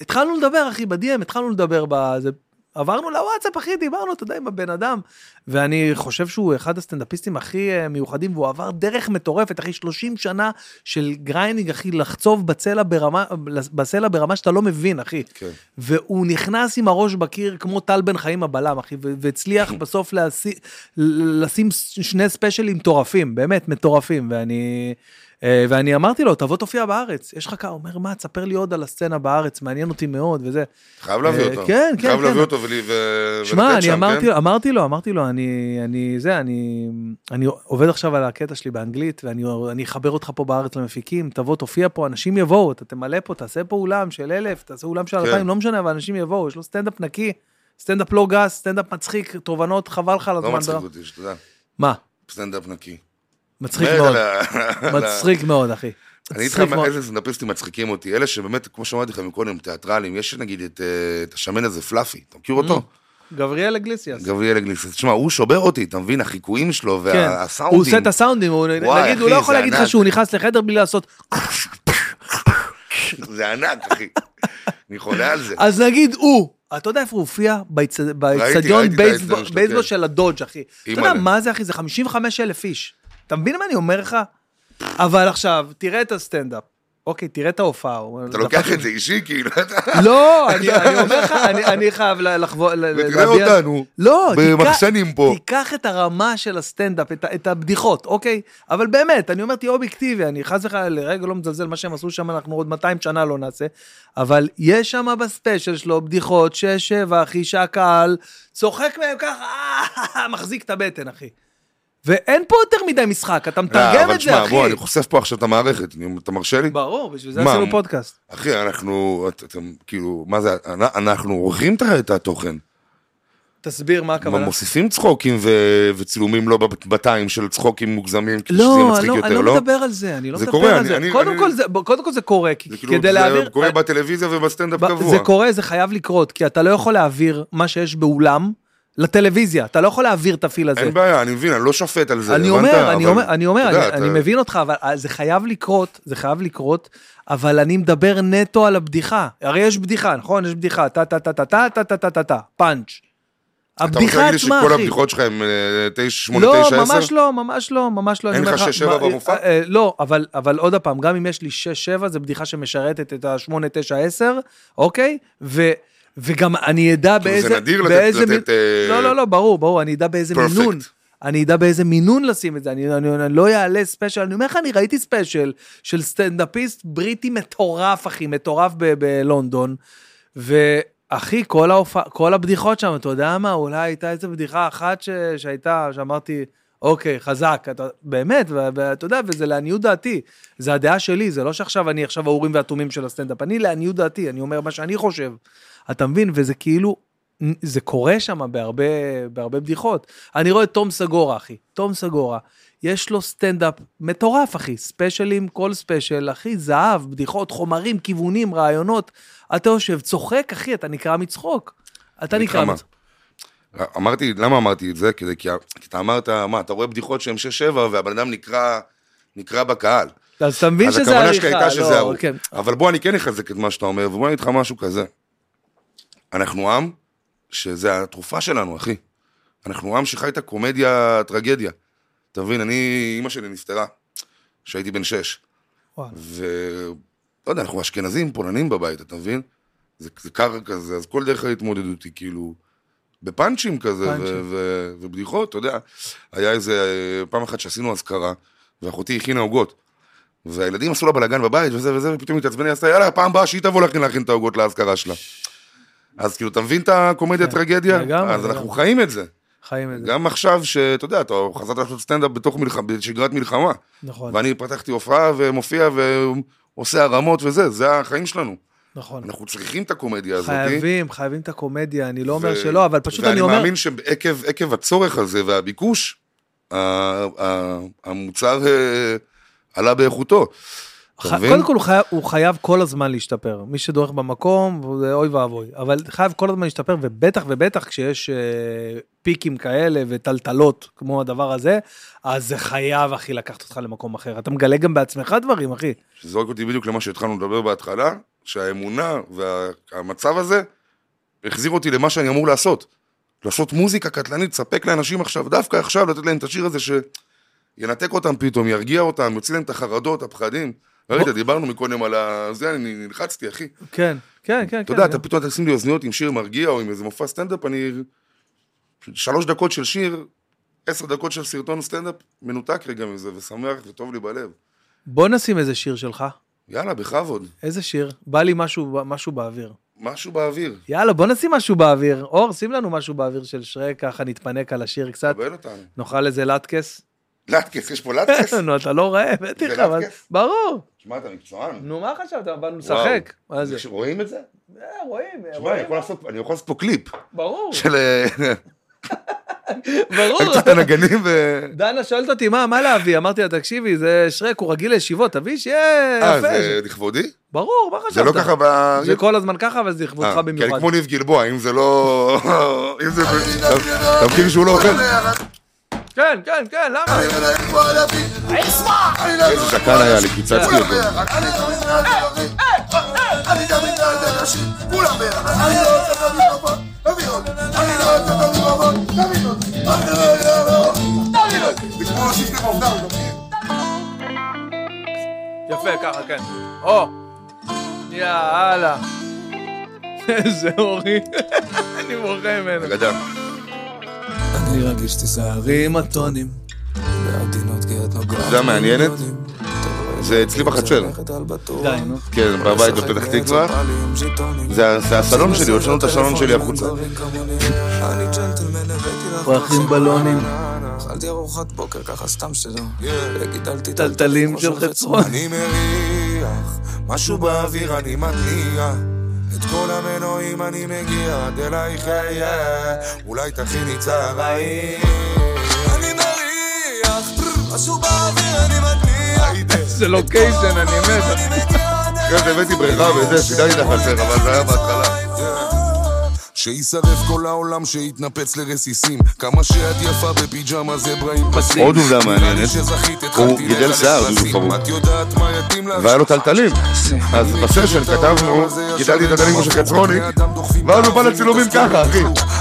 [SPEAKER 1] והתחלנו לדבר, אחי, בדי.אם, התחלנו לדבר בזה. עברנו לוואטסאפ, אחי, דיברנו, אתה יודע, עם הבן אדם. ואני חושב שהוא אחד הסטנדאפיסטים הכי אה, מיוחדים, והוא עבר דרך מטורפת, אחי, 30 שנה של גריינינג, אחי, לחצוב בצלע ברמה, בסלע ברמה שאתה לא מבין, אחי.
[SPEAKER 2] כן.
[SPEAKER 1] והוא נכנס עם הראש בקיר כמו טל בן חיים הבלם, אחי, ו- והצליח בסוף להשיא, ל- לשים ס- שני ספיישלים מטורפים, באמת מטורפים, ואני... אה, ואני אמרתי לו, תבוא תופיע בארץ, יש לך קהל, הוא אומר, מה, תספר לי עוד על הסצנה בארץ, מעניין אותי מאוד, וזה.
[SPEAKER 2] חייב להביא
[SPEAKER 1] אה,
[SPEAKER 2] אותו.
[SPEAKER 1] כן, כן,
[SPEAKER 2] חייב
[SPEAKER 1] כן.
[SPEAKER 2] להביא אותו ול- ו-
[SPEAKER 1] שמע,
[SPEAKER 2] ולתת
[SPEAKER 1] אני
[SPEAKER 2] שם,
[SPEAKER 1] אמרתי,
[SPEAKER 2] כן?
[SPEAKER 1] לו- אמרתי לו, אמרתי לו, אני, אני, זה, אני, אני עובד עכשיו על הקטע שלי באנגלית, ואני אני אחבר אותך פה בארץ למפיקים, תבוא, תופיע פה, אנשים יבואו, אתה תמלא פה, תעשה פה אולם של אלף, תעשה אולם של
[SPEAKER 2] כן.
[SPEAKER 1] אלפיים, לא משנה, אבל אנשים יבואו, יש לו סטנדאפ נקי, סטנדאפ לא גס, סטנדאפ מצחיק, תובנות, חבל לך על הזמן.
[SPEAKER 2] לא מצחיק
[SPEAKER 1] בוא.
[SPEAKER 2] אותי, שאתה יודע,
[SPEAKER 1] מה?
[SPEAKER 2] סטנדאפ נקי.
[SPEAKER 1] מצחיק
[SPEAKER 2] מת
[SPEAKER 1] מאוד,
[SPEAKER 2] על ה- על
[SPEAKER 1] <laughs>
[SPEAKER 2] ה-
[SPEAKER 1] מצחיק מאוד, אחי.
[SPEAKER 2] אני אגיד לך
[SPEAKER 1] מצחיק
[SPEAKER 2] מה-
[SPEAKER 1] מאוד.
[SPEAKER 2] איזה סטנדאפיסטים מצחיקים אותי, אלה שבאמת, כמו שאמרתי לך מקודם, תיאטרלים, יש נגיד את אה, את השמן הזה, פלאפי, אתה מכיר אותו?
[SPEAKER 1] Mm. גבריאל אגליסיאס.
[SPEAKER 2] גבריאל אגליסס, תשמע, הוא שובר אותי, אתה מבין, החיקויים שלו
[SPEAKER 1] כן,
[SPEAKER 2] והסאונדים.
[SPEAKER 1] הוא עושה את הסאונדים, הוא-
[SPEAKER 2] וואי,
[SPEAKER 1] נגיד, הוא
[SPEAKER 2] אחי,
[SPEAKER 1] לא יכול
[SPEAKER 2] זה
[SPEAKER 1] להגיד לך
[SPEAKER 2] ענק.
[SPEAKER 1] שהוא נכנס לחדר בלי לעשות,
[SPEAKER 2] <laughs> זה ענק, אחי. אני חולה על זה.
[SPEAKER 1] <laughs> אז נגיד הוא, אתה יודע איפה הוא הופיע? באצט- באצטדיון
[SPEAKER 2] ראיתי את האצטדיון
[SPEAKER 1] בייסבול-
[SPEAKER 2] שלו,
[SPEAKER 1] בייסבול
[SPEAKER 2] כן.
[SPEAKER 1] של הדודג', אחי. אתה יודע
[SPEAKER 2] אימא'לה.
[SPEAKER 1] מה זה, אחי? זה 55 אלף איש. אתה מבין מה אני אומר לך? אבל עכשיו, תראה את הסטנדאפ. אוקיי, תראה את ההופעה. הוא-
[SPEAKER 2] אתה לוקח את זה אישי, כאילו, אתה... <laughs>
[SPEAKER 1] לא, אני אני אומר לך, אני- אני חייב ל- לחוות... ל-
[SPEAKER 2] ותראה
[SPEAKER 1] להביע-
[SPEAKER 2] אותנו,
[SPEAKER 1] לא, תיקח-
[SPEAKER 2] במחסנים פה.
[SPEAKER 1] תיקח את הרמה של הסטנדאפ, את, ה- את הבדיחות, אוקיי? אבל באמת, אני אומר, תהיה אובייקטיבי, אני חס וחלילה לרגע לא מזלזל, מה שהם עשו שם, אנחנו עוד 200 שנה לא נעשה, אבל יש שם בספיישל שלו בדיחות, שש, שבע, אחי, שהקהל צוחק מהם ככה, "אה", <laughs> מחזיק את הבטן, אחי. ואין פה יותר מדי משחק, אתה
[SPEAKER 2] לא,
[SPEAKER 1] מתרגם
[SPEAKER 2] אבל
[SPEAKER 1] את זה,
[SPEAKER 2] תשמע,
[SPEAKER 1] אחי.
[SPEAKER 2] בוא, אני חושף פה עכשיו את המערכת, אני- אתה מרשה לי?
[SPEAKER 1] ברור, בשביל זה
[SPEAKER 2] מה,
[SPEAKER 1] עשינו
[SPEAKER 2] מה?
[SPEAKER 1] פודקאסט.
[SPEAKER 2] אחי, אנחנו, את- אתם, כאילו, מה זה, אנ- אנחנו עורכים את ה- את התוכן.
[SPEAKER 1] תסביר מה הכוונה.
[SPEAKER 2] מוסיפים צחוקים ו- וצילומים לא בטיים של צחוקים מוגזמים, כדי שזה יהיה
[SPEAKER 1] לא,
[SPEAKER 2] מצחיק
[SPEAKER 1] לא, אני
[SPEAKER 2] יותר,
[SPEAKER 1] לא
[SPEAKER 2] לא?
[SPEAKER 1] מדבר על זה, אני לא
[SPEAKER 2] זה
[SPEAKER 1] מדבר
[SPEAKER 2] קורה,
[SPEAKER 1] על
[SPEAKER 2] אני-
[SPEAKER 1] זה.
[SPEAKER 2] אני-
[SPEAKER 1] קודם
[SPEAKER 2] אני-
[SPEAKER 1] כל זה- קודם כל זה קורה, כי-
[SPEAKER 2] זה כאילו,
[SPEAKER 1] כדי
[SPEAKER 2] זה
[SPEAKER 1] להעביר... אה,
[SPEAKER 2] קורה בטלוויזיה ובסטנדאפ
[SPEAKER 1] ב-
[SPEAKER 2] קבוע.
[SPEAKER 1] זה קורה, זה חייב לקרות, כי אתה לא יכול להעביר מה שיש באולם לטלוויזיה, אתה לא יכול להעביר את הפיל הזה.
[SPEAKER 2] אין בעיה, אני מבין, אני לא שופט על זה,
[SPEAKER 1] אני
[SPEAKER 2] הבנת?
[SPEAKER 1] אומר, אני
[SPEAKER 2] אבל-
[SPEAKER 1] אומר, אני אומר,
[SPEAKER 2] אתה יודע,
[SPEAKER 1] אני-
[SPEAKER 2] אתה-
[SPEAKER 1] אני מבין אותך, אבל אה, זה חייב לקרות, זה חייב לקרות, אבל אני מדבר נטו על הבדיחה. הרי יש בדיחה, נכון? יש בדיחה, טה טה טה טה טה טה טה טה טה טה, פאנץ'.
[SPEAKER 2] אתה רוצה
[SPEAKER 1] הבדיחה
[SPEAKER 2] להגיד לי
[SPEAKER 1] עצמה,
[SPEAKER 2] שכל
[SPEAKER 1] אחי.
[SPEAKER 2] הבדיחות שלך הם אה, תשע, שמונה,
[SPEAKER 1] לא,
[SPEAKER 2] תשע, עשר?
[SPEAKER 1] ממש לא, ממש לא, ממש לא. אני
[SPEAKER 2] אין
[SPEAKER 1] אומר
[SPEAKER 2] לך שש, שבע
[SPEAKER 1] מה-
[SPEAKER 2] במופע?
[SPEAKER 1] אה, אה, לא, אבל, אבל עוד פעם, גם אם יש לי 6-7, זו בדיחה שמשרתת את ה-8, 9, 10, אוקיי? ו, וגם אני אדע
[SPEAKER 2] כאילו,
[SPEAKER 1] באיזה...
[SPEAKER 2] זה נדיר לתת-
[SPEAKER 1] באיזה מין-
[SPEAKER 2] לתת... אה,
[SPEAKER 1] לא, לא, לא, ברור, ברור, אני אדע באיזה
[SPEAKER 2] perfect.
[SPEAKER 1] מינון. אני אדע באיזה מינון לשים את זה, אני, אני, אני לא אעלה ספיישל, אני אומר לך, אני ראיתי ספיישל של סטנדאפיסט בריטי מטורף, אחי, מטורף ב- בלונדון, ואחי, כל, ההופע, כל הבדיחות שם, אתה יודע מה, אולי הייתה איזו בדיחה אחת ש, שהייתה, שאמרתי, אוקיי, חזק, אתה, באמת, ו- ואתה יודע, וזה לעניות דעתי, זה הדעה שלי, זה לא שעכשיו אני עכשיו האורים והתומים של הסטנדאפ, אני לעניות דעתי, אני אומר מה שאני חושב, אתה מבין, וזה כאילו, זה קורה שם בהרבה, בהרבה בדיחות. אני רואה את תום סגורה, אחי. תום סגורה, יש לו סטנדאפ מטורף, אחי. ספיישלים, כל ספיישל, אחי, זהב, בדיחות, חומרים, כיוונים, רעיונות. אתה יושב, צוחק, אחי, אתה נקרע מצחוק. אתה
[SPEAKER 2] אני
[SPEAKER 1] נקרע
[SPEAKER 2] איתך, מה?
[SPEAKER 1] מצחוק. לא.
[SPEAKER 2] אמרתי, למה אמרתי את זה? כדי, כי ה- כי אתה אמרת, מה, אתה רואה בדיחות שהן שש, שבע, והבן אדם נקרע, נקרע בקהל.
[SPEAKER 1] אז אתה מבין שזה
[SPEAKER 2] אז הכוונה שלך
[SPEAKER 1] עריכה,
[SPEAKER 2] הייתה שזה
[SPEAKER 1] לא,
[SPEAKER 2] ארוך.
[SPEAKER 1] כן.
[SPEAKER 2] אבל בוא, אני כן אחזק את מה שאתה אומר, ובוא אני אגיד לך משהו כזה. אנחנו עם, שזה התרופה שלנו, אחי. אנחנו עם שחי את הקומדיה, טרגדיה. אתה מבין, אני, אימא שלי נפטרה, כשהייתי בן שש.
[SPEAKER 1] וואלה.
[SPEAKER 2] ו... לא יודע, אנחנו אשכנזים, פולנים בבית, אתה מבין? זה, זה קר כזה, אז כל דרך ההתמודדות היא כאילו... בפאנצ'ים כזה, ו-
[SPEAKER 1] פאנצ'ים.
[SPEAKER 2] ו- ובדיחות, אתה יודע. היה איזה אה, פעם אחת שעשינו אזכרה, ואחותי הכינה עוגות. והילדים עשו לה בלאגן בבית וזה וזה, ופתאום התעצבן, היא עשתה, יאללה, פעם הבאה שהיא תבוא להכין להכין את העוגות לאזכרה שלה. אז כאילו, אתה מבין את הקומדיה
[SPEAKER 1] כן,
[SPEAKER 2] טרגדיה?
[SPEAKER 1] לגמרי,
[SPEAKER 2] אז אנחנו
[SPEAKER 1] לגמרי.
[SPEAKER 2] חיים את זה.
[SPEAKER 1] חיים את זה,
[SPEAKER 2] גם עכשיו, שאתה יודע, אתה חזרת לעשות סטנדאפ בתוך מלח- בשגרת מלחמה.
[SPEAKER 1] נכון,
[SPEAKER 2] ואני פתחתי הופעה ומופיע ועושה הרמות וזה, זה החיים שלנו.
[SPEAKER 1] נכון.
[SPEAKER 2] אנחנו צריכים את הקומדיה הזאת.
[SPEAKER 1] חייבים, חייבים את הקומדיה, אני לא אומר
[SPEAKER 2] ו-
[SPEAKER 1] שלא, אבל פשוט אני
[SPEAKER 2] ואני
[SPEAKER 1] אומר...
[SPEAKER 2] מאמין שעקב עקב הצורך הזה והביקוש, ה- ה- המוצר אה, עלה באיכותו.
[SPEAKER 1] ח-
[SPEAKER 2] אתה מבין?
[SPEAKER 1] קודם כל הוא חייב, הוא חייב כל הזמן להשתפר, מי שדורך במקום, זה אוי ואבוי, אבל חייב כל הזמן להשתפר, ובטח ובטח כשיש אה, פיקים כאלה וטלטלות כמו הדבר הזה, אז זה חייב, אחי, לקחת אותך למקום אחר. אתה מגלה גם בעצמך דברים, אחי.
[SPEAKER 2] שזורק אותי בדיוק למה שהתחלנו לדבר בהתחלה, שהאמונה והמצב הזה החזיר אותי למה שאני אמור לעשות. לעשות מוזיקה קטלנית, לספק לאנשים עכשיו, דווקא עכשיו לתת להם את השיר הזה שינתק אותם פתאום, ירגיע אותם, יוציא להם את החרדות, הפחדים. ראית, דיברנו מקודם על ה... זה, אני נלחצתי, אחי.
[SPEAKER 1] כן, כן, כן.
[SPEAKER 2] אתה יודע, אתה פתאום תשים לי אוזניות עם שיר מרגיע או עם איזה מופע סטנדאפ, אני... שלוש דקות של שיר, עשר דקות של סרטון סטנדאפ, מנותק רגע מזה, ושמח וטוב לי בלב.
[SPEAKER 1] בוא נשים איזה שיר שלך.
[SPEAKER 2] יאללה, בכבוד.
[SPEAKER 1] איזה שיר? בא לי משהו, משהו באוויר.
[SPEAKER 2] משהו באוויר,
[SPEAKER 1] יאללה, בוא נשים משהו באוויר. אור, שים לנו משהו באוויר של שרק, ככה נתפנק על השיר קצת.
[SPEAKER 2] קבל אותנו.
[SPEAKER 1] נאכל איזה לטקס.
[SPEAKER 2] לטקס, יש פה
[SPEAKER 1] <laughs>
[SPEAKER 2] לטקס?
[SPEAKER 1] נו, אתה לא רעב, הבאתי
[SPEAKER 2] זה
[SPEAKER 1] לך, אבל...
[SPEAKER 2] לטקס?
[SPEAKER 1] ברור.
[SPEAKER 2] תשמע, אתה מקצוען.
[SPEAKER 1] נו, מה חשבת? באנו לשחק. מה זה?
[SPEAKER 2] רואים את זה?
[SPEAKER 1] אה, רואים,
[SPEAKER 2] תשמע, אני
[SPEAKER 1] רואים. <laughs>
[SPEAKER 2] יכול לעשות פה- אני יכול לעשות פה קליפ
[SPEAKER 1] ברור.
[SPEAKER 2] של... אה, אני
[SPEAKER 1] ברור.
[SPEAKER 2] צריך את הנגנים ו...
[SPEAKER 1] דנה שואלת אותי, מה, מה להביא? אמרתי לה, תקשיבי, זה שרק, הוא רגיל לישיבות, תביא שיהיה
[SPEAKER 2] אה,
[SPEAKER 1] יפה.
[SPEAKER 2] זה לכבודי?
[SPEAKER 1] ברור, מה חשבת?
[SPEAKER 2] זה לא ככה ב...
[SPEAKER 1] זה כל הזמן ככה, אבל זה
[SPEAKER 2] אה,
[SPEAKER 1] לכבודך
[SPEAKER 2] כי אני
[SPEAKER 1] במיוחד.
[SPEAKER 2] כמו ניב גלבוע, אם זה לא... <laughs> אם זה... אתה מכיר שהוא לא אוכל?
[SPEAKER 1] כן, כן, כן, למה?
[SPEAKER 2] איזה זקן היה לי, קיצצתי אותו. לא
[SPEAKER 1] יפה, ככה, כן. או, <laughs> יאללה. איזה אורי. <laughs> אני בוכה ממנו.
[SPEAKER 2] אגדה.
[SPEAKER 1] אני רגיש תיזהרי עם הטונים.
[SPEAKER 2] זה המעניינת? זה אצלי בחצר.
[SPEAKER 1] די, נו.
[SPEAKER 2] כן, בבית בפתח תקווה. זה זה הסלון שלי, הוצאנו את הסלון שלי החוצה.
[SPEAKER 1] פרחים בלונים.
[SPEAKER 3] אכלתי ארוחת בוקר ככה סתם שלא. וגידלתי את
[SPEAKER 1] טלטלים של חצרון.
[SPEAKER 3] אני מריח, משהו באוויר אני מתניע. את כל המנועים אני מגיע, עד אלייך אהיה, אולי תכיני צהריים. אני מריח, משהו באוויר אני מתניע.
[SPEAKER 1] זה לוקיישן, אני מת.
[SPEAKER 2] אחרי זה לא הבאתי בריכה וזה, שידרתי את החצר, אבל זה היה בהתחלה.
[SPEAKER 3] שישרף כל העולם, שיתנפץ לרסיסים. כמה שאת יפה בפיג'מה זה ברעים בסים.
[SPEAKER 2] עוד עובדה מעניינת,
[SPEAKER 3] הוא
[SPEAKER 2] גידל שיער, דודו חבוב. והיה לו טלטלים. אז בסשן כתבנו, גידלתי את הטלטלים כמו של חצרוני, ואז הוא בא לצילומים ככה, אחי.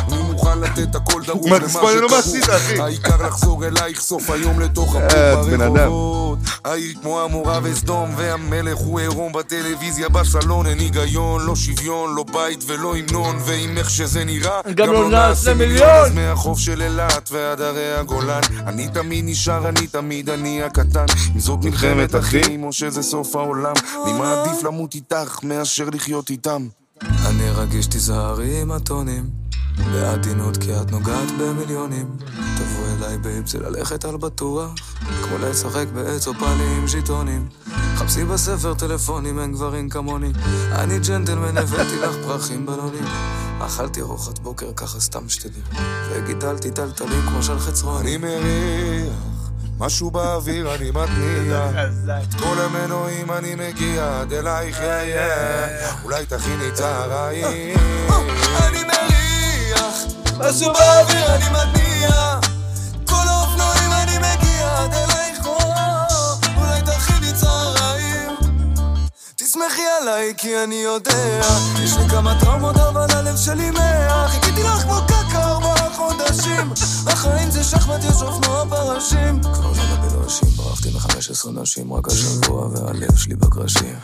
[SPEAKER 3] אני מוכן לתת הכל דרוש
[SPEAKER 2] מה, תספור לי לא מה עשית, אחי.
[SPEAKER 3] העיקר לחזור אלייך סוף היום לתוך
[SPEAKER 2] אה,
[SPEAKER 3] הפוך
[SPEAKER 2] בן אדם.
[SPEAKER 3] ברחובות. העיר כמו עמורה וסדום, והמלך הוא עירום בטלוויזיה בסלון, אין היגיון, לא שוויון, לא בית ולא המנון, ועם איך שזה נראה,
[SPEAKER 1] גם לא נעשה מיליון.
[SPEAKER 3] אז מהחוף של אילת ועד הרי הגולן, אני תמיד נשאר, אני תמיד אני הקטן. אם זאת מלחמת אחים, או שזה סוף העולם, אני מעדיף למות איתך מאשר לחיות איתם. אני רגיש תיזהרי עם הטונים בעדינות כי את נוגעת במיליונים תבוא אליי באם זה ללכת על בטוח כמו לשחק בעץ או פאלי עם ז'יטונים חפשי בספר טלפונים אין גברים כמוני אני ג'נטלמן הבאתי לך פרחים בלונים אכלתי ארוחת בוקר ככה סתם שתדעי וגידלתי טלטלים כמו של חצרון אני מריח משהו באוויר אני מתניע את כל המנועים אני מגיע, עד אלייך אהיה, אולי תכיני צהריים. אני מריח, משהו באוויר אני מתניע, כל האופנועים אני מגיע, עד אלייך אוהב, אולי תכיני צהריים. תסמכי עליי כי אני יודע, יש לי כמה טראומות אבל הלב שלי מאה, חיכיתי לך כמו קקה ארבעה חודשים, החיים זה שחמט יש אופנוע פרשים. כבר לא בבלושים, ברחתי מ-15 נשים רק השבוע והלב שלי בקרשים.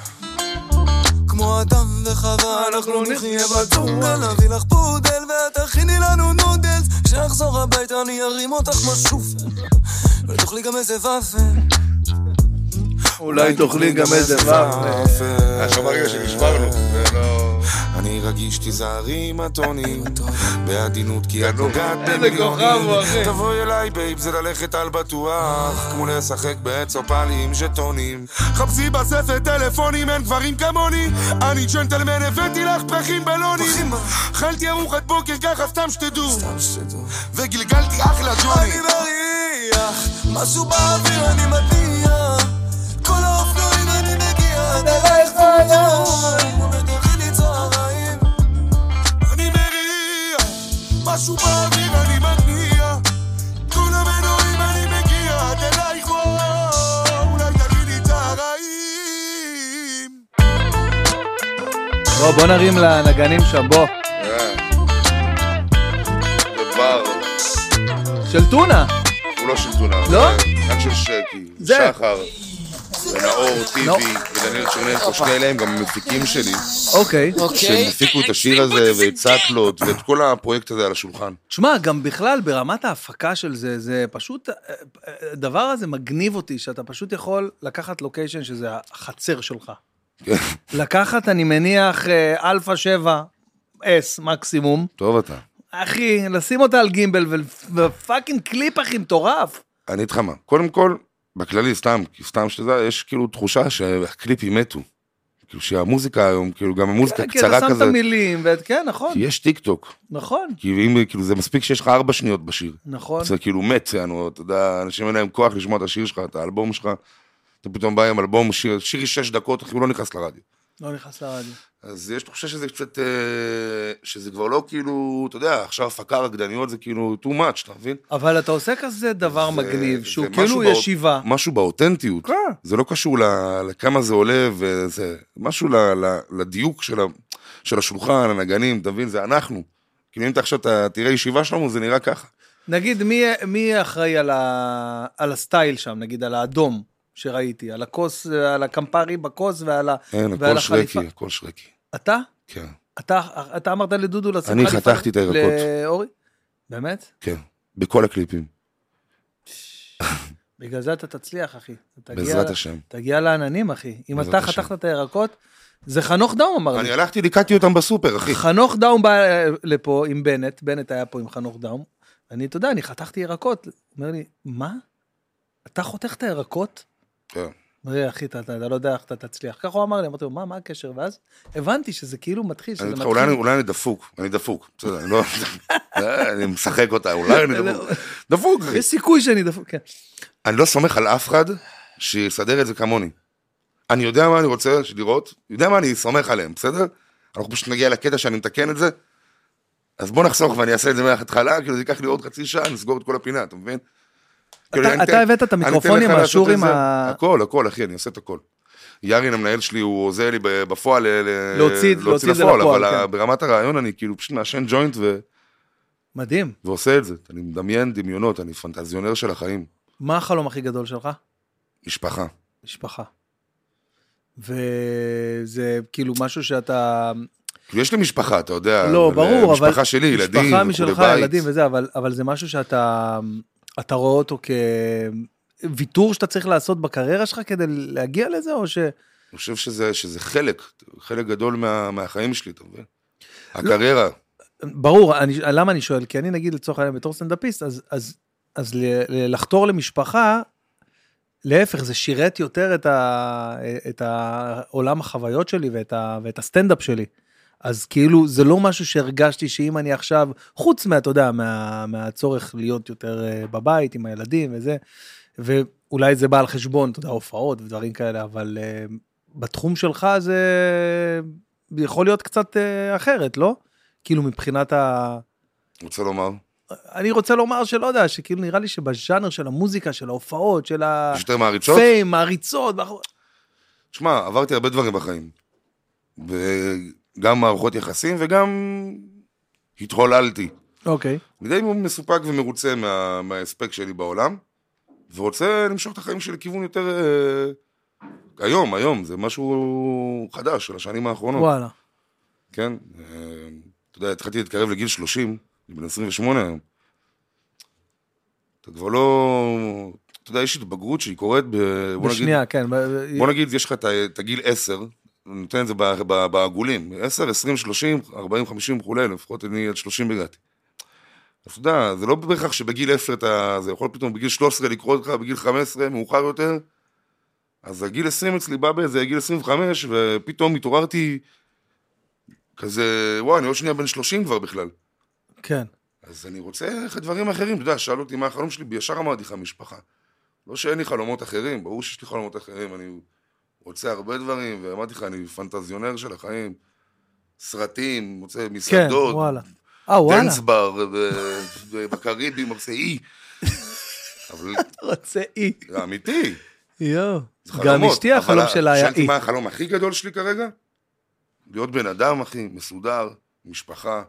[SPEAKER 3] כמו אדם וחווה אנחנו נחיה בטורקה נביא לך פודל ואת תכיני לנו נודלס כשאחזור הביתה אני ארים אותך כמו שופר ותאכלי גם איזה ופל
[SPEAKER 1] אולי תאכלי גם איזה ופל.
[SPEAKER 2] עכשיו הרגע שנשברנו, זה לא...
[SPEAKER 3] אני רגיש תיזהרי עם הטונים בעדינות כי את
[SPEAKER 2] גנוב.
[SPEAKER 3] נוגעת
[SPEAKER 1] איזה כוכב הוא, אחי.
[SPEAKER 3] תבואי אליי בייב זה ללכת על בטוח כמו לשחק בעץ או פאלי עם ז'טונים חפשי בספר טלפונים אין גברים כמוני אני ג'נטלמן הבאתי לך פרחים בלונים אכלתי ארוחת בוקר ככה סתם שתדעו וגלגלתי אחלה ג'וני אני מריח משהו באוויר אני מניע כל האופנועים אני מגיע עד אלייך צהריים ותכיני צהריים אני מריח, משהו באוויר אני מתניע. כל המנועים אני מגיע, עד אלייך וואו, אולי תגידי צהריים.
[SPEAKER 1] בוא, בוא נרים לנגנים שם, בוא. כן.
[SPEAKER 2] אה. זה בר.
[SPEAKER 1] של טונה.
[SPEAKER 2] הוא לא של טונה.
[SPEAKER 1] לא?
[SPEAKER 2] זה רק של שקי,
[SPEAKER 1] זה.
[SPEAKER 2] שחר, ונאור,
[SPEAKER 1] לא.
[SPEAKER 2] טיבי, ודניאל
[SPEAKER 1] אה.
[SPEAKER 2] צ'רננקו, שני אלה הם גם המפיקים שלי,
[SPEAKER 1] אוקיי.
[SPEAKER 2] שהם הפיקו את השיר הזה, ואת סאטלות, ואת כל הפרויקט הזה על השולחן.
[SPEAKER 1] תשמע, גם בכלל, ברמת ההפקה של זה, זה פשוט... אה, אה, הדבר הזה מגניב אותי, שאתה פשוט יכול לקחת לוקיישן שזה החצר
[SPEAKER 2] <laughs>
[SPEAKER 1] שלך. לקחת, אני מניח, אה, אלפא 7 S מקסימום,
[SPEAKER 2] טוב אתה.
[SPEAKER 1] אחי, לשים אותה על גימבל ו- ופאקינג קליפ, אחי, מטורף.
[SPEAKER 2] אני איתך מה. קודם כל, בכללי, סתם, סתם שתדע, יש כאילו תחושה שהקליפים מתו. כאילו שהמוזיקה היום, כאילו גם המוזיקה
[SPEAKER 1] כן, כי אתה
[SPEAKER 2] קצרה
[SPEAKER 1] שם את
[SPEAKER 2] כזה,
[SPEAKER 1] המילים, ואת- כן, נכון,
[SPEAKER 2] כי יש טיק טוק,
[SPEAKER 1] נכון,
[SPEAKER 2] כי אם, כאילו זה מספיק שיש לך ארבע שניות בשיר,
[SPEAKER 1] נכון.
[SPEAKER 2] זה כאילו מת, יענו, אתה יודע, אנשים אין להם כוח לשמוע את השיר שלך, את האלבום שלך, אתה פתאום בא עם אלבום, שיר, שיר שש דקות, אחי, הוא לא נכנס לרדיו.
[SPEAKER 1] לא נכנס לרדיו.
[SPEAKER 2] אז יש תחושה שזה קצת, אה, שזה כבר לא כאילו, אתה יודע, עכשיו הפקה רקדניות זה כאילו too much, אתה מבין?
[SPEAKER 1] אבל אתה עושה כזה דבר
[SPEAKER 2] זה-
[SPEAKER 1] מגניב,
[SPEAKER 2] אה, זה
[SPEAKER 1] שהוא
[SPEAKER 2] משהו
[SPEAKER 1] כאילו
[SPEAKER 2] באות-
[SPEAKER 1] ישיבה.
[SPEAKER 2] משהו באותנטיות.
[SPEAKER 1] כן.
[SPEAKER 2] זה לא קשור ל- לכמה זה עולה, וזה משהו ל- ל- לדיוק של, ה, של השולחן, הנגנים, אתה מבין? זה אנחנו. כאילו אם אתה עכשיו אתה תראה ישיבה שלנו, זה נראה ככה.
[SPEAKER 1] נגיד, מי, מי אחראי על, ה, על הסטייל שם, נגיד, על האדום שראיתי, על הכוס, על הקמפרי בכוס ועל ה...
[SPEAKER 2] אין,
[SPEAKER 1] ועל
[SPEAKER 2] הכל
[SPEAKER 1] החליפה.
[SPEAKER 2] שרקי, הכל שרקי.
[SPEAKER 1] אתה?
[SPEAKER 2] כן,
[SPEAKER 1] אתה, אתה אמרת לדודו לשים
[SPEAKER 2] אני
[SPEAKER 1] חליפה
[SPEAKER 2] חתכתי את הירקות.
[SPEAKER 1] לאורי?
[SPEAKER 2] <laughs>
[SPEAKER 1] באמת?
[SPEAKER 2] כן. בכל הקליפים,
[SPEAKER 1] בגלל זה אתה תצליח, אחי. אתה תגיע-
[SPEAKER 2] בעזרת השם.
[SPEAKER 1] תגיע לעננים, אחי. אם
[SPEAKER 2] בעזרת
[SPEAKER 1] אתה
[SPEAKER 2] השם.
[SPEAKER 1] חתכת את הירקות, זה חנוך דאום אמר לי.
[SPEAKER 2] אני הלכתי, ליקטתי אותם בסופר, אחי.
[SPEAKER 1] חנוך דאום בא אה, לפה עם בנט, בנט היה פה עם חנוך דאום. אני, אתה יודע, אני חתכתי ירקות. הוא אומר לי, מה? אתה חותך את הירקות?
[SPEAKER 2] כן.
[SPEAKER 1] אומר לי, אחי, אתה, אתה, אתה לא יודע איך אתה תצליח. ככה הוא אמר לי, אמרתי לו, מה, מה הקשר? ואז הבנתי שזה כאילו מתחיל, שזה
[SPEAKER 2] אני איתך,
[SPEAKER 1] מתחיל.
[SPEAKER 2] אולי אני- אולי אני דפוק, אני דפוק, בסדר, אני לא... <laughs> אה, אני משחק אותה, אולי אני
[SPEAKER 1] לא.
[SPEAKER 2] דפוק. דפוק, אחי.
[SPEAKER 1] יש סיכוי שאני דפוק, כן.
[SPEAKER 2] אני לא סומך על אף אחד שיסדר את זה כמוני. אני יודע מה אני רוצה לראות, יודע מה אני סומך עליהם, בסדר? אנחנו פשוט נגיע לקטע שאני מתקן את זה, אז בוא נחסוך ואני אעשה את זה מההתחלה, כאילו זה ייקח לי עוד חצי שעה, נסגור את כל הפינה, אתה מבין? כאילו, אני
[SPEAKER 1] אתה,
[SPEAKER 2] אתן-
[SPEAKER 1] אתה הבאת את
[SPEAKER 2] אני אתן
[SPEAKER 1] המיקרופונים,
[SPEAKER 2] לך לעשות
[SPEAKER 1] האשורים,
[SPEAKER 2] את זה.
[SPEAKER 1] ה...
[SPEAKER 2] הכל, הכל, אחי, אני עושה את הכל. יארין המנהל שלי, הוא עוזר לי ב- בפועל ל- ל-
[SPEAKER 1] להוציא את- להוציא את זה לפועל,
[SPEAKER 2] אבל ה-
[SPEAKER 1] כן.
[SPEAKER 2] ברמת הרעיון אני כאילו פשוט מעשן ג'וינט ו-
[SPEAKER 1] מדהים.
[SPEAKER 2] ועושה את זה. אני מדמיין דמיונות, אני פנטזיונר של החיים,
[SPEAKER 1] מה החלום הכי גדול שלך?
[SPEAKER 2] משפחה.
[SPEAKER 1] משפחה. וזה כאילו משהו שאתה...
[SPEAKER 2] כאילו, יש לי משפחה, אתה יודע. אה,
[SPEAKER 1] לא, ברור, אבל...
[SPEAKER 2] משפחה שלי, ילדים,
[SPEAKER 1] משפחה
[SPEAKER 2] וכולי,
[SPEAKER 1] משלך,
[SPEAKER 2] בית.
[SPEAKER 1] ילדים וזה, אבל, אבל זה משהו שאתה אתה רואה אותו כוויתור שאתה צריך לעשות בקריירה שלך כדי להגיע לזה, או ש...
[SPEAKER 2] אני חושב שזה, שזה חלק, חלק גדול מה, מהחיים שלי, אתה מבין?
[SPEAKER 1] לא.
[SPEAKER 2] הקריירה,
[SPEAKER 1] ברור, אני, למה אני שואל? כי אני נגיד לצורך העניין בתור סטנדאפיסט, אז, אז, אז ל, ל, לחתור למשפחה, להפך, זה שירת יותר את, ה, את העולם החוויות שלי ואת, ה, ואת הסטנדאפ שלי. אז כאילו, זה לא משהו שהרגשתי שאם אני עכשיו, חוץ מה, אתה יודע, מה, מהצורך להיות יותר אה, בבית עם הילדים וזה, ואולי זה בא על חשבון, אתה יודע, הופעות ודברים כאלה, אבל אה, בתחום שלך זה יכול להיות קצת אה, אחרת, לא? כאילו מבחינת ה...
[SPEAKER 2] רוצה לומר,
[SPEAKER 1] אני רוצה לומר שלא יודע, שכאילו נראה לי שבז'אנר של המוזיקה, של ההופעות, של
[SPEAKER 2] יש יותר מעריצות?
[SPEAKER 1] הפיים, העריצות, ואחו-
[SPEAKER 2] שמע, עברתי הרבה דברים בחיים. וגם מערכות יחסים וגם התהוללתי.
[SPEAKER 1] אוקיי.
[SPEAKER 2] אני די מסופק ומרוצה מה, מההספק שלי בעולם, ורוצה למשוך את החיים שלי לכיוון יותר... אה, היום, היום, זה משהו חדש של השנים האחרונות.
[SPEAKER 1] וואלה.
[SPEAKER 2] כן, אה, אתה יודע, התחלתי להתקרב לגיל 30, אני בן 28 היום. אתה כבר לא... אתה יודע, יש התבגרות שהיא קורית ב... בוא נגיד,
[SPEAKER 1] בשנייה, כן. ב-
[SPEAKER 2] בוא נגיד, יש לך את ה- את הגיל 10, אני נותן את זה ב- ב- בעגולים, 10, 20, 30, 40, 50 וכולי, לפחות אני עד 30 הגעתי. אז אתה יודע, זה לא בהכרח שבגיל 10 אתה... זה יכול פתאום בגיל 13 לקרות לך, בגיל 15, מאוחר יותר. אז הגיל 20 אצלי בא באיזה גיל 25, ופתאום התעוררתי כזה, וואי, אני עוד שנייה בן 30 כבר בכלל.
[SPEAKER 1] כן.
[SPEAKER 2] אז אני רוצה איך דברים אחרים, אתה יודע, שאלו אותי מה החלום שלי, ישר אמרתי לך משפחה. לא שאין לי חלומות אחרים, ברור שיש לי חלומות אחרים, אני רוצה הרבה דברים, ואמרתי לך, אני פנטזיונר של החיים. סרטים, רוצה
[SPEAKER 1] כן,
[SPEAKER 2] מסעדות,
[SPEAKER 1] וואלה. אה, וואלה.
[SPEAKER 2] דנס בר, ו- ובקריבים, עושה אי. אבל
[SPEAKER 1] רוצה אי.
[SPEAKER 2] זה אמיתי,
[SPEAKER 1] יואו.
[SPEAKER 2] זה
[SPEAKER 1] גם
[SPEAKER 2] חלומות.
[SPEAKER 1] אשתי
[SPEAKER 2] אבל
[SPEAKER 1] החלום שלה היה
[SPEAKER 2] שאלתי
[SPEAKER 1] אי.
[SPEAKER 2] מה החלום הכי גדול שלי כרגע? להיות בן אדם, אחי, מסודר, משפחה,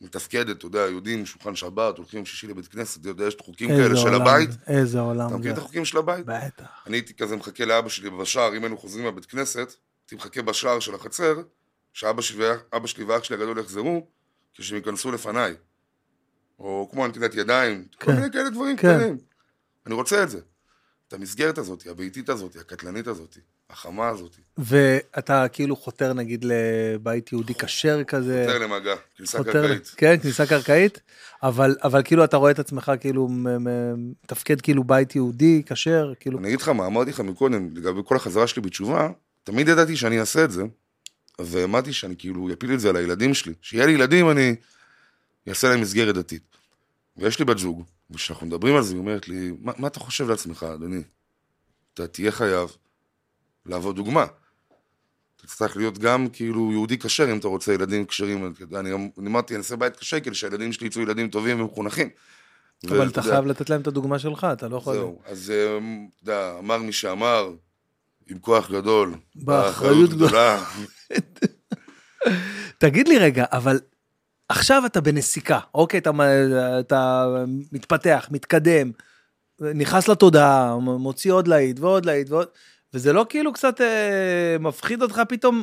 [SPEAKER 2] מתפקדת, אתה יודע, יודעים, שולחן שבת, הולכים שישי לבית כנסת, אתה יודע, יש חוקים
[SPEAKER 1] איזה
[SPEAKER 2] כאלה של
[SPEAKER 1] עולם
[SPEAKER 2] הבית.
[SPEAKER 1] זה, איזה עולם
[SPEAKER 2] אתה מכיר את
[SPEAKER 1] זה.
[SPEAKER 2] החוקים של הבית?
[SPEAKER 1] בטח.
[SPEAKER 2] אני הייתי כזה מחכה לאבא שלי בשער, אם היינו חוזרים מהבית כנסת, הייתי מחכה בשער של החצר, שאבא שלי ואח- אבא שלי ואח שלי הגדול יחזרו, כשהם ייכנסו לפניי. או כמו נטילת ידיים, כל
[SPEAKER 1] כן.
[SPEAKER 2] מיני כאלה דברים
[SPEAKER 1] כן.
[SPEAKER 2] קטנים. אני רוצה את זה. את המסגרת הזאת, הביתית הזאת, הקטלנית הזאת, החמה הזאת,
[SPEAKER 1] ואתה כאילו חותר נגיד לבית יהודי כשר כזה.
[SPEAKER 2] יותר למגע, כניסה
[SPEAKER 1] חותר-
[SPEAKER 2] קרקעית.
[SPEAKER 1] כן, כניסה קרקעית, אבל, אבל כאילו אתה רואה את עצמך כאילו מ- מ- מתפקד כאילו בית יהודי, כשר, כאילו,
[SPEAKER 2] אני אגיד לך מה, אמרתי לך מקודם, לגבי כל החזרה שלי בתשובה, תמיד ידעתי שאני אעשה את זה, אז האמנתי שאני כאילו אפיל את זה על הילדים שלי. שיהיה לי ילדים, אני אעשה להם מסגרת דתית. ויש לי בת זוג, וכשאנחנו מדברים על זה, היא אומרת לי, מה, מה אתה חושב לעצמך, אדוני? אתה תהיה חייב להוות דוגמה. אתה תצטרך להיות גם כאילו יהודי כשר, אם אתה רוצה ילדים כשרים. אני גם אני אמרתי, אני אעשה בית כשר כדי שהילדים שלי יצאו ילדים טובים ומחונכים.
[SPEAKER 1] אבל אתה
[SPEAKER 2] לא יודע,
[SPEAKER 1] חייב לתת להם את הדוגמה שלך, אתה לא יכול...
[SPEAKER 2] זהו, אז אמ, אתה יודע, אמר מי שאמר, עם כוח גדול,
[SPEAKER 1] באחריות
[SPEAKER 2] גדולה.
[SPEAKER 1] תגיד לי רגע, אבל עכשיו אתה בנסיקה, אוקיי, אתה, מ- אתה מתפתח, מתקדם, נכנס לתודעה, מ- מוציא עוד להיט ועוד להיט ועוד, וזה לא כאילו קצת אה, מפחיד אותך פתאום,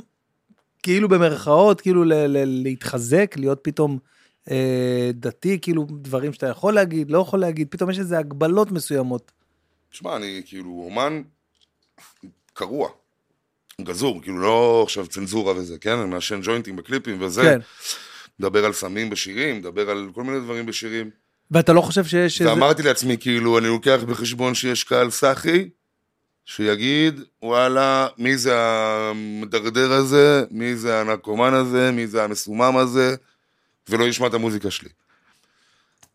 [SPEAKER 1] כאילו במרכאות, כאילו ל- ל- להתחזק, להיות פתאום אה, דתי, כאילו דברים שאתה יכול להגיד, לא יכול להגיד, פתאום יש איזה הגבלות מסוימות.
[SPEAKER 2] תשמע, אני כאילו אומן קרוע, גזור, כאילו לא עכשיו צנזורה וזה, כן? אני מעשן ג'וינטים בקליפים וזה.
[SPEAKER 1] כן.
[SPEAKER 2] מדבר על סמים בשירים, מדבר על כל מיני דברים בשירים.
[SPEAKER 1] ואתה לא חושב שיש איזה...
[SPEAKER 2] ואמרתי לעצמי, כאילו, אני לוקח בחשבון שיש קהל סאחי, שיגיד, וואלה, מי זה המדרדר הזה, מי זה הנרקומן הזה, מי זה המסומם הזה, ולא ישמע את המוזיקה שלי.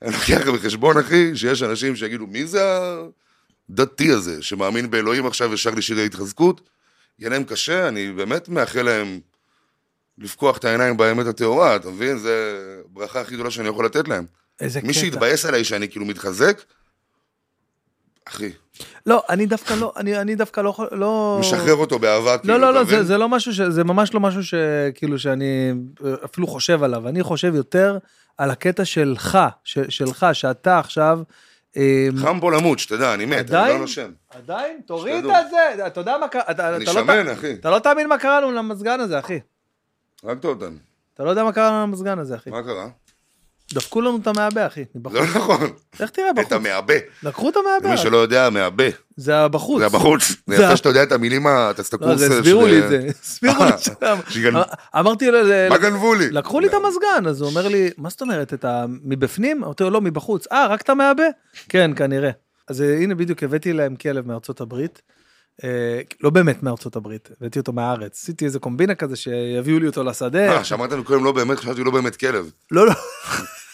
[SPEAKER 2] אני לוקח בחשבון, אחי, שיש אנשים שיגידו, מי זה הדתי הזה, שמאמין באלוהים עכשיו ושר לי שירי התחזקות? יהיה להם קשה, אני באמת מאחל להם לפקוח את העיניים באמת הטהורה, אתה מבין? זו ברכה הכי גדולה שאני יכול לתת להם.
[SPEAKER 1] איזה
[SPEAKER 2] מי שהתבאס עליי שאני כאילו מתחזק, אחי,
[SPEAKER 1] לא, אני דווקא לא, אני, אני דווקא לא... יכול- לא...
[SPEAKER 2] משחרר אותו באהבה,
[SPEAKER 1] לא,
[SPEAKER 2] כאילו,
[SPEAKER 1] לא,
[SPEAKER 2] אתה
[SPEAKER 1] לא,
[SPEAKER 2] מבין?
[SPEAKER 1] זה, זה לא משהו, ש, זה ממש לא משהו שכאילו שאני אה, אפילו חושב עליו. אני חושב יותר על הקטע שלך, ש, שלך, שאתה עכשיו... אה,
[SPEAKER 2] חם פה למות, שתדע, אני מת, אני
[SPEAKER 1] עדיין?
[SPEAKER 2] לא נושם.
[SPEAKER 1] עדיין? תוריד
[SPEAKER 2] שתדעו.
[SPEAKER 1] את זה, אתה יודע מה קרה, אתה, אתה,
[SPEAKER 2] אני
[SPEAKER 1] לא
[SPEAKER 2] שמן,
[SPEAKER 1] ת-
[SPEAKER 2] אחי.
[SPEAKER 1] אתה לא תאמין מה קרה לנו למזגן הזה, אחי.
[SPEAKER 2] הרגת אותנו.
[SPEAKER 1] אתה לא יודע מה קרה לנו למזגן הזה, אחי.
[SPEAKER 2] מה קרה?
[SPEAKER 1] דפקו לנו את המעבה, אחי. מבחוץ.
[SPEAKER 2] לא נכון.
[SPEAKER 1] לך תראה
[SPEAKER 2] את
[SPEAKER 1] בחוץ. אה.
[SPEAKER 2] המעבה.
[SPEAKER 1] לקחו את
[SPEAKER 2] למי
[SPEAKER 1] המעבה,
[SPEAKER 2] שלא יודע, המעבה.
[SPEAKER 1] זה הבחוץ.
[SPEAKER 2] זה הבחוץ. זה
[SPEAKER 1] ה-
[SPEAKER 2] יפה שאתה יודע את המילים, ה- את
[SPEAKER 1] לא,
[SPEAKER 2] הסטקורס.
[SPEAKER 1] זה הסבירו לי את זה,
[SPEAKER 2] <laughs>
[SPEAKER 1] הסבירו לי
[SPEAKER 2] אה,
[SPEAKER 1] שם.
[SPEAKER 2] שגנ-
[SPEAKER 1] אמרתי לו, זה-
[SPEAKER 2] מה גנבו לי? אה.
[SPEAKER 1] לקחו לי את המזגן, אז הוא אומר לי, מה זאת אומרת, את ה... מבפנים? אמרתי לו, לא, מבחוץ. אה, רק את המעבה? כן, כנראה. אז אה, הנה, בדיוק הבאתי להם כלב מארצות הברית. אה, לא באמת מארצות הברית, הבאתי אותו מהארץ. עשיתי איזה קומבינה כזה שיביאו לי אותו לשדה.
[SPEAKER 2] אה, שאמרת מקודם לא באמת, חשבתי לא באמת כלב.
[SPEAKER 1] לא, לא,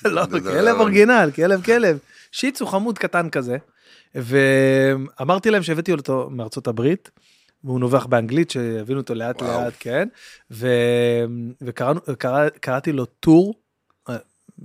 [SPEAKER 1] לא,
[SPEAKER 2] זה- זה-
[SPEAKER 1] כלב אורגינל, כלב כלב. שיצו חמוד קטן כזה. ואמרתי להם שהבאתי אותו מארצות הברית, והוא נובח באנגלית, שהבינו אותו לאט
[SPEAKER 2] וואו.
[SPEAKER 1] לאט, כן. וקראתי לו טור, אה,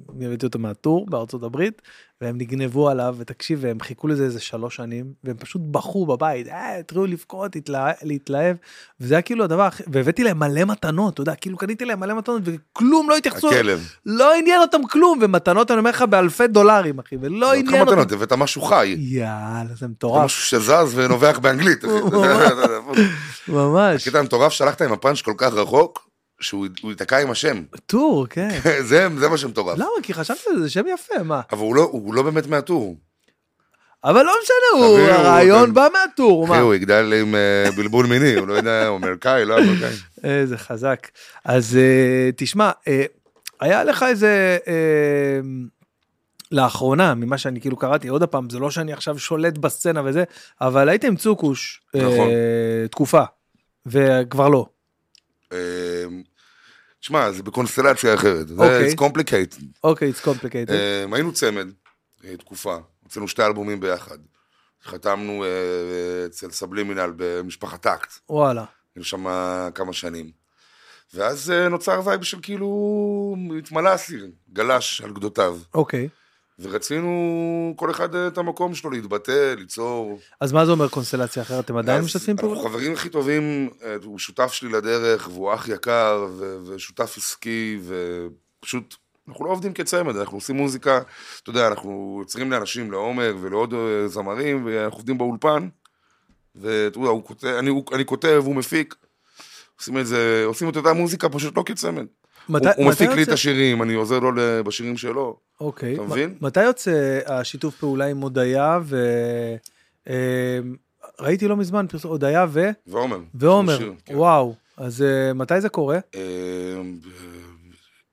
[SPEAKER 1] הבאתי אותו מהטור בארצות הברית, והם נגנבו עליו, ותקשיב, הם חיכו לזה איזה שלוש שנים, והם פשוט בכו בבית, אה, התחילו לבכות, התלה- להתלהב, וזה היה כאילו הדבר, הכי- והבאתי להם מלא מתנות, אתה יודע, כאילו קניתי להם מלא מתנות, וכלום לא התייחסו,
[SPEAKER 2] הכלב.
[SPEAKER 1] לא עניין אותם כלום, ומתנות, אני אומר לך, באלפי דולרים, אחי, ולא
[SPEAKER 2] אמרת לך
[SPEAKER 1] עניין אותם.
[SPEAKER 2] מתנות, לא- הבאת משהו חי.
[SPEAKER 1] יאללה, זה
[SPEAKER 2] זה
[SPEAKER 1] מטורף,
[SPEAKER 2] משהו שזז ונובח באנגלית, אחי.
[SPEAKER 1] הוא-
[SPEAKER 2] אתה
[SPEAKER 1] הוא-
[SPEAKER 2] יודע, אתה
[SPEAKER 1] <laughs>
[SPEAKER 2] יודע,
[SPEAKER 1] ממש.
[SPEAKER 2] הקטע המטורף שהלכת עם הפאנץ' כל כך רחוק, שהוא הוא ייתקע עם השם. <laughs>
[SPEAKER 1] טור, כן.
[SPEAKER 2] זה זה מה שמטורף.
[SPEAKER 1] למה? כי חשבתי שזה שם יפה, מה?
[SPEAKER 2] אבל הוא לא- הוא לא באמת מהטור.
[SPEAKER 1] אבל לא משנה, הוא,
[SPEAKER 2] תביאו,
[SPEAKER 1] הרעיון
[SPEAKER 2] אתם-
[SPEAKER 1] בא מהטור, מה?
[SPEAKER 2] אחי, הוא יגדל עם אה, בלבול מיני, הוא לא יודע, הוא אמריקאי, לא אמריקאי.
[SPEAKER 1] איזה חזק. אז אה, תשמע, אה, היה לך איזה... אה, לאחרונה, ממה שאני כאילו קראתי, עוד פעם, זה לא שאני עכשיו שולט בסצנה וזה, אבל הייתם צוקוש
[SPEAKER 2] נכון.
[SPEAKER 1] אה, תקופה, וכבר לא.
[SPEAKER 2] אה, תשמע, זה בקונסטלציה אחרת. זה
[SPEAKER 1] אוקיי.
[SPEAKER 2] it's complicated.
[SPEAKER 1] אוקיי, it's complicated.
[SPEAKER 2] אה, היינו צמד, אה, תקופה, הוצאנו שתי אלבומים ביחד. חתמנו אה, אה, אצל סבלימינל במשפחת טקט,
[SPEAKER 1] וואלה.
[SPEAKER 2] היינו שם כמה שנים. ואז אה, נוצר וייב של כאילו, התמלא אסיר, גלש על גדותיו.
[SPEAKER 1] אוקיי.
[SPEAKER 2] ורצינו כל אחד אה, את המקום שלו להתבטא, ליצור.
[SPEAKER 1] אז מה זה אומר קונסטלציה אחרת? אתם עדיין
[SPEAKER 2] אז
[SPEAKER 1] משתפים פעולה?
[SPEAKER 2] אנחנו חברים הכי טובים, אה, הוא שותף שלי לדרך, והוא אח יקר, ו- ושותף עסקי, ופשוט, אנחנו לא עובדים כצמד, אנחנו עושים מוזיקה, אתה יודע, אנחנו יוצרים לאנשים, לעומר ולעוד אה, זמרים, ואנחנו עובדים באולפן, ואתה יודע, הוא כותב- אני- הוא- אני כותב, הוא מפיק, עושים את זה, עושים את אותה מוזיקה, פשוט לא כצמד.
[SPEAKER 1] מתי-
[SPEAKER 2] הוא- הוא
[SPEAKER 1] מתי
[SPEAKER 2] מפיק לי את
[SPEAKER 1] יוצא-
[SPEAKER 2] השירים, אני עוזר לו ל- בשירים שלו.
[SPEAKER 1] אוקיי.
[SPEAKER 2] אתה
[SPEAKER 1] מ-
[SPEAKER 2] מבין?
[SPEAKER 1] מתי יוצא השיתוף פעולה עם הודיה ו... אה, ראיתי לא מזמן פרסום, הודיה ו...
[SPEAKER 2] ועומר.
[SPEAKER 1] ועומר.
[SPEAKER 2] שיר, כן.
[SPEAKER 1] וואו. אז אה, מתי זה קורה?
[SPEAKER 2] אה, אה,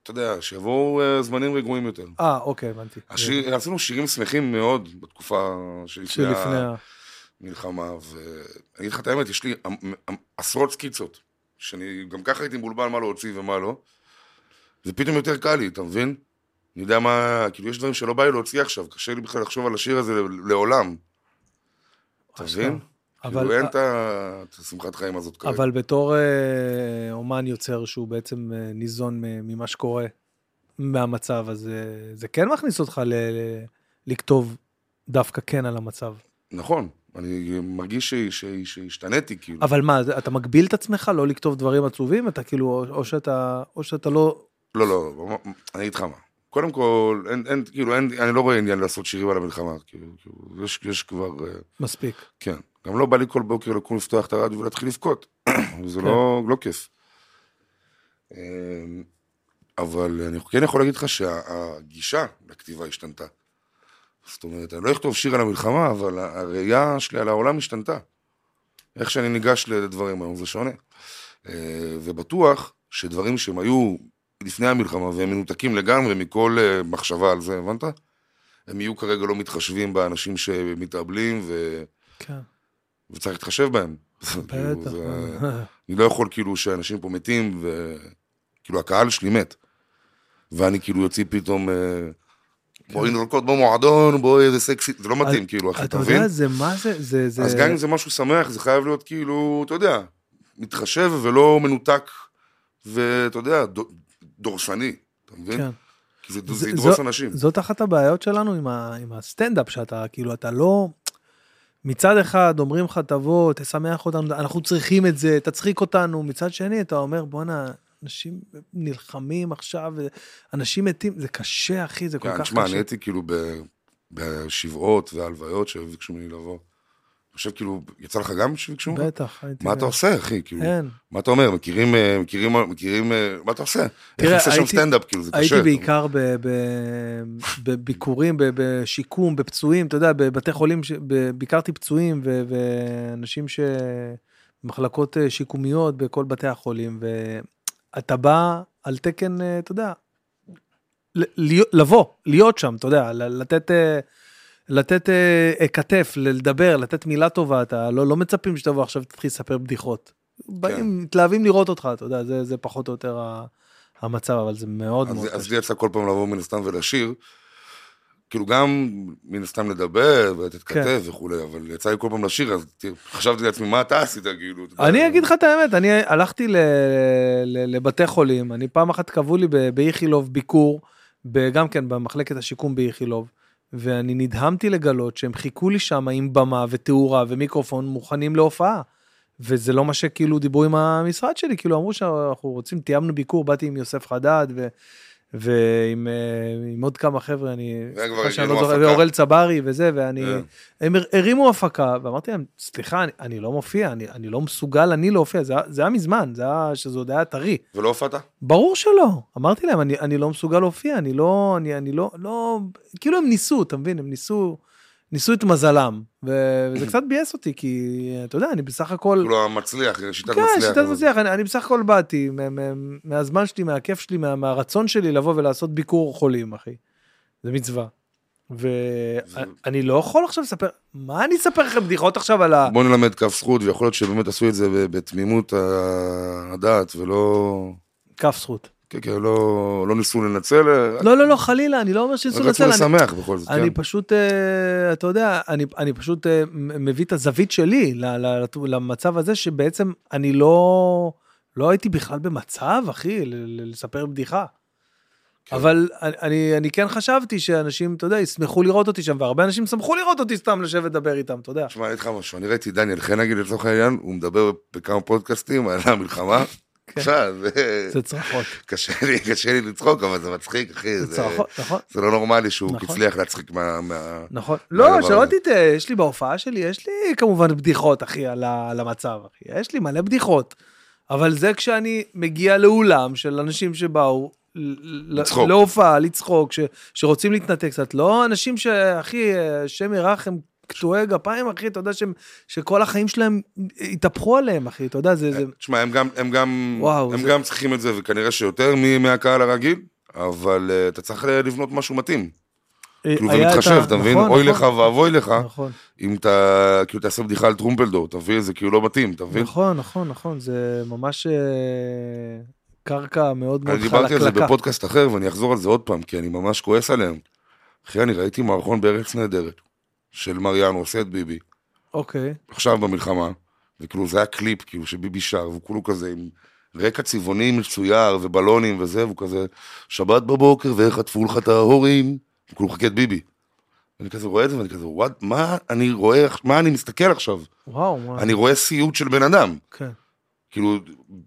[SPEAKER 2] אתה יודע, שיבואו אה, זמנים רגועים יותר.
[SPEAKER 1] אה, אוקיי, הבנתי.
[SPEAKER 2] השיר, עשינו שירים שמחים מאוד בתקופה שלפני,
[SPEAKER 1] שלפני
[SPEAKER 2] ה...
[SPEAKER 1] ה...
[SPEAKER 2] מלחמה, ואני אגיד לך את האמת, יש לי המ- המ- עשרות סקיצות, שאני גם ככה הייתי מבולבל מה להוציא ומה לא, ופתאום יותר קל לי, אתה מבין? אני יודע מה, כאילו יש דברים שלא בא לי להוציא עכשיו, קשה לי בכלל לחשוב על השיר הזה לעולם. אתה מבין? כאילו אין
[SPEAKER 1] כן, אבל,
[SPEAKER 2] את ה- את השמחת חיים הזאת כרגע.
[SPEAKER 1] אבל בתור אה, אומן יוצר שהוא בעצם אה, ניזון מ- ממה שקורה, מהמצב, אז אה, זה כן מכניס אותך ל- ל- לכתוב דווקא כן על המצב.
[SPEAKER 2] נכון, אני מרגיש ש- ש- שהשתניתי, כאילו.
[SPEAKER 1] אבל מה, זה- אתה מגביל את עצמך לא לכתוב דברים עצובים? אתה כאילו, או- או שאתה, או שאתה לא...
[SPEAKER 2] לא, לא, לא, אני אגיד לך מה. קודם כל, אין, אין, כאילו, אין, אני לא רואה עניין לעשות שירים על המלחמה, כאילו, כאילו יש, יש כבר, אה,
[SPEAKER 1] מספיק.
[SPEAKER 2] כן. גם לא בא לי כל בוקר לקום לפתוח את הרדיו ולהתחיל לבכות. <coughs> זה
[SPEAKER 1] כן.
[SPEAKER 2] לא, לא כיף. אה, אבל אני כן יכול להגיד לך שהגישה לכתיבה השתנתה. זאת אומרת, אני לא אכתוב שיר על המלחמה, אבל ה- הראייה שלי על העולם השתנתה. איך שאני ניגש לדברים היום זה שונה. אה, ובטוח שדברים שהם היו לפני המלחמה והם מנותקים לגמרי מכל אה, מחשבה על זה, הבנת? הם יהיו כרגע לא מתחשבים באנשים שמתאבלים ו...
[SPEAKER 1] כן,
[SPEAKER 2] וצריך להתחשב בהם. כאילו,
[SPEAKER 1] בטח.
[SPEAKER 2] זה-
[SPEAKER 1] <laughs>
[SPEAKER 2] אני לא יכול כאילו שאנשים פה מתים, וכאילו הקהל שלי מת. ואני כאילו יוציא פתאום, אה, בואי נרקוד במועדון, בואי איזה סקסי, זה לא מתאים כאילו, אחי,
[SPEAKER 1] כן. אתה
[SPEAKER 2] אתה מבין?
[SPEAKER 1] יודע, זה מה זה? זה... זה-
[SPEAKER 2] אז גם אם זה משהו שמח, זה חייב להיות כאילו, אתה יודע, מתחשב ולא מנותק, ואתה יודע, ד- דורסני, אתה מבין?
[SPEAKER 1] כן.
[SPEAKER 2] כי זה-
[SPEAKER 1] זה-
[SPEAKER 2] זה ידרוס
[SPEAKER 1] זו-
[SPEAKER 2] אנשים.
[SPEAKER 1] זאת אחת הבעיות שלנו עם, ה, עם הסטנדאפ, שאתה כאילו, אתה לא... מצד אחד אומרים לך, תבוא, תשמח אותנו, אנחנו צריכים את זה, תצחיק אותנו, מצד שני אתה אומר, בואנה, אנשים נלחמים עכשיו, אנשים מתים, זה קשה, אחי, זה כל
[SPEAKER 2] כן,
[SPEAKER 1] כך
[SPEAKER 2] תשמע, אני
[SPEAKER 1] קשה.
[SPEAKER 2] הייתי כאילו ב- בשבעות והלוויות שביקשו ממני לבוא. אני חושב כאילו, יצא לך גם שביקשו ממך?
[SPEAKER 1] בטח, הייתי...
[SPEAKER 2] מה אתה עושה, אחי? כאילו,
[SPEAKER 1] אין.
[SPEAKER 2] מה אתה אומר? מכירים, אה, מכירים, אה, מכירים, אה, מה אתה עושה? איך
[SPEAKER 1] תראה,
[SPEAKER 2] עושה שם
[SPEAKER 1] הייתי-
[SPEAKER 2] סטנדאפ, כאילו, זה קשה.
[SPEAKER 1] הייתי
[SPEAKER 2] אתה
[SPEAKER 1] בעיקר ב- ב- בביקורים, ב- בשיקום, בפצועים, אתה יודע, בבתי חולים, ש- ב- ביקרתי פצועים ו- ואנשים ש... מחלקות אה, שיקומיות בכל בתי החולים, ואתה בא על תקן, אה, אתה יודע, ל- להיות- לבוא, להיות שם, אתה יודע, ל- לתת... אה, לתת אה, אה, כתף, ל- לדבר, לתת מילה טובה, אתה לא, לא מצפים שתבוא עכשיו תתחיל לספר בדיחות.
[SPEAKER 2] כן.
[SPEAKER 1] באים, מתלהבים לראות אותך, אתה יודע, זה, זה פחות או יותר ה- המצב, אבל זה מאוד
[SPEAKER 2] מבין?
[SPEAKER 1] מאוד
[SPEAKER 2] אז- אז
[SPEAKER 1] קשה.
[SPEAKER 2] לי יצא כל פעם לבוא מן הסתם ולשיר. כאילו, גם מן הסתם לדבר ולתת
[SPEAKER 1] כן.
[SPEAKER 2] כתף וכולי, אבל יצא לי כל פעם לשיר, אז תראה, חשבתי לעצמי, מה אתה עשית, כאילו? אתה יודע,
[SPEAKER 1] אני אגיד לך את האמת, אני הלכתי ל- ל- לבתי חולים, אני פעם אחת קבעו לי ב- באיכילוב ביקור, ב- גם כן במחלקת השיקום באיכילוב, ואני נדהמתי לגלות שהם חיכו לי שם עם במה ותאורה ומיקרופון מוכנים להופעה. וזה לא מה שכאילו דיברו עם המשרד שלי, כאילו אמרו שאנחנו רוצים, תיאמנו ביקור, באתי עם יוסף חדד ו... ועם אה, עם עוד כמה חבר'ה, אני...
[SPEAKER 2] זה כבר
[SPEAKER 1] סליחה שאני
[SPEAKER 2] הגיעו
[SPEAKER 1] לא זוכר,
[SPEAKER 2] הפקה.
[SPEAKER 1] ואורל צברי וזה, ואני...
[SPEAKER 2] כן.
[SPEAKER 1] הם הר- הרימו הפקה, ואמרתי להם, סליחה, אני, אני לא מופיע, אני, אני לא מסוגל אני להופיע, זה, היה- זה היה מזמן, זה היה, שזה עוד היה טרי.
[SPEAKER 2] ולא הופעת?
[SPEAKER 1] ברור שלא. אמרתי להם, אני, אני לא מסוגל להופיע, אני לא, אני, אני לא, לא, כאילו הם ניסו, אתה מבין, הם ניסו, ניסו את מזלם, ו-
[SPEAKER 2] <clears throat>
[SPEAKER 1] וזה קצת ביאס אותי, כי אתה יודע, אני בסך הכל...
[SPEAKER 2] כאילו, המצליח, שיטת מצליח.
[SPEAKER 1] כן, שיטת
[SPEAKER 2] אבל-
[SPEAKER 1] מצליח, אני, אני בסך הכל באתי מה- מה- מהזמן שלי, מהכיף שלי, מה, מהרצון שלי לבוא ולעשות ביקור חולים, אחי. זה מצווה. ואני לא יכול עכשיו לספר, מה אני אספר לכם בדיחות עכשיו על ה...
[SPEAKER 2] בוא נלמד כף זכות, ויכול להיות שבאמת עשו את זה ב- בתמימות ה- הדעת, ולא...
[SPEAKER 1] כף זכות.
[SPEAKER 2] כן, כן, לא, לא ניסו לנצל, אה,
[SPEAKER 1] לא, לא, לא, חלילה, אני לא אומר שניסו
[SPEAKER 2] רק רצו
[SPEAKER 1] לנצל, אני-
[SPEAKER 2] לשמח בכל זאת,
[SPEAKER 1] אני
[SPEAKER 2] כן.
[SPEAKER 1] פשוט, אה, אתה יודע, אני, אני פשוט אה, מ- מביא את הזווית שלי ל- ל- לת- למצב הזה, שבעצם אני לא, לא הייתי בכלל במצב, אחי, ל- ל- לספר בדיחה.
[SPEAKER 2] כן.
[SPEAKER 1] אבל אני- אני, אני כן חשבתי שאנשים, אתה יודע, ישמחו לראות אותי שם, והרבה אנשים שמחו לראות אותי סתם לשבת לדבר איתם, אתה יודע.
[SPEAKER 2] תשמע, אני אגיד לך משהו, אני ראיתי דניאל חן, נגיד, לצורך העניין, הוא מדבר בכמה פודקאסטים על המלחמה.
[SPEAKER 1] כן.
[SPEAKER 2] עכשיו, זה-
[SPEAKER 1] זה צרחות,
[SPEAKER 2] קשה לי, קשה לי לצחוק, אבל זה מצחיק, אחי.
[SPEAKER 1] זה
[SPEAKER 2] זה-
[SPEAKER 1] צרחות, נכון.
[SPEAKER 2] זה לא נורמלי שהוא
[SPEAKER 1] נכון.
[SPEAKER 2] הצליח להצחיק מה... מה-
[SPEAKER 1] נכון.
[SPEAKER 2] הדבר
[SPEAKER 1] לא,
[SPEAKER 2] הזה.
[SPEAKER 1] שלא תטעה, יש לי בהופעה שלי, יש לי כמובן בדיחות, אחי, על ה- על המצב, אחי. יש לי מלא בדיחות. אבל זה כשאני מגיע לאולם של אנשים שבאו ל- ל-
[SPEAKER 2] לצחוק.
[SPEAKER 1] להופעה, לצחוק, ש- שרוצים להתנתק קצת. לא אנשים שאחי, השם ירח, הם קטועי גפיים, אחי, אתה יודע שהם- שכל החיים שלהם התהפכו עליהם, אחי, אתה יודע, זה... זה-
[SPEAKER 2] תשמע, הם גם, הם גם,
[SPEAKER 1] וואו,
[SPEAKER 2] הם
[SPEAKER 1] זה-
[SPEAKER 2] גם צריכים את זה, וכנראה שיותר מ- מהקהל הרגיל, אבל אה, אתה צריך לבנות משהו מתאים. כאילו
[SPEAKER 1] היה
[SPEAKER 2] זה
[SPEAKER 1] את ה-
[SPEAKER 2] מתחשב, אתה מבין?
[SPEAKER 1] נכון,
[SPEAKER 2] אוי לך
[SPEAKER 1] נכון.
[SPEAKER 2] ואבוי לך,
[SPEAKER 1] נכון,
[SPEAKER 2] אם אתה, כאילו תעשה בדיחה על טרומפלדור, אתה מבין? זה כאילו לא מתאים, אתה מבין?
[SPEAKER 1] נכון, נכון, נכון, זה ממש אה, קרקע מאוד מאוד
[SPEAKER 2] אני דיברתי על זה
[SPEAKER 1] חלקלקה.
[SPEAKER 2] בפודקאסט אחר, ואני אחזור על זה עוד פעם, כי אני ממש כועס עליהם. אחי, אני ראיתי מערכון בארץ נהדרת, של מריאנו, עושה את ביבי,
[SPEAKER 1] אוקיי,
[SPEAKER 2] עכשיו במלחמה, וכאילו זה היה קליפ, כאילו שביבי שר, והוא כאילו כזה עם רקע צבעוני מצויר ובלונים וזה, והוא כזה, שבת בבוקר וחטפו לך את ההורים, הוא כאילו חכה את ביבי. אני כזה רואה את זה, ואני כזה, וואט, מה אני רואה, עכש- מה אני מסתכל עכשיו?
[SPEAKER 1] וואו, מה,
[SPEAKER 2] אני רואה סיוט של בן אדם.
[SPEAKER 1] כן,
[SPEAKER 2] כאילו,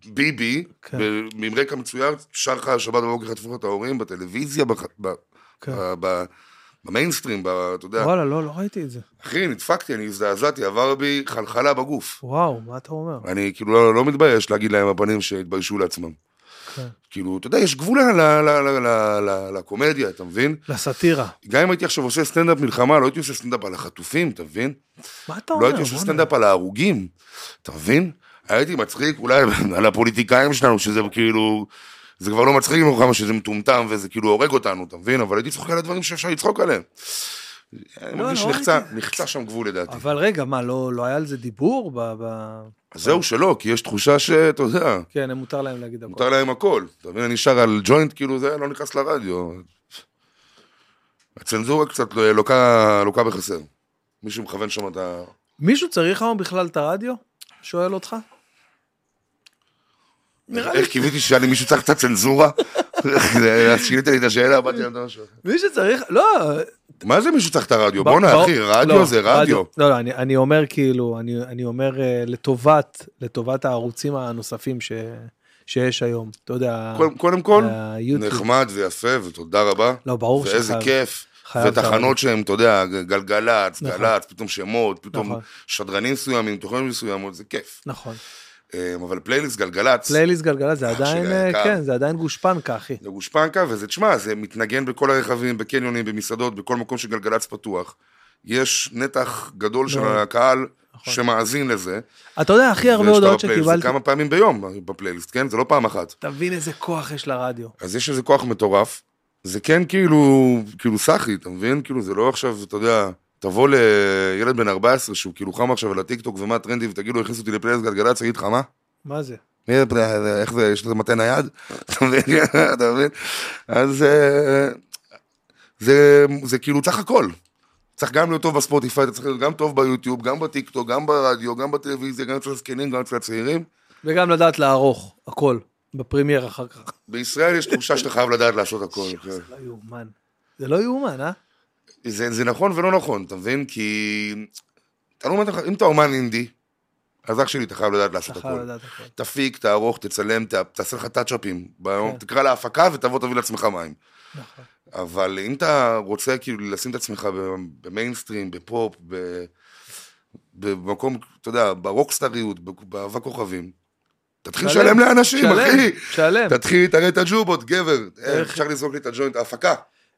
[SPEAKER 2] ביבי,
[SPEAKER 1] כן.
[SPEAKER 2] ב- עם רקע מצויר, שר לך שבת בבוקר חטפו לך את ההורים, בטלוויזיה, בח- ב-
[SPEAKER 1] כן.
[SPEAKER 2] ב- ב- במיינסטרים, ב- אה, אתה יודע.
[SPEAKER 1] וואלה, לא, לא ראיתי את זה.
[SPEAKER 2] אחי, נדפקתי, אני הזדעזעתי, עבר בי חלחלה בגוף.
[SPEAKER 1] וואו, מה אתה אומר?
[SPEAKER 2] אני כאילו לא, לא מתבייש להגיד להם בפנים שהתביישו לעצמם.
[SPEAKER 1] כן.
[SPEAKER 2] כאילו, אתה יודע, יש גבול ל- ל- ל- ל- ל- ל- לקומדיה, אתה מבין?
[SPEAKER 1] לסאטירה.
[SPEAKER 2] גם אם הייתי עכשיו עושה סטנדאפ מלחמה, לא הייתי עושה סטנדאפ על החטופים, אתה מבין?
[SPEAKER 1] מה אתה אומר?
[SPEAKER 2] לא הייתי עושה
[SPEAKER 1] בואנה.
[SPEAKER 2] סטנדאפ על ההרוגים, אתה מבין? הייתי מצחיק אולי <laughs> על הפוליטיקאים שלנו, שזה כאילו... זה כבר לא מצחיק לנו כמה שזה מטומטם וזה כאילו הורג אותנו, אתה מבין? אבל הייתי צוחק על הדברים שאפשר לצחוק עליהם. אני
[SPEAKER 1] לא,
[SPEAKER 2] מרגיש
[SPEAKER 1] לא
[SPEAKER 2] שנחצה-
[SPEAKER 1] ראיתי.
[SPEAKER 2] נחצה שם גבול לדעתי.
[SPEAKER 1] אבל רגע, מה, לא לא היה על זה דיבור? ב- ב-
[SPEAKER 2] אז זהו שלא, כי יש תחושה שאתה יודע,
[SPEAKER 1] כן, מותר להם להגיד הכול.
[SPEAKER 2] מותר להם הכל. אתה מבין, אני שר על ג'וינט, כאילו זה לא נכנס לרדיו. הצנזורה קצת לוקה, לוקה בחסר. מישהו מכוון שם את ה...
[SPEAKER 1] מישהו צריך היום בכלל את הרדיו? שואל אותך? נראה לי
[SPEAKER 2] איך קיוויתי שאני מישהו צריך קצת צנזורה? אז שינית לי את השאלה, באתי לדעת משהו.
[SPEAKER 1] מי שצריך, לא.
[SPEAKER 2] מה זה מישהו צריך את הרדיו?
[SPEAKER 1] ב-
[SPEAKER 2] בואנה
[SPEAKER 1] ב-
[SPEAKER 2] אחי,
[SPEAKER 1] לא,
[SPEAKER 2] רדיו זה רדיו.
[SPEAKER 1] לא, לא, אני- אני אומר כאילו, אני אני אומר אה, לטובת, לטובת הערוצים הנוספים ש- שיש היום. אתה יודע,
[SPEAKER 2] קודם- קודם כל,
[SPEAKER 1] אה, היוטיוב.
[SPEAKER 2] נחמד ויפה ותודה רבה.
[SPEAKER 1] לא, ברור
[SPEAKER 2] ואיזה
[SPEAKER 1] שחייב.
[SPEAKER 2] כיף.
[SPEAKER 1] חייב
[SPEAKER 2] ותחנות שהן, אתה יודע, גלגלצ,
[SPEAKER 1] נכון.
[SPEAKER 2] גל"צ, פתאום שמות, פתאום
[SPEAKER 1] נכון.
[SPEAKER 2] שדרנים מסוימים, תוכניות מסוימות, זה כיף.
[SPEAKER 1] נכון.
[SPEAKER 2] אה, אבל פלייליסט גלגלצ,
[SPEAKER 1] פלייליסט גלגלצ זה
[SPEAKER 2] אח
[SPEAKER 1] עדיין,
[SPEAKER 2] שלי
[SPEAKER 1] אה,
[SPEAKER 2] היקר.
[SPEAKER 1] כן, זה עדיין גושפנקה, אחי.
[SPEAKER 2] זה גושפנקה, וזה, תשמע, זה מתנגן בכל הרכבים, בקניונים, במסעדות, בכל מקום שגלגלצ פתוח. יש נתח גדול של
[SPEAKER 1] מאוד.
[SPEAKER 2] הקהל
[SPEAKER 1] נכון.
[SPEAKER 2] שמאזין לזה.
[SPEAKER 1] אתה יודע, הכי הרבה
[SPEAKER 2] ויש את
[SPEAKER 1] הודעות
[SPEAKER 2] הפלייליסט,
[SPEAKER 1] שקיבלתי,
[SPEAKER 2] זה כמה פעמים ביום בפלייליסט, כן? זה לא פעם אחת.
[SPEAKER 1] תבין איזה כוח יש לרדיו.
[SPEAKER 2] אז יש איזה כוח מטורף. זה כן כאילו, כאילו סאחי, אתה מבין? כאילו, זה לא עכשיו, אתה יודע, תבוא לילד בן 14 שהוא כאילו חם עכשיו על הטיקטוק ומה הטרנדי, ותגיד לו, הכניס אותי לפלייליסט גלגלצ, יגיד לך מה?
[SPEAKER 1] מה זה?
[SPEAKER 2] מי זה פני- איך זה, יש לזה מטה נייד? אתה מבין? <laughs> אתה מבין? אז אה, זה, זה כאילו צריך הכל. צריך גם להיות טוב בספוטיפיי, אתה צריך להיות גם טוב ביוטיוב, גם בטיקטוק, גם ברדיו, גם בטלוויזיה, גם אצל הזקנים, גם אצל הצעירים.
[SPEAKER 1] וגם לדעת לערוך, הכל, בפרימייר אחר כך.
[SPEAKER 2] בישראל יש תחושה שאתה חייב לדעת לעשות הכל.
[SPEAKER 1] <laughs>
[SPEAKER 2] כן.
[SPEAKER 1] זה לא יאומן. זה לא יאומן, אה?
[SPEAKER 2] זה, זה נכון ולא נכון, אתה מבין? כי... אתה לא אומר, אם אתה אומן אינדי, אז אח שלי, אתה חייב לדעת לעשות
[SPEAKER 1] אתה חייב
[SPEAKER 2] הכל.
[SPEAKER 1] לדעת לא הכל.
[SPEAKER 2] תפיק, תערוך, תצלם, ת- תעשה לך טאצ'אפים. ביום-
[SPEAKER 1] כן.
[SPEAKER 2] תקרא להפקה ותבוא תביא לעצמך מים.
[SPEAKER 1] נכון.
[SPEAKER 2] אבל אם אתה רוצה כאילו לשים את עצמך ב- במיינסטרים, בפופ, ב- במקום, אתה יודע, ברוקסטריות, ב- באהבה כוכבים, תתחיל
[SPEAKER 1] שלם.
[SPEAKER 2] לשלם לאנשים, אחי.
[SPEAKER 1] שלם, שלם.
[SPEAKER 2] תתחיל, תראה את הג'ובות, גבר. אה,
[SPEAKER 1] איך-
[SPEAKER 2] אפשר לזרוק לי את הג'וינט, ההפקה.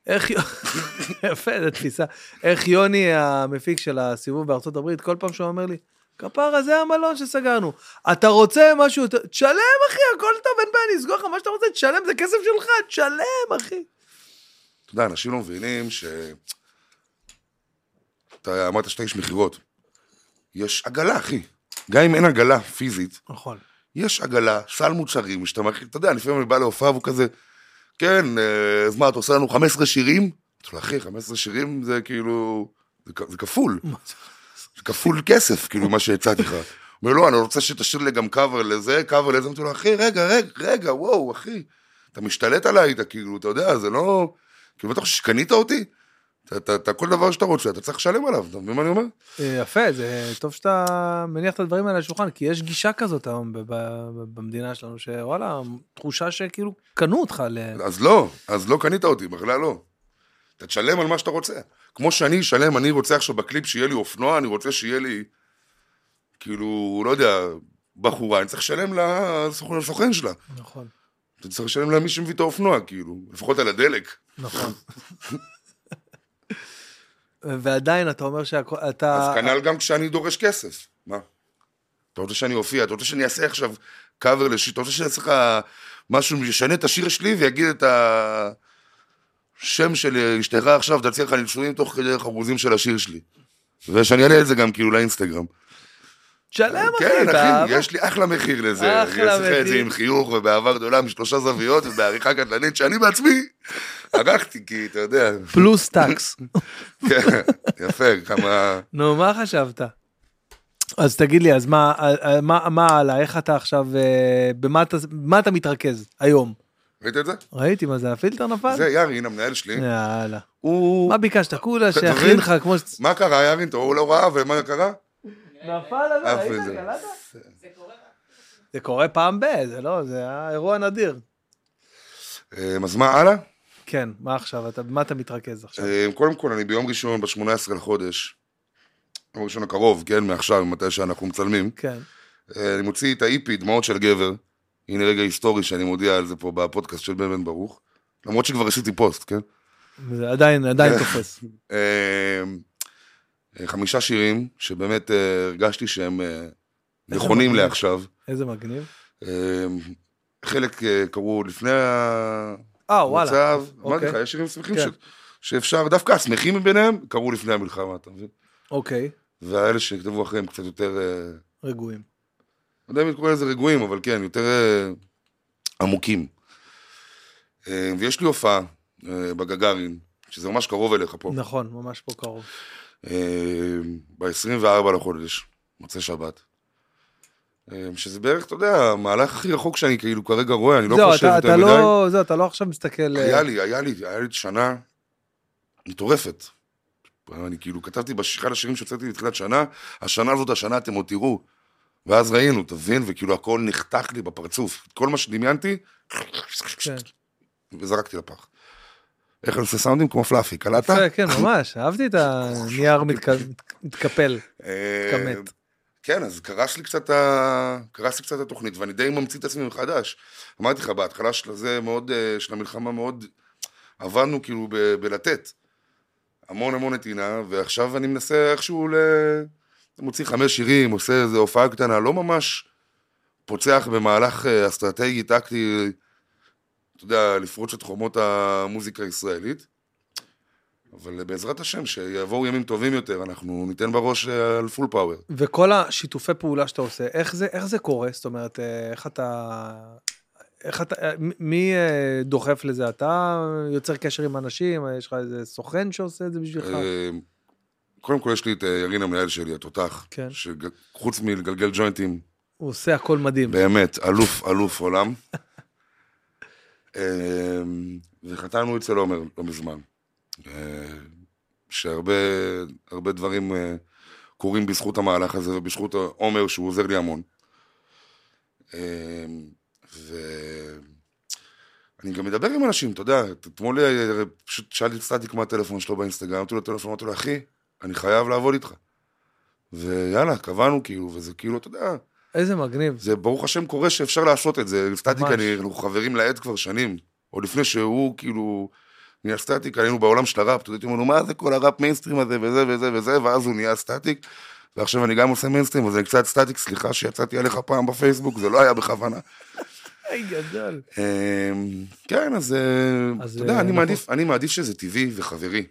[SPEAKER 1] איך... יו- <laughs> יפה, זו תפיסה. איך יוני המפיק של הסיבוב בארצות הברית, כל פעם שהוא אומר לי, כפרה, זה המלון שסגרנו. אתה רוצה משהו יותר... תשלם, אחי, הכל טוב, אין בעיה, נסגור לך מה שאתה רוצה, תשלם, זה כסף שלך, תשלם, אחי.
[SPEAKER 2] אתה יודע, אנשים לא מבינים ש... אתה אמרת שאתה איש מכירות. יש עגלה, אחי. גם אם אין עגלה פיזית,
[SPEAKER 1] נכון.
[SPEAKER 2] יש עגלה, סל מוצרים, שאתה מכיר, אתה יודע, לפעמים אני בא להופעה והוא כזה, כן, אה, אז מה, אתה עושה לנו 15 שירים? אמרתי לו, אחי, 15 שירים זה כאילו, זה כ- זה כפול, זה כפול כסף, כאילו, מה שהצעתי לך. הוא אומר, לא, אני רוצה שתשאיר לי גם קאבר לזה, קאבר לזה, אמרתי לו, אחי, רגע, רגע, רגע, וואו, אחי, אתה משתלט עליי, אתה כאילו, אתה יודע, זה לא, כאילו, אתה חושב שקנית אותי? אתה- אתה אתה- כל דבר שאתה רוצה, אתה צריך לשלם עליו, אתה מבין מה אני אומר?
[SPEAKER 1] אה, יפה, זה טוב שאתה מניח את הדברים האלה על השולחן, כי יש גישה כזאת היום ב- ב- במדינה שלנו, שוואלה, תחושה שכאילו קנו אותך ל...
[SPEAKER 2] אז לא, אז לא קנית אותי, בכלל לא. אתה תשלם על מה שאתה רוצה. כמו שאני אשלם, אני רוצה עכשיו בקליפ שיהיה לי אופנוע, אני רוצה שיהיה לי, כאילו, לא יודע, בחורה, אני צריך לשלם לסוכן- לסוכן שלה.
[SPEAKER 1] נכון,
[SPEAKER 2] אתה צריך לשלם למי שמביא את האופנוע, כאילו, לפחות על הדלק.
[SPEAKER 1] נכון. ועדיין אתה אומר שאתה...
[SPEAKER 2] אז כנ"ל גם כשאני דורש כסף. מה? אתה רוצה שאני אופיע, אתה רוצה שאני אעשה עכשיו קאבר לשיר, אתה רוצה שאני אעשה לך משהו, ישנה את השיר שלי ויגיד את ה... שם של אשתך עכשיו תציע לך נישואים תוך כדי חרוזים של השיר שלי. ושאני אעלה את זה גם כאילו לאינסטגרם.
[SPEAKER 1] תשלם אחי,
[SPEAKER 2] כן,
[SPEAKER 1] אתה-
[SPEAKER 2] אחי, יש לי אחלה מחיר לזה.
[SPEAKER 1] אחלה
[SPEAKER 2] אני אעשה לך את זה
[SPEAKER 1] מחיר.
[SPEAKER 2] עם חיוך ובאהבה גדולה משלושה זוויות ובעריכה קטלנית שאני בעצמי ערכתי, כי אתה יודע,
[SPEAKER 1] פלוס טקס.
[SPEAKER 2] כן, יפה, כמה...
[SPEAKER 1] נו, מה חשבת? אז תגיד לי, אז מה, אה, אה, מה, מה הלאה, איך אתה עכשיו, אה, במה אתה, במה אתה מתרכז היום?
[SPEAKER 2] ראית את זה?
[SPEAKER 1] ראיתי מה זה, הפילטר נפל?
[SPEAKER 2] זה יארין, המנהל שלי.
[SPEAKER 1] יאללה.
[SPEAKER 2] הוא...
[SPEAKER 1] כן. מה ביקשת? כולה
[SPEAKER 2] אתה
[SPEAKER 1] שיכין
[SPEAKER 2] מבין?
[SPEAKER 1] לך כמו ש...
[SPEAKER 2] מה קרה, יארין? אתה הוא לא ראה, ומה קרה?
[SPEAKER 1] נפל עליו,
[SPEAKER 2] אף ראית? איזה.
[SPEAKER 1] קלטת? אה, זה קורה פעם ב... זה לא, זה היה אירוע נדיר.
[SPEAKER 2] אה, אז מה הלאה?
[SPEAKER 1] כן, מה עכשיו? אתה, במה אתה מתרכז עכשיו?
[SPEAKER 2] אה, קודם כל, אני ביום ראשון, ב-18 לחודש, יום ראשון הקרוב, כן, מעכשיו, מתי שאנחנו מצלמים,
[SPEAKER 1] כן.
[SPEAKER 2] אה, אני מוציא את האיפי, דמעות של גבר. הנה רגע היסטורי שאני מודיע על זה פה בפודקאסט של בן בן ברוך. למרות שכבר עשיתי פוסט, כן?
[SPEAKER 1] זה עדיין, עדיין תופס.
[SPEAKER 2] אה, אה, חמישה שירים שבאמת אה, הרגשתי שהם אה, נכונים
[SPEAKER 1] מגניב.
[SPEAKER 2] לעכשיו.
[SPEAKER 1] איזה מגניב.
[SPEAKER 2] אה, חלק אה, קרו לפני ה-
[SPEAKER 1] אה, וואלה.
[SPEAKER 2] המצב, אמרתי לך,
[SPEAKER 1] אוקיי,
[SPEAKER 2] יש שירים שמחים
[SPEAKER 1] כן.
[SPEAKER 2] ש- שאפשר, דווקא השמחים מביניהם קרו לפני המלחמה, אתה מבין?
[SPEAKER 1] אוקיי,
[SPEAKER 2] והאלה שכתבו אחריהם קצת יותר, אה,
[SPEAKER 1] רגועים.
[SPEAKER 2] לא יודע אם קורא לזה רגועים, אבל כן, יותר אה, עמוקים. אה, ויש לי הופעה אה, בגגארין, שזה ממש קרוב אליך פה,
[SPEAKER 1] נכון, ממש פה קרוב.
[SPEAKER 2] ב-24 לחודש, מוצאי שבת. אה, שזה בערך, אתה יודע, המהלך הכי רחוק שאני כאילו כרגע רואה, אני לא
[SPEAKER 1] זהו,
[SPEAKER 2] חושב
[SPEAKER 1] אתה-
[SPEAKER 2] יותר
[SPEAKER 1] אתה
[SPEAKER 2] מדי.
[SPEAKER 1] לא, זהו, אתה לא עכשיו מסתכל... אה,
[SPEAKER 2] היה לי, היה לי, היה לי שנה מטורפת. אני כאילו כתבתי באחד השירים שהוצאתי בתחילת שנה, השנה הזאת, השנה אתם עוד תראו. ואז ראינו, תבין, וכאילו הכל נחתך לי בפרצוף. כל מה שדמיינתי,
[SPEAKER 1] כן.
[SPEAKER 2] וזרקתי לפח. איך אני עושה סאונדים? כמו פלאפי, קלטת?
[SPEAKER 1] יפה, כן, ממש, אהבתי את הנייר מתק- מתקפל.
[SPEAKER 2] אה,
[SPEAKER 1] כמת.
[SPEAKER 2] כן, אז קרס לי קצת, ה... קרס לי קצת התוכנית, ואני די ממציא את עצמי מחדש. אמרתי לך, בהתחלה של זה מאוד, אה, של המלחמה מאוד, עבדנו כאילו ב... בלתת. המון המון נתינה, ועכשיו אני מנסה איכשהו ל... מוציא חמש שירים, עושה איזו הופעה קטנה, לא ממש פוצח במהלך אה, אסטרטגי, טקטי, אתה יודע, לפרוץ את חומות המוזיקה הישראלית. אבל בעזרת השם, שיבואו ימים טובים יותר, אנחנו ניתן בראש אה, על פול פאוור.
[SPEAKER 1] וכל השיתופי פעולה שאתה עושה, איך זה, איך זה קורה? זאת אומרת, אה, איך אתה... איך אתה, אה, מ- מי אה, דוחף לזה? אתה יוצר קשר עם אנשים? אה, יש לך איזה סוכן שעושה את זה בשבילך?
[SPEAKER 2] אה, קודם כל יש לי את אה, ירין המנהל שלי, התותח,
[SPEAKER 1] כן.
[SPEAKER 2] שחוץ מלגלגל ג'וינטים,
[SPEAKER 1] הוא עושה הכל מדהים.
[SPEAKER 2] באמת, אלוף, אלוף עולם. <laughs> אה, וחתנו אצל עומר לא מזמן, אה, שהרבה הרבה דברים אה, קורים בזכות המהלך הזה ובזכות עומר שהוא עוזר לי המון. אה, ואני גם מדבר עם אנשים, אתה יודע, אתמול אה, פשוט שאלתי את סטטיק מה הטלפון שלו באינסטגרם, אמרתי לו טלפון, אמרתי לו, אחי, אני חייב לעבוד איתך. ויאללה, קבענו כאילו, וזה כאילו, אתה יודע,
[SPEAKER 1] איזה מגניב.
[SPEAKER 2] זה ברוך השם קורה שאפשר לעשות את זה. סטטיק,
[SPEAKER 1] ממש.
[SPEAKER 2] אני- אנחנו חברים לעד כבר שנים. עוד לפני שהוא כאילו נהיה סטטיק, היינו בעולם של הראפ, אתה יודע, אמרנו, מה זה כל הראפ מיינסטרים הזה וזה וזה וזה, ואז הוא נהיה סטטיק. ועכשיו אני גם עושה מיינסטרים, אז אני קצת סטטיק, סליחה שיצאתי עליך פעם בפייסבוק, זה לא היה בכוונה.
[SPEAKER 1] היי, גדול.
[SPEAKER 2] אמ, כן, אז אה,
[SPEAKER 1] אז,
[SPEAKER 2] אתה יודע,
[SPEAKER 1] אה,
[SPEAKER 2] אני
[SPEAKER 1] נכון.
[SPEAKER 2] מעדיף- אני מעדיף שזה טבעי וחברי.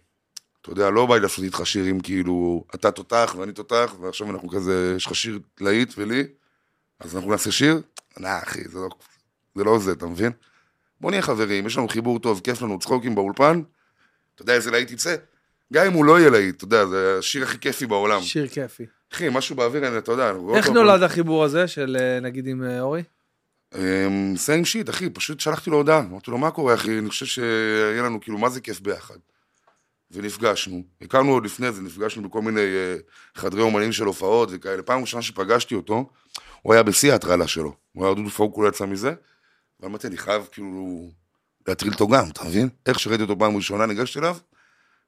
[SPEAKER 2] אתה יודע, לא בא לי לעשות איתך שירים כאילו, אתה תותח ואני תותח, ועכשיו אנחנו כזה, יש לך שיר להיט ולי, אז אנחנו נעשה שיר? נא, אחי, זה לא, זה לא זה, אתה מבין? בוא נהיה חברים, יש לנו חיבור טוב, כיף לנו, צחוקים באולפן, אתה יודע איזה להיט יצא? גם אם הוא לא יהיה להיט, אתה יודע, זה השיר הכי כיפי בעולם.
[SPEAKER 1] שיר כיפי.
[SPEAKER 2] אחי, משהו באוויר, אני- אתה יודע, אנחנו רואים
[SPEAKER 1] איך
[SPEAKER 2] אותו-
[SPEAKER 1] נולד החיבור הזה של אה, נגיד עם אה, אורי?
[SPEAKER 2] סיים שיט, אמ, אחי, פשוט שלחתי לו הודעה. אמרתי לו, מה קורה, אחי? אני חושב שיהיה לנו, כאילו, מה זה כיף ביחד. ונפגשנו. הכרנו עוד לפני זה, נפגשנו בכל מיני אה, חדרי אומנים של הופעות וכאלה. פעם ראשונה שפגשתי אותו, הוא היה בשיא ההטרלה שלו. הוא היה דודו פאוק, הוא לא יצא מזה. ואמרתי, אני חייב, כאילו, להטריל אותו גם, אתה מבין? איך שראיתי אותו פעם ראשונה, ניגשתי אליו,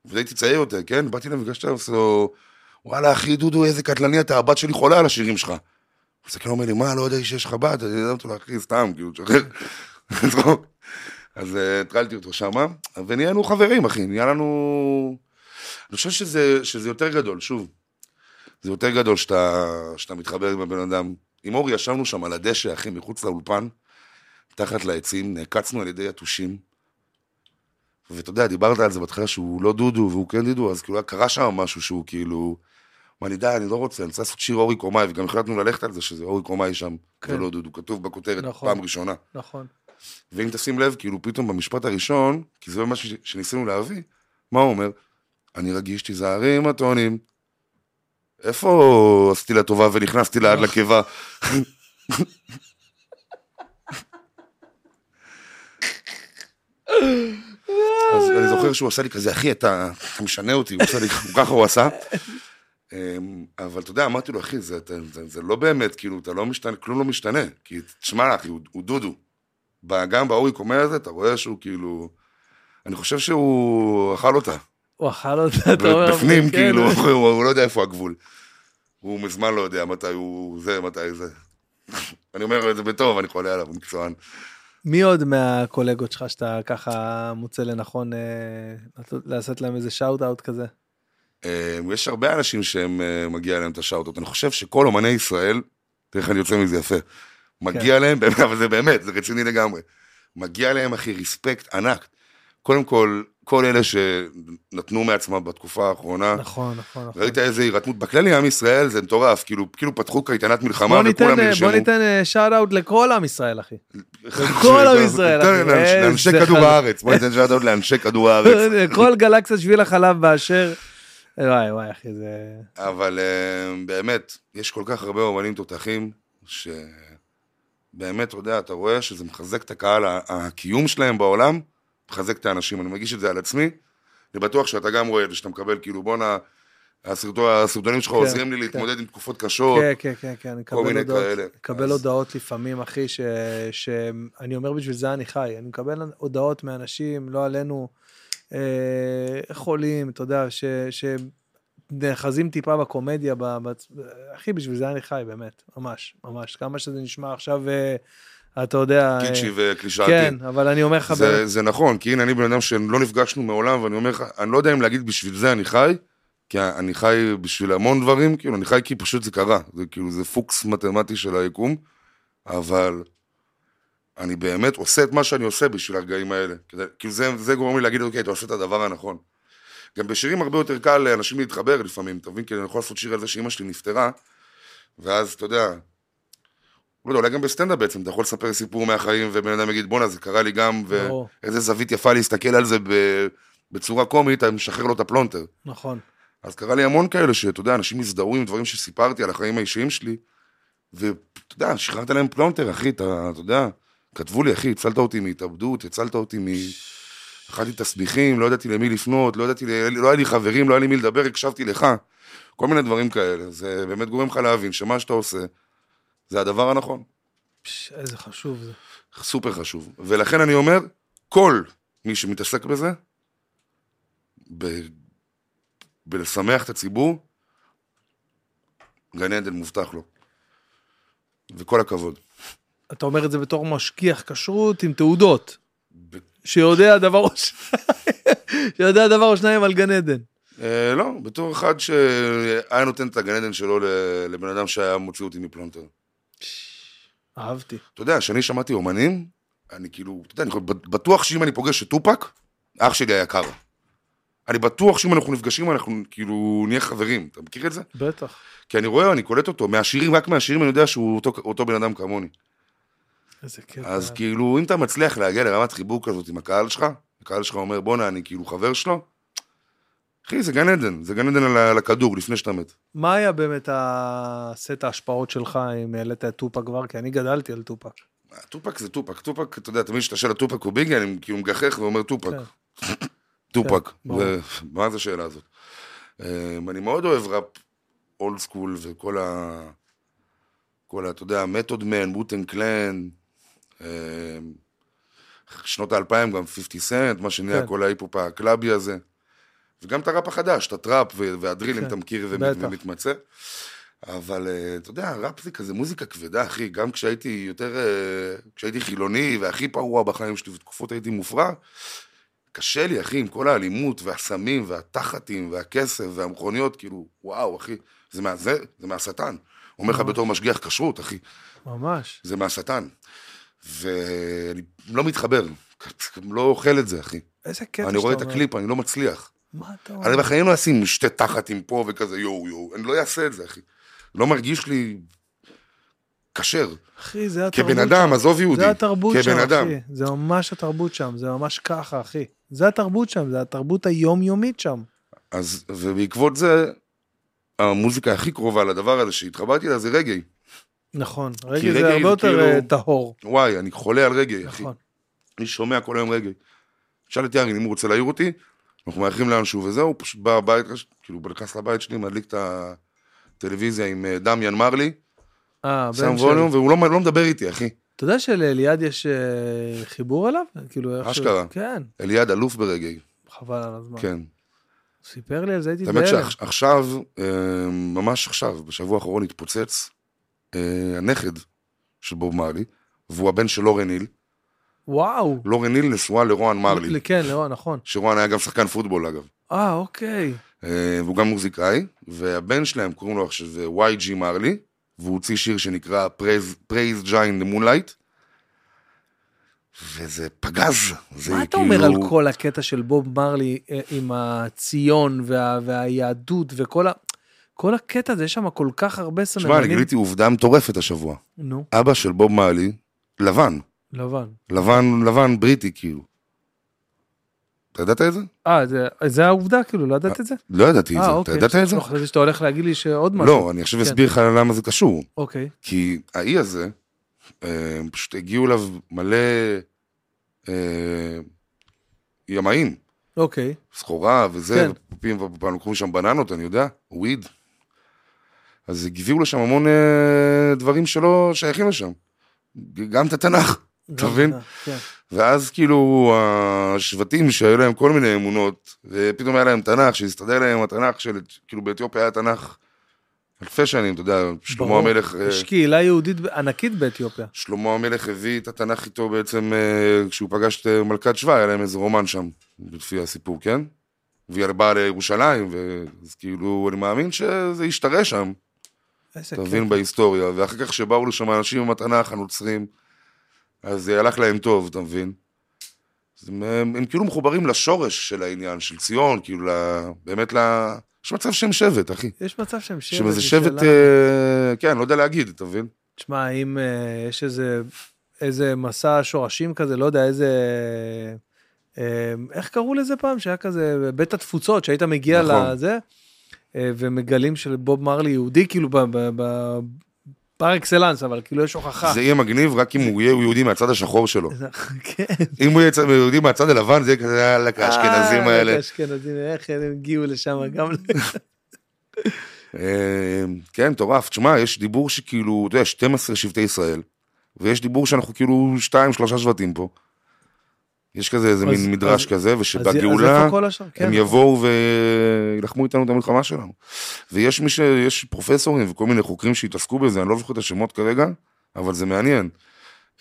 [SPEAKER 2] והייתי צעיר יותר, כן? באתי אליו, ניגשתי אליו, אמרתי לו, וואלה, אחי, דודו, איזה קטלני אתה, הבת שלי חולה על השירים שלך. אז כאילו אומר לי, מה, לא יודע שיש לך בת, אני אמרתי לו, אחי, סתם, כאילו, תשחרר. <laughs> צחוק. אז אה, הטרלתי אותו שמה, ונהיינו חברים, אחי, נהיה לנו... אני חושב שזה, שזה יותר גדול, שוב. זה יותר גדול שאתה, שאתה מתחבר עם הבן אדם. עם אורי ישבנו שם על הדשא, אחי, מחוץ לאולפן, תחת לעצים, נעקצנו על ידי יתושים. ואתה יודע, דיברת על זה בהתחלה שהוא לא דודו והוא כן דודו, אז כאילו היה- קרה שם משהו שהוא כאילו... מה, אני יודע, אני לא רוצה, אני רוצה לעשות שיר אורי קומאי, וגם החלטנו ללכת על זה שזה אורי קומאי שם,
[SPEAKER 1] כן.
[SPEAKER 2] ולא דודו, כתוב בכותרת,
[SPEAKER 1] נכון.
[SPEAKER 2] פעם ראשונה.
[SPEAKER 1] נכון.
[SPEAKER 2] ואם תשים לב, כאילו פתאום במשפט הראשון, כי זה מה ש- שניסינו להביא, מה הוא אומר? אני רגיש, תיזהרי עם הטונים. איפה עשיתי לה טובה ונכנסתי לה עד לקיבה? אז אני זוכר שהוא עשה לי כזה, אחי, אתה אתה משנה אותי, הוא עשה לי, ככה הוא עשה. אמ, אבל אתה יודע, אמרתי לו, אחי, זה, אתה- זה, זה לא באמת, כאילו, אתה לא משתנה, כלום לא משתנה. כי תשמע, אחי, הוא, הוא דודו. ב- גם באורי קומר הזה, אתה רואה שהוא כאילו... אני חושב שהוא אכל אותה.
[SPEAKER 1] הוא אכל אותה, אתה אומר.
[SPEAKER 2] בפנים,
[SPEAKER 1] כן.
[SPEAKER 2] כאילו, <laughs> הוא, הוא לא יודע איפה הגבול. הוא מזמן לא יודע מתי הוא זה, מתי זה. <laughs> אני אומר את זה בטוב, אני חולה עליו, הוא מקצוען.
[SPEAKER 1] מי עוד מהקולגות שלך שאתה ככה מוצא לנכון אה, לעשות- לעשות להם איזה שאוט אאוט כזה?
[SPEAKER 2] אה, יש הרבה אנשים שהם, אה, מגיע להם את השאוטות. אני חושב שכל אומני ישראל, תראה איך אני יוצא מזה יפה,
[SPEAKER 1] כן.
[SPEAKER 2] מגיע להם, <laughs> באמת, אבל זה באמת, זה רציני לגמרי. מגיע להם, אחי, רספקט ענק. קודם כל, כל אלה שנתנו מעצמם בתקופה האחרונה,
[SPEAKER 1] נכון, נכון, נכון.
[SPEAKER 2] ראית איזה הירתמות, בכללי עם ישראל זה מטורף, כאילו, כאילו פתחו קייטנת מלחמה
[SPEAKER 1] בוא
[SPEAKER 2] וכולם
[SPEAKER 1] ניתן, אה,
[SPEAKER 2] נרשמו.
[SPEAKER 1] בוא
[SPEAKER 2] <laughs>
[SPEAKER 1] ניתן <laughs> שאט אאוט לכל עם ישראל, אחי. לכל
[SPEAKER 2] ניתן
[SPEAKER 1] עם ישראל, אחי, איזה
[SPEAKER 2] לאנשי
[SPEAKER 1] חלק.
[SPEAKER 2] כדור הארץ, בוא ניתן שאלות לאנשי
[SPEAKER 1] <laughs>
[SPEAKER 2] כדור הארץ.
[SPEAKER 1] כל גלקסיה שביל החלב באשר. וואי וואי אחי זה...
[SPEAKER 2] אבל אה, באמת, יש כל כך הרבה אומנים תותחים, שבאמת, אתה יודע, אתה רואה שזה מחזק את הקהל, ה- הקיום שלהם בעולם, מחזק את האנשים. אני מרגיש את זה על עצמי, אני בטוח שאתה גם רואה את זה, שאתה מקבל, כאילו, בואנה, הסרטו- הסרטונים שלך
[SPEAKER 1] כן,
[SPEAKER 2] עוזרים לי
[SPEAKER 1] כן.
[SPEAKER 2] להתמודד עם תקופות קשות.
[SPEAKER 1] כן, כן, כן, כן, אני
[SPEAKER 2] כל
[SPEAKER 1] מקבל
[SPEAKER 2] מיני
[SPEAKER 1] הודעות,
[SPEAKER 2] כאלה.
[SPEAKER 1] מקבל
[SPEAKER 2] אז-
[SPEAKER 1] הודעות לפעמים, אחי, ש- שאני אומר בשביל זה אני חי, אני מקבל הודעות מאנשים, לא עלינו, אה, חולים, אתה יודע, ש- שנאחזים טיפה בקומדיה, ב- ב- אחי, בשביל זה אני חי, באמת, ממש, ממש, כמה שזה נשמע עכשיו, אה, אתה יודע, אה,
[SPEAKER 2] קיצ'י וקלישאתי.
[SPEAKER 1] כן, אבל אני אומר לך,
[SPEAKER 2] זה,
[SPEAKER 1] באמת,
[SPEAKER 2] זה נכון, כי הנה אני בן אדם שלא נפגשנו מעולם, ואני אומר לך, אני לא יודע אם להגיד בשביל זה אני חי, כי אני חי בשביל המון דברים, כאילו, אני חי כי פשוט זה קרה, זה כאילו, זה פוקס מתמטי של היקום, אבל אני באמת עושה את מה שאני עושה בשביל הרגעים האלה. כדי, כאילו, זה, זה גורם לי להגיד, אוקיי, אתה עושה את הדבר הנכון. גם בשירים הרבה יותר קל לאנשים להתחבר לפעמים, אתה מבין? כי אני יכול לעשות שיר על זה שאימא שלי נפטרה, ואז, אתה יודע, לא יודע, אולי גם בסטנדאפ בעצם, אתה יכול לספר סיפור מהחיים, ובן אדם יגיד, בואנה, זה קרה לי גם, ו...
[SPEAKER 1] ברור,
[SPEAKER 2] איזה זווית יפה להסתכל על זה ב- בצורה קומית, אני משחרר לו את הפלונטר.
[SPEAKER 1] נכון,
[SPEAKER 2] אז קרה לי המון כאלה שאתה יודע, אנשים הזדהו עם דברים שסיפרתי על החיים האישיים שלי, ואתה יודע, שחררת להם פלונטר, אחי, אתה, אתה יודע, כתבו לי, אחי, הצלת אותי מהתאבדות, הצלת אותי מ... אכלתי תסביכים, לא ידעתי למי לפנות, לא ידעתי, ל- לא היה לי חברים, לא היה לי מי לדבר, הקשבתי לך. כל מיני דברים כאלה. זה באמת גורם לך להבין שמה שאתה עושה, זה הדבר הנכון.
[SPEAKER 1] פש, איזה חשוב זה.
[SPEAKER 2] סופר חשוב. ולכן אני אומר, כל מי שמתעסק בזה, ב... בלשמח את הציבור, גן עדן מובטח לו. וכל הכבוד.
[SPEAKER 1] אתה אומר את זה בתור משגיח כשרות עם תעודות.
[SPEAKER 2] ב...
[SPEAKER 1] שיודע דבר או שניים, <laughs> שיודע דבר או שניים על גן עדן.
[SPEAKER 2] אה, לא, בתור אחד שהיה נותן את הגן עדן שלו ל- לבן אדם שהיה מוציא אותי מפלונטר.
[SPEAKER 1] אהבתי.
[SPEAKER 2] אתה יודע, כשאני שמעתי אומנים, אני כאילו, אתה יודע, אני בטוח שאם אני פוגש את טופק, אח שלי היקר. אני בטוח שאם אנחנו נפגשים, אנחנו כאילו נהיה חברים. אתה מכיר את זה?
[SPEAKER 1] בטח.
[SPEAKER 2] כי אני רואה, אני קולט אותו, מהשירים, רק מהשירים אני יודע שהוא אותו, אותו בן אדם כמוני.
[SPEAKER 1] איזה כיף.
[SPEAKER 2] אז
[SPEAKER 1] אה.
[SPEAKER 2] כאילו, אם אתה מצליח להגיע לרמת חיבור כזאת עם הקהל שלך, הקהל שלך אומר, בואנה, אני כאילו חבר שלו, אחי, זה גן עדן, זה גן עדן על ה- על הכדור, לפני שאתה מת.
[SPEAKER 1] מה היה באמת הסט ההשפעות שלך אם העלית את טופק כבר? כי אני גדלתי על טופק.
[SPEAKER 2] טופק זה טופק, טופק, אתה יודע, תמיד כשאתה שואל על טופק או ביגי, אני כאילו מגחך ואומר טופק.
[SPEAKER 1] כן.
[SPEAKER 2] טופק,
[SPEAKER 1] ברור.
[SPEAKER 2] זה- מה זה השאלה הזאת? אמ, אני מאוד אוהב ראפ אולד סקול וכל ה... כל ה... אתה יודע, מתוד מן, בוטן קלן, אה, שנות האלפיים גם 50 סנט, מה שנהיה
[SPEAKER 1] כן.
[SPEAKER 2] כל ההיפ-הופ הקלאבי הזה. וגם את הראפ החדש, את הטראפ ו- והדריל, אם
[SPEAKER 1] כן,
[SPEAKER 2] אתה מכיר ומת-
[SPEAKER 1] בטח.
[SPEAKER 2] ומתמצא. אבל אה, אתה יודע, ראפ זה כזה מוזיקה כבדה, אחי. גם כשהייתי יותר... אה, כשהייתי חילוני והכי פרוע בחיים שלי, ותקופות הייתי מופרע, קשה לי, אחי, עם כל האלימות והסמים והתחתים והכסף והמכוניות, כאילו, וואו, אחי, זה, מה, זה, זה מהשטן. אומר לך
[SPEAKER 1] ממש.
[SPEAKER 2] בתור משגיח כשרות, אחי,
[SPEAKER 1] ממש.
[SPEAKER 2] זה מהשטן. ואני לא מתחבר, לא אוכל את זה, אחי.
[SPEAKER 1] איזה קטע
[SPEAKER 2] אני רואה את
[SPEAKER 1] שאתה כן, אומר. אוקיי.
[SPEAKER 2] הקליפ, אני לא מצליח.
[SPEAKER 1] מה אתה
[SPEAKER 2] אני
[SPEAKER 1] אומר?
[SPEAKER 2] בחיים לא אשים שתי תחתים פה וכזה יואו יואו, אני לא אעשה את זה, אחי. לא מרגיש לי כשר.
[SPEAKER 1] אחי, זה התרבות
[SPEAKER 2] כבן אדם, עזוב
[SPEAKER 1] שם.
[SPEAKER 2] יהודי.
[SPEAKER 1] זה התרבות שם,
[SPEAKER 2] כבן אדם.
[SPEAKER 1] אחי. זה ממש התרבות שם, זה ממש ככה, אחי. זה התרבות שם, זה התרבות היומיומית שם.
[SPEAKER 2] אז, ובעקבות זה, המוזיקה הכי קרובה לדבר הזה שהתחברתי אליה זה רגעי.
[SPEAKER 1] נכון, רגע זה
[SPEAKER 2] רגל
[SPEAKER 1] הרבה יותר
[SPEAKER 2] כאילו-
[SPEAKER 1] אה, טהור.
[SPEAKER 2] וואי, אני חולה על רגעי, אחי.
[SPEAKER 1] נכון.
[SPEAKER 2] אני שומע כל היום רגעי. שאל את יארין אם הוא רוצה להעיר אותי, אנחנו מארחים לאנשהו וזהו, הוא פשוט בא הבית, כאילו, נכנס לבית שלי, מדליק את הטלוויזיה עם אה, דמיאן מרלי,
[SPEAKER 1] אה, בן
[SPEAKER 2] שם
[SPEAKER 1] של-
[SPEAKER 2] ווליום, והוא לא, לא מדבר איתי, אחי.
[SPEAKER 1] אתה יודע שלאליעד יש אה, חיבור אליו? כאילו, איך
[SPEAKER 2] אשכרה.
[SPEAKER 1] כן,
[SPEAKER 2] אליעד אלוף ברגעי,
[SPEAKER 1] חבל על הזמן.
[SPEAKER 2] כן.
[SPEAKER 1] הוא סיפר לי על זה, הייתי
[SPEAKER 2] האמת
[SPEAKER 1] בהלם.
[SPEAKER 2] שעכשיו, אה, ממש עכשיו, בשבוע האחרון התפוצץ אה, הנכד של בוב מרלי, והוא הבן של לורן היל.
[SPEAKER 1] וואו.
[SPEAKER 2] לורן היל נשואה לרוהן מרלי,
[SPEAKER 1] כן, לרון, נכון.
[SPEAKER 2] שרוהן היה גם שחקן פוטבול אגב.
[SPEAKER 1] אה, אוקיי.
[SPEAKER 2] אה, והוא גם מוזיקאי, והבן שלהם קוראים לו עכשיו אה, זה YG מרלי, והוא הוציא שיר שנקרא Praise- Praise Giant the Moonlight, וזה פגז. זה
[SPEAKER 1] מה אתה
[SPEAKER 2] כאילו-
[SPEAKER 1] אומר על כל הקטע של בוב מרלי אה, עם הציון וה- והיהדות וכל ה... כל הקטע הזה, יש שם כל כך הרבה סממנים.
[SPEAKER 2] שמע, אני גיליתי עובדה מטורפת השבוע.
[SPEAKER 1] נו, לא
[SPEAKER 2] אבא של בוב מרלי, לבן.
[SPEAKER 1] לבן.
[SPEAKER 2] לבן, לבן בריטי כאילו. אתה ידעת את זה?
[SPEAKER 1] אה, זה- זה העובדה, כאילו, לא ידעת את זה?
[SPEAKER 2] לא ידעתי את
[SPEAKER 1] אה,
[SPEAKER 2] זה. אתה
[SPEAKER 1] אוקיי.
[SPEAKER 2] ידעת את זה?
[SPEAKER 1] לא, חשבתי שאתה הולך להגיד לי שעוד משהו.
[SPEAKER 2] לא, אני עכשיו
[SPEAKER 1] כן.
[SPEAKER 2] אסביר לך למה זה קשור.
[SPEAKER 1] אוקיי.
[SPEAKER 2] כי האי הזה, אה, פשוט הגיעו אליו מלא אה, ימאים,
[SPEAKER 1] אוקיי.
[SPEAKER 2] סחורה וזה,
[SPEAKER 1] כן.
[SPEAKER 2] ופופים ופופים, לקחו משם בננות, אני יודע, וויד. אז הגיעו לשם המון אה, דברים שלא שייכים לשם. גם את התנ"ך. אתה מבין?
[SPEAKER 1] כן.
[SPEAKER 2] ואז כאילו השבטים שהיו להם כל מיני אמונות, ופתאום היה להם תנ"ך, שהסתדר להם התנ"ך של, כאילו באתיופיה היה תנ"ך אלפי שנים, אתה יודע, שלמה
[SPEAKER 1] ברור.
[SPEAKER 2] המלך, אה,
[SPEAKER 1] יש קהילה יהודית ענקית באתיופיה.
[SPEAKER 2] שלמה המלך הביא את התנ"ך איתו בעצם, אה, כשהוא פגש את אה, מלכת שבא, היה להם איזה רומן שם, לפי הסיפור, כן? והיא באה לירושלים, ו- אז כאילו, אני מאמין שזה ישתרש שם,
[SPEAKER 1] איזה
[SPEAKER 2] אתה
[SPEAKER 1] קטע.
[SPEAKER 2] מבין, בהיסטוריה, ואחר כך שבאו לשם אנשים עם התנ"ך, הנוצרים, אז זה הלך להם טוב, אתה מבין? אז הם, הם, הם כאילו מחוברים לשורש של העניין, של ציון, כאילו, ל- באמת ל... יש מצב שהם שבט, אחי.
[SPEAKER 1] יש מצב שהם שבט.
[SPEAKER 2] שהם איזה
[SPEAKER 1] משלנו.
[SPEAKER 2] שבט, אה, כן, לא יודע להגיד, אתה מבין?
[SPEAKER 1] תשמע, אם אה, יש איזה, איזה מסע שורשים כזה, לא יודע, איזה... אה, איך קראו לזה פעם? שהיה כזה בית התפוצות, שהיית מגיע
[SPEAKER 2] נכון.
[SPEAKER 1] נכון. לזה, אה, ומגלים שבוב מרלי יהודי, כאילו ב... ב, ב פר אקסלנס, אבל כאילו יש הוכחה.
[SPEAKER 2] זה יהיה מגניב רק אם הוא יהיה יהודי מהצד השחור שלו.
[SPEAKER 1] זה- <laughs> כן.
[SPEAKER 2] אם הוא יהיה צד- יהודי מהצד הלבן, זה יהיה כזה, יאללה, האשכנזים
[SPEAKER 1] אה,
[SPEAKER 2] האלה.
[SPEAKER 1] האשכנזים, איך הם הגיעו לשם
[SPEAKER 2] <laughs>
[SPEAKER 1] גם... ל-
[SPEAKER 2] אה, כן, מטורף. תשמע, יש דיבור שכאילו, אתה יודע, 12 שבטי ישראל, ויש דיבור שאנחנו כאילו שתיים, שלושה שבטים פה. יש כזה איזה
[SPEAKER 1] אז-
[SPEAKER 2] מין מדרש
[SPEAKER 1] אז-
[SPEAKER 2] כזה,
[SPEAKER 1] אז- אז
[SPEAKER 2] ושבגאולה
[SPEAKER 1] איפה כל השאר? כן.
[SPEAKER 2] הם יבואו וילחמו איתנו את המלחמה שלנו. ויש מי ש... יש פרופסורים וכל מיני חוקרים שהתעסקו בזה, אני לא זוכר את השמות כרגע, אבל זה מעניין.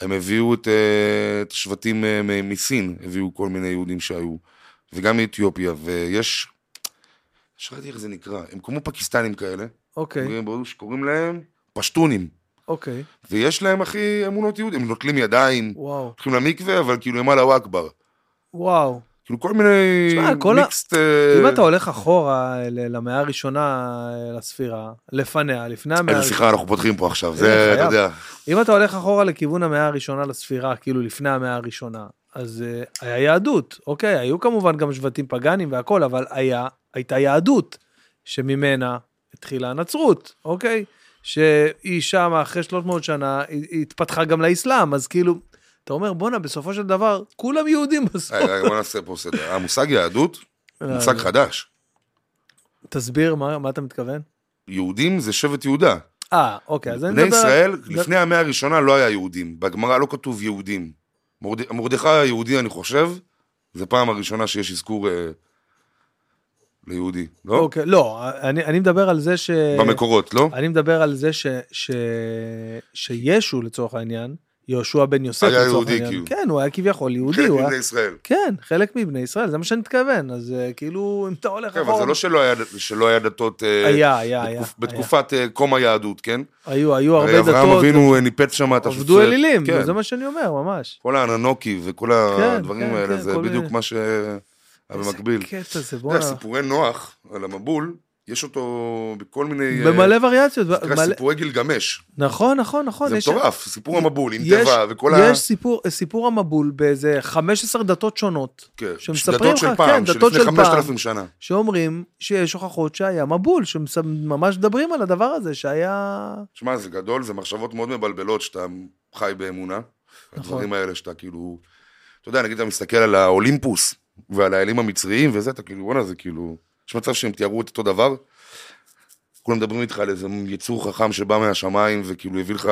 [SPEAKER 2] הם הביאו את, אה, את השבטים אה, מ- מסין, הביאו כל מיני יהודים שהיו, וגם מאתיופיה, ויש... שכחתי איך זה נקרא, הם כמו פקיסטנים כאלה,
[SPEAKER 1] אוקיי,
[SPEAKER 2] אומרים בהודו שקוראים להם פשטונים,
[SPEAKER 1] אוקיי,
[SPEAKER 2] ויש להם הכי אמונות יהודים, הם נוטלים ידיים,
[SPEAKER 1] וואו,
[SPEAKER 2] הולכים למקווה, אבל כאילו הם אללה וואכבר.
[SPEAKER 1] וואו.
[SPEAKER 2] כאילו כל מיני
[SPEAKER 1] תשמע, כל ה-
[SPEAKER 2] מיקסט... אה,
[SPEAKER 1] אם אתה הולך אחורה ל- למאה הראשונה אה, לספירה, לפניה, לפני המאה
[SPEAKER 2] איזה
[SPEAKER 1] הראשונה,
[SPEAKER 2] שיחה אנחנו פותחים פה עכשיו,
[SPEAKER 1] אה,
[SPEAKER 2] זה, אתה
[SPEAKER 1] חייב.
[SPEAKER 2] יודע,
[SPEAKER 1] אם אתה הולך אחורה לכיוון המאה הראשונה לספירה, כאילו לפני המאה הראשונה, אז אה, היה יהדות, אוקיי, היו כמובן גם שבטים פגאנים והכל, אבל היה, הייתה יהדות, שממנה התחילה הנצרות, אוקיי? שהיא שמה אחרי 300 שנה, היא היא התפתחה גם לאסלאם, אז כאילו, אתה אומר, בואנה, בסופו של דבר, כולם יהודים בסוף.
[SPEAKER 2] רגע, רגע, אה, בוא נעשה פה סדר. המושג יהדות,
[SPEAKER 1] אה,
[SPEAKER 2] הוא מושג חדש. אה.
[SPEAKER 1] תסביר מה מה אתה מתכוון.
[SPEAKER 2] יהודים זה שבט יהודה.
[SPEAKER 1] אה, אוקיי, אז אני
[SPEAKER 2] בני
[SPEAKER 1] מדבר... על-
[SPEAKER 2] ישראל, לפני המאה הראשונה לא היה יהודים. בגמרא לא כתוב יהודים. מורד- מרדכי היהודי, אני חושב, זה פעם הראשונה שיש אזכור אה, ליהודי, לא?
[SPEAKER 1] אוקיי, אה, לא, אני, אני מדבר על זה ש...
[SPEAKER 2] במקורות, לא?
[SPEAKER 1] אני מדבר על זה ש, ש, שישו לצורך העניין, יהושע בן יוסף.
[SPEAKER 2] היה
[SPEAKER 1] לצורך
[SPEAKER 2] יהודי,
[SPEAKER 1] העניין.
[SPEAKER 2] כאילו.
[SPEAKER 1] כן, הוא היה כביכול יהודי.
[SPEAKER 2] חלק
[SPEAKER 1] הוא היה-
[SPEAKER 2] מבני ישראל.
[SPEAKER 1] כן, חלק מבני ישראל, זה מה שאני מתכוון. אז אה, כאילו, אם אתה הולך
[SPEAKER 2] כן, אבל זה לא שלא היה- שלא היה דתות... אה,
[SPEAKER 1] היה, היה, היה.
[SPEAKER 2] בתקופ- בתקופת אה, קום היהדות, כן?
[SPEAKER 1] היה. היו, היו הרבה
[SPEAKER 2] הרי
[SPEAKER 1] דתות.
[SPEAKER 2] אברהם אבינו אה, ניפץ שם את
[SPEAKER 1] עבדו אלילים,
[SPEAKER 2] כן.
[SPEAKER 1] זה מה שאני אומר, ממש.
[SPEAKER 2] כל האננוקי וכל
[SPEAKER 1] כן,
[SPEAKER 2] הדברים
[SPEAKER 1] כן,
[SPEAKER 2] האלה,
[SPEAKER 1] כן,
[SPEAKER 2] זה
[SPEAKER 1] כל
[SPEAKER 2] בדיוק
[SPEAKER 1] מיני. כן,
[SPEAKER 2] מה שהיה
[SPEAKER 1] איזה
[SPEAKER 2] במקביל.
[SPEAKER 1] קטע זה,
[SPEAKER 2] אתה יודע,
[SPEAKER 1] בואנה.
[SPEAKER 2] סיפורי נוח על המבול, יש אותו בכל מיני... אה,
[SPEAKER 1] במלא וריאציות.
[SPEAKER 2] זה נקרא
[SPEAKER 1] מלא-
[SPEAKER 2] סיפורי גילגמש.
[SPEAKER 1] נכון, נכון, נכון.
[SPEAKER 2] זה
[SPEAKER 1] יש-
[SPEAKER 2] מטורף, סיפור המבול עם
[SPEAKER 1] יש-
[SPEAKER 2] טבע וכל ה...
[SPEAKER 1] יש סיפור- סיפור המבול באיזה 15 דתות שונות,
[SPEAKER 2] כן,
[SPEAKER 1] שמספרים
[SPEAKER 2] דתות של
[SPEAKER 1] לך,
[SPEAKER 2] פעם,
[SPEAKER 1] כן,
[SPEAKER 2] של
[SPEAKER 1] דתות
[SPEAKER 2] לפני
[SPEAKER 1] של
[SPEAKER 2] 5,000
[SPEAKER 1] פעם,
[SPEAKER 2] שנה.
[SPEAKER 1] שאומרים שיש הוכחות שהיה מבול, שממש מדברים על הדבר הזה, שהיה...
[SPEAKER 2] שמע, זה גדול, זה מחשבות מאוד מבלבלות שאתה חי באמונה.
[SPEAKER 1] נכון.
[SPEAKER 2] הדברים האלה שאתה כאילו... אתה יודע, נגיד אתה מסתכל על האולימפוס ועל האלים המצריים וזה, אתה כאילו, וואלה, זה כאילו... יש מצב שהם תיארו את אותו דבר, כולם מדברים איתך על איזה יצור חכם שבא מהשמיים וכאילו הביא לך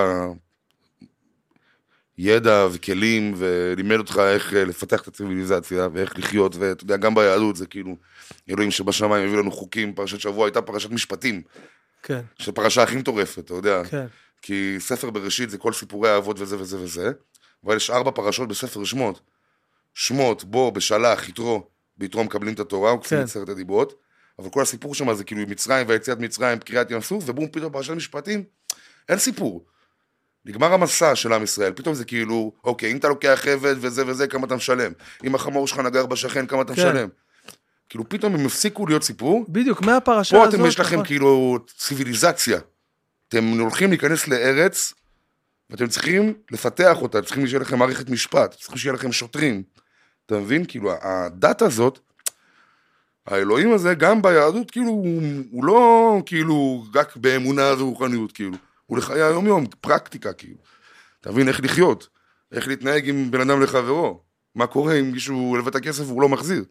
[SPEAKER 2] ידע וכלים ולימד אותך איך אה, לפתח את הציוויליזציה ואיך לחיות, ואתה יודע, גם ביהדות זה כאילו אלוהים שבשמיים הביא לנו חוקים, פרשת שבוע הייתה פרשת משפטים,
[SPEAKER 1] כן,
[SPEAKER 2] שזו הפרשה הכי מטורפת, אתה יודע.
[SPEAKER 1] כן.
[SPEAKER 2] כי ספר בראשית זה כל סיפורי האבות וזה וזה וזה, אבל יש ארבע פרשות בספר שמות. שמות, בו, בשלח, יתרו, ביתרו מקבלים את התורה, הוא
[SPEAKER 1] כן.
[SPEAKER 2] כפי עשרת הדיברות, אבל כל הסיפור שם זה כאילו מצרים והיציאת מצרים, קריעת ים סוף, ובום, פתאום פרשת משפטים, אין סיפור. נגמר המסע של עם ישראל, פתאום זה כאילו, אוקיי, אם אתה לוקח עבד וזה וזה, כמה אתה משלם? אם החמור שלך נגר בשכן, כמה אתה
[SPEAKER 1] כן.
[SPEAKER 2] משלם? כאילו, פתאום הם הפסיקו להיות סיפור,
[SPEAKER 1] בדיוק, מהפרשה
[SPEAKER 2] פה
[SPEAKER 1] הזאת...
[SPEAKER 2] אתם יש לכם
[SPEAKER 1] נכון.
[SPEAKER 2] כאילו ציוויליזציה. אתם הולכים להיכנס לארץ, ואתם צריכים לפתח אותה, צריכים שיהיה לכם מערכת משפט, צריכים שיהיה לכם שוטרים. אתה מבין? כאילו, הדת הזאת, האלוהים הזה, גם ביהדות, כאילו, הוא, הוא לא כאילו רק באמונה ורוחניות, כאילו. הוא לחיי היום-יום, פרקטיקה, כאילו. אתה מבין? איך לחיות, איך להתנהג עם בן אדם לחברו. מה קורה אם מישהו הלווה את הכסף והוא לא מחזיר?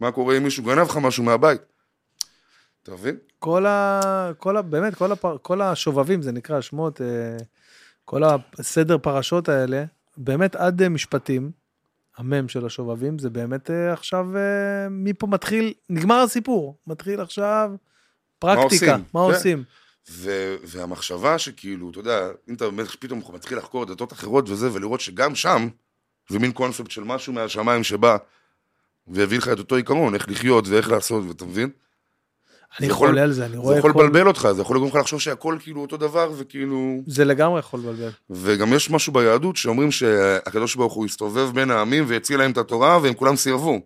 [SPEAKER 2] מה קורה אם מישהו גנב לך משהו מהבית? אתה מבין?
[SPEAKER 1] כל ה... כל ה... באמת, כל, הפר... כל השובבים, זה נקרא, שמות, אה, כל הסדר פרשות האלה, באמת עד אה, משפטים, המם של השובבים, זה באמת אה, עכשיו, אה, מפה מתחיל, נגמר הסיפור, מתחיל עכשיו פרקטיקה,
[SPEAKER 2] עושים?
[SPEAKER 1] מה
[SPEAKER 2] כן.
[SPEAKER 1] עושים?
[SPEAKER 2] ו- והמחשבה שכאילו, אתה יודע, אם אתה באמת פתאום מתחיל לחקור דתות אחרות וזה, ולראות שגם שם, זה מין קונספט של משהו מהשמיים שבא, והביא לך את אותו עיקרון, איך לחיות ואיך לעשות, ואתה מבין?
[SPEAKER 1] אני
[SPEAKER 2] יכול-
[SPEAKER 1] חולה על זה, אני
[SPEAKER 2] זה
[SPEAKER 1] רואה
[SPEAKER 2] יכול
[SPEAKER 1] כל...
[SPEAKER 2] לבלבל אותך, זה יכול לגרום לך לחשוב שהכל כאילו אותו דבר, וכאילו...
[SPEAKER 1] זה לגמרי יכול לבלבל.
[SPEAKER 2] וגם יש משהו ביהדות שאומרים שהקדוש ברוך הוא הסתובב בין העמים והציל להם את התורה, והם כולם סירבו.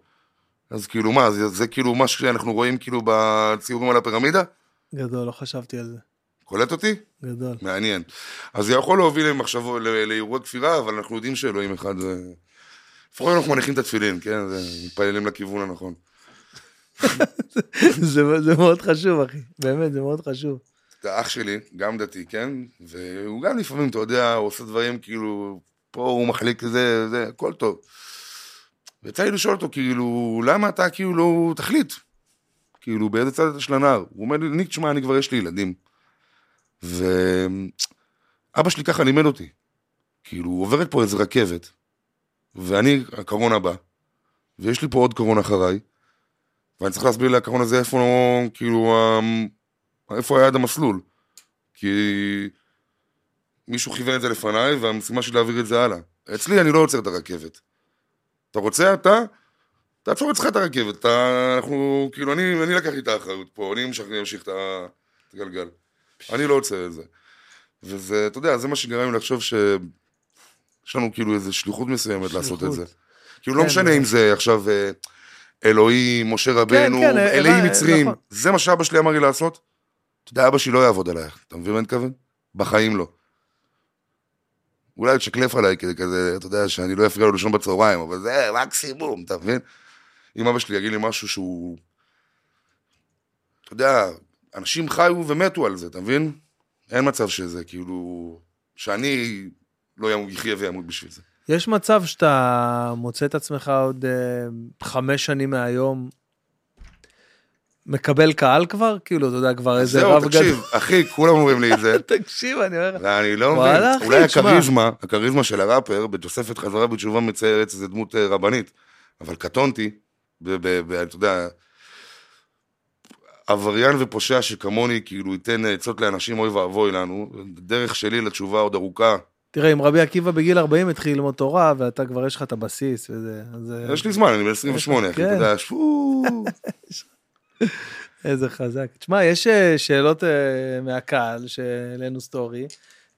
[SPEAKER 2] אז כאילו מה, זה, זה כאילו מה שאנחנו רואים כאילו בציורים על הפירמידה?
[SPEAKER 1] גדול, לא חשבתי על זה.
[SPEAKER 2] קולט אותי?
[SPEAKER 1] גדול.
[SPEAKER 2] מעניין. אז זה יכול להוביל למחשבו, ל- לאירוע כפירה, אבל אנחנו יודעים שאלוהים אחד... אה, לפחות אנחנו מניחים את התפילין, כן? זה- מתפללים לכיוון הנכון.
[SPEAKER 1] זה, זה מאוד חשוב, אחי. באמת, זה מאוד חשוב.
[SPEAKER 2] אתה אח שלי, גם דתי, כן? והוא גם לפעמים, אתה יודע, הוא עושה דברים כאילו, פה הוא מחליק זה, זה, הכל טוב. ויצא לי לשאול אותו, כאילו, למה אתה כאילו, תחליט. כאילו, באיזה צד אתה של הנער? הוא אומר לי, ניק, תשמע, אני כבר יש לי ילדים. ואבא שלי ככה לימד אותי. כאילו, עוברת פה איזה רכבת, ואני הקרון הבא, ויש לי פה עוד קרון אחריי, ואני צריך להסביר לקרון הזה איפה, כאילו, ה- איפה היה עד המסלול? כי מישהו כיוון את זה לפניי, והמשימה שלי להעביר את זה הלאה. אצלי אני לא עוצר את הרכבת. אתה רוצה, אתה? תעצור אצלך את הרכבת. אתה, אנחנו, כאילו, אני, אני לקחתי את האחריות פה, אני אמשיך- אני אמשיך את ה- את הגלגל. אני לא עוצר את זה. וזה, אתה יודע, זה מה שגרם לי לחשוב ש... יש לנו כאילו איזו שליחות מסוימת לעשות את זה.
[SPEAKER 1] שליחות.
[SPEAKER 2] כאילו, לא
[SPEAKER 1] כן,
[SPEAKER 2] משנה
[SPEAKER 1] זה-
[SPEAKER 2] אם זה עכשיו אה, אלוהים, משה רבנו,
[SPEAKER 1] כן, אה,
[SPEAKER 2] אלוהים מצרים.
[SPEAKER 1] נכון.
[SPEAKER 2] זה מה שאבא שלי אמר לי לעשות. אתה יודע, אבא שלי לא יעבוד עלייך, אתה מבין מה אני מתכוון? בחיים לא. אולי הוא תשקלף עליי כדי כזה, אתה יודע, שאני לא אפריע לו לישון בצהריים, אבל זה מקסימום, אתה מבין? אם אבא שלי יגיד לי משהו שהוא... אתה יודע, אנשים חיו ומתו על זה, אתה מבין? אין מצב שזה, כאילו... שאני לא ימות- יחיה וימות בשביל זה.
[SPEAKER 1] יש מצב שאתה מוצא את עצמך עוד אה, חמש שנים מהיום, מקבל קהל כבר? כאילו, אתה יודע, כבר איזה רב
[SPEAKER 2] זהו,
[SPEAKER 1] גדול.
[SPEAKER 2] תקשיב, אחי, כולם אומרים לי את זה.
[SPEAKER 1] <laughs> תקשיב, אני אומר לך.
[SPEAKER 2] אני לא
[SPEAKER 1] וואלה,
[SPEAKER 2] מבין.
[SPEAKER 1] אחי,
[SPEAKER 2] אולי
[SPEAKER 1] תשמע.
[SPEAKER 2] הכריזמה, הכריזמה של הראפר, בתוספת חזרה בתשובה מציירת איזה דמות אה, רבנית. אבל קטונתי, ב- ב- ב- אתה יודע, עבריין ופושע שכמוני, כאילו, ייתן עצות לאנשים, אוי ואבוי לנו. הדרך שלי לתשובה עוד ארוכה,
[SPEAKER 1] תראה, אם רבי עקיבא בגיל 40 התחיל ללמוד תורה, ואתה כבר יש לך את הבסיס וזה, אז... אה,
[SPEAKER 2] יש לי זמן, אני ב-28, אחי,
[SPEAKER 1] כן.
[SPEAKER 2] אתה יודע, שפו...
[SPEAKER 1] <laughs> איזה חזק. תשמע, יש אה, שאלות אה, מהקהל שהעלינו סטורי.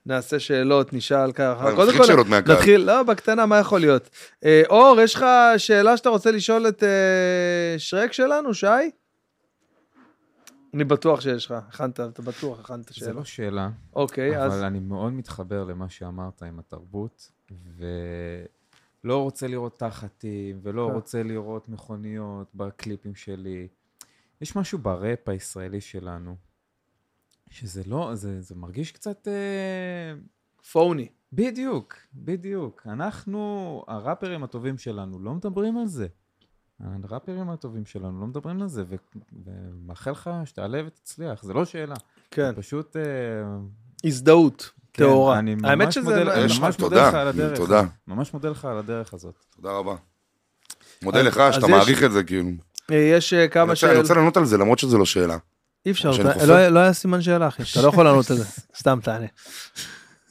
[SPEAKER 1] נעשה שאלות, נשאל ככה.
[SPEAKER 2] אה, מצחיק שאלות מהקהל.
[SPEAKER 1] נתחיל, לא, בקטנה, מה יכול להיות? אה, אור, יש לך שאלה שאתה רוצה לשאול את אה, שרק שלנו, שי? אני בטוח שיש לך, הכנת, אתה בטוח הכנת
[SPEAKER 4] זו
[SPEAKER 1] שאלה.
[SPEAKER 4] לא שאלה,
[SPEAKER 1] אוקיי, אז...
[SPEAKER 4] אבל אני מאוד מתחבר למה שאמרת עם התרבות, ולא רוצה לראות תחתים, ולא
[SPEAKER 1] כן.
[SPEAKER 4] רוצה לראות מכוניות בקליפים שלי. יש משהו בראפ הישראלי שלנו, שזה לא, זה, זה מרגיש קצת... אה,
[SPEAKER 1] פוני.
[SPEAKER 4] בדיוק, בדיוק. אנחנו, הראפרים הטובים שלנו, לא מדברים על זה. הראפרים הטובים שלנו לא מדברים על זה, ו- ומאחל לך שתעלה ותצליח, זה לא שאלה.
[SPEAKER 1] כן.
[SPEAKER 4] פשוט... אה,
[SPEAKER 1] הזדהות,
[SPEAKER 4] כן,
[SPEAKER 1] טהורה.
[SPEAKER 4] אני
[SPEAKER 1] האמת
[SPEAKER 4] ממש
[SPEAKER 1] שזה... לא-
[SPEAKER 4] מודה-
[SPEAKER 2] יש-
[SPEAKER 4] ממש מודה
[SPEAKER 2] תודה,
[SPEAKER 4] לך על הדרך.
[SPEAKER 2] תודה,
[SPEAKER 4] ממש מודה לך על הדרך הזאת.
[SPEAKER 2] תודה רבה. מודה
[SPEAKER 1] אז-
[SPEAKER 2] לך
[SPEAKER 1] אז
[SPEAKER 2] שאתה
[SPEAKER 1] יש-
[SPEAKER 2] מעריך את זה, כאילו.
[SPEAKER 1] אה, יש אה,
[SPEAKER 2] אני
[SPEAKER 1] כמה
[SPEAKER 2] רוצה- אני
[SPEAKER 1] שאלות.
[SPEAKER 2] רוצה לענות על זה, למרות שזה לא שאלה.
[SPEAKER 1] אי אפשר,
[SPEAKER 2] שאני
[SPEAKER 1] אתה-
[SPEAKER 2] חופר.
[SPEAKER 1] לא היה- לא היה סימן שאלה, אחי. אתה לא יכול לענות
[SPEAKER 2] <laughs>
[SPEAKER 1] על זה. סתם תענה.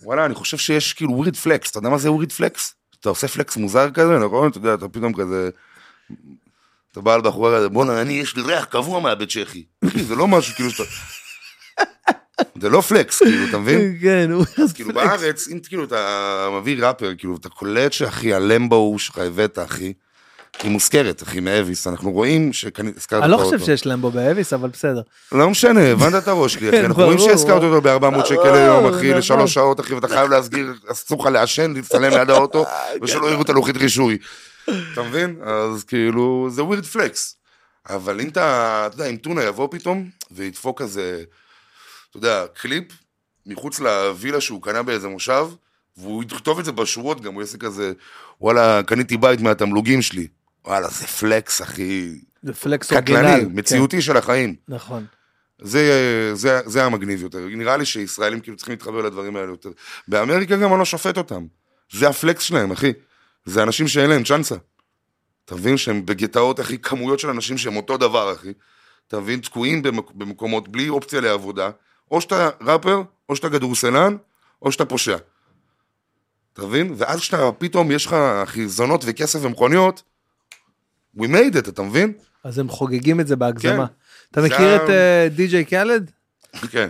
[SPEAKER 2] וואלה, אני חושב שיש כאילו ווירד פלקס, אתה יודע מה זה ווירד פלקס? אתה עושה פלקס מוזר כזה, נכון? אתה יודע, אתה פתאום כזה... אתה בא על בחורה כזה, בואנה, אני, יש לי ריח קבוע מהבית צ'כי. <coughs> זה לא משהו כאילו שאתה... זה לא פלקס, כאילו, אתה
[SPEAKER 1] <coughs>
[SPEAKER 2] מבין?
[SPEAKER 1] כן, הוא...
[SPEAKER 2] אז כאילו בארץ, אם כאילו אתה מביא ראפר, כאילו אתה קולט שאחי, הלמבו שלך הבאת, אחי, היא מוזכרת, אחי, מאביס, אנחנו רואים שהזכרת
[SPEAKER 1] אני לא
[SPEAKER 2] אותו.
[SPEAKER 1] חושב שיש להם בו באביס, אבל בסדר.
[SPEAKER 2] לא משנה, הבנת את הראש שלי, אחי,
[SPEAKER 1] כן,
[SPEAKER 2] אנחנו רואים
[SPEAKER 1] ברור. אה, לא,
[SPEAKER 2] שהזכרת אותו ב-400 שקל ליום, אחי,
[SPEAKER 1] ברור.
[SPEAKER 2] לשלוש שעות, אחי, ואתה חייב להסגיר, אסור לך לעשן, להצטלם ליד
[SPEAKER 1] <laughs>
[SPEAKER 2] האוטו, ושלא יראו את הלוחית רישוי. אתה מבין? אז כאילו, זה ווירד פלקס. אבל אם אתה, אתה יודע, אם טונה יבוא פתאום, וידפוק כזה, אתה יודע, קליפ, מחוץ לווילה שהוא קנה באיזה מושב, והוא יכתוב את זה בשורות גם, הוא יעשה כזה, וואלה, קניתי בית מהתמלוגים שלי. וואלה, זה פלקס, אחי,
[SPEAKER 1] זה פלקס
[SPEAKER 2] קטלני,
[SPEAKER 1] אורגינל.
[SPEAKER 2] מציאותי של החיים.
[SPEAKER 1] כן, נכון.
[SPEAKER 2] זה, זה, זה המגניב יותר. נראה לי שישראלים כאילו צריכים להתחבר לדברים האלה יותר. באמריקה גם אני לא שופט אותם. זה הפלקס שלהם, אחי. זה אנשים שאין להם צ'אנסה. אתה מבין שהם בגטאות, אחי, כמויות של אנשים שהם אותו דבר, אחי. אתה מבין, תקועים במק... במקומות בלי אופציה לעבודה. או שאתה ראפר, או שאתה כדורסלן, או שאתה פושע. אתה מבין? ואז כשאתה פתאום יש לך, אחי, זונות וכסף ומכוניות, we made it, אתה מבין?
[SPEAKER 1] אז הם חוגגים את זה בהגזמה.
[SPEAKER 2] כן.
[SPEAKER 1] אתה
[SPEAKER 2] זה
[SPEAKER 1] מכיר
[SPEAKER 2] ה-
[SPEAKER 1] את אה, די.ג'יי קלד?
[SPEAKER 2] כן.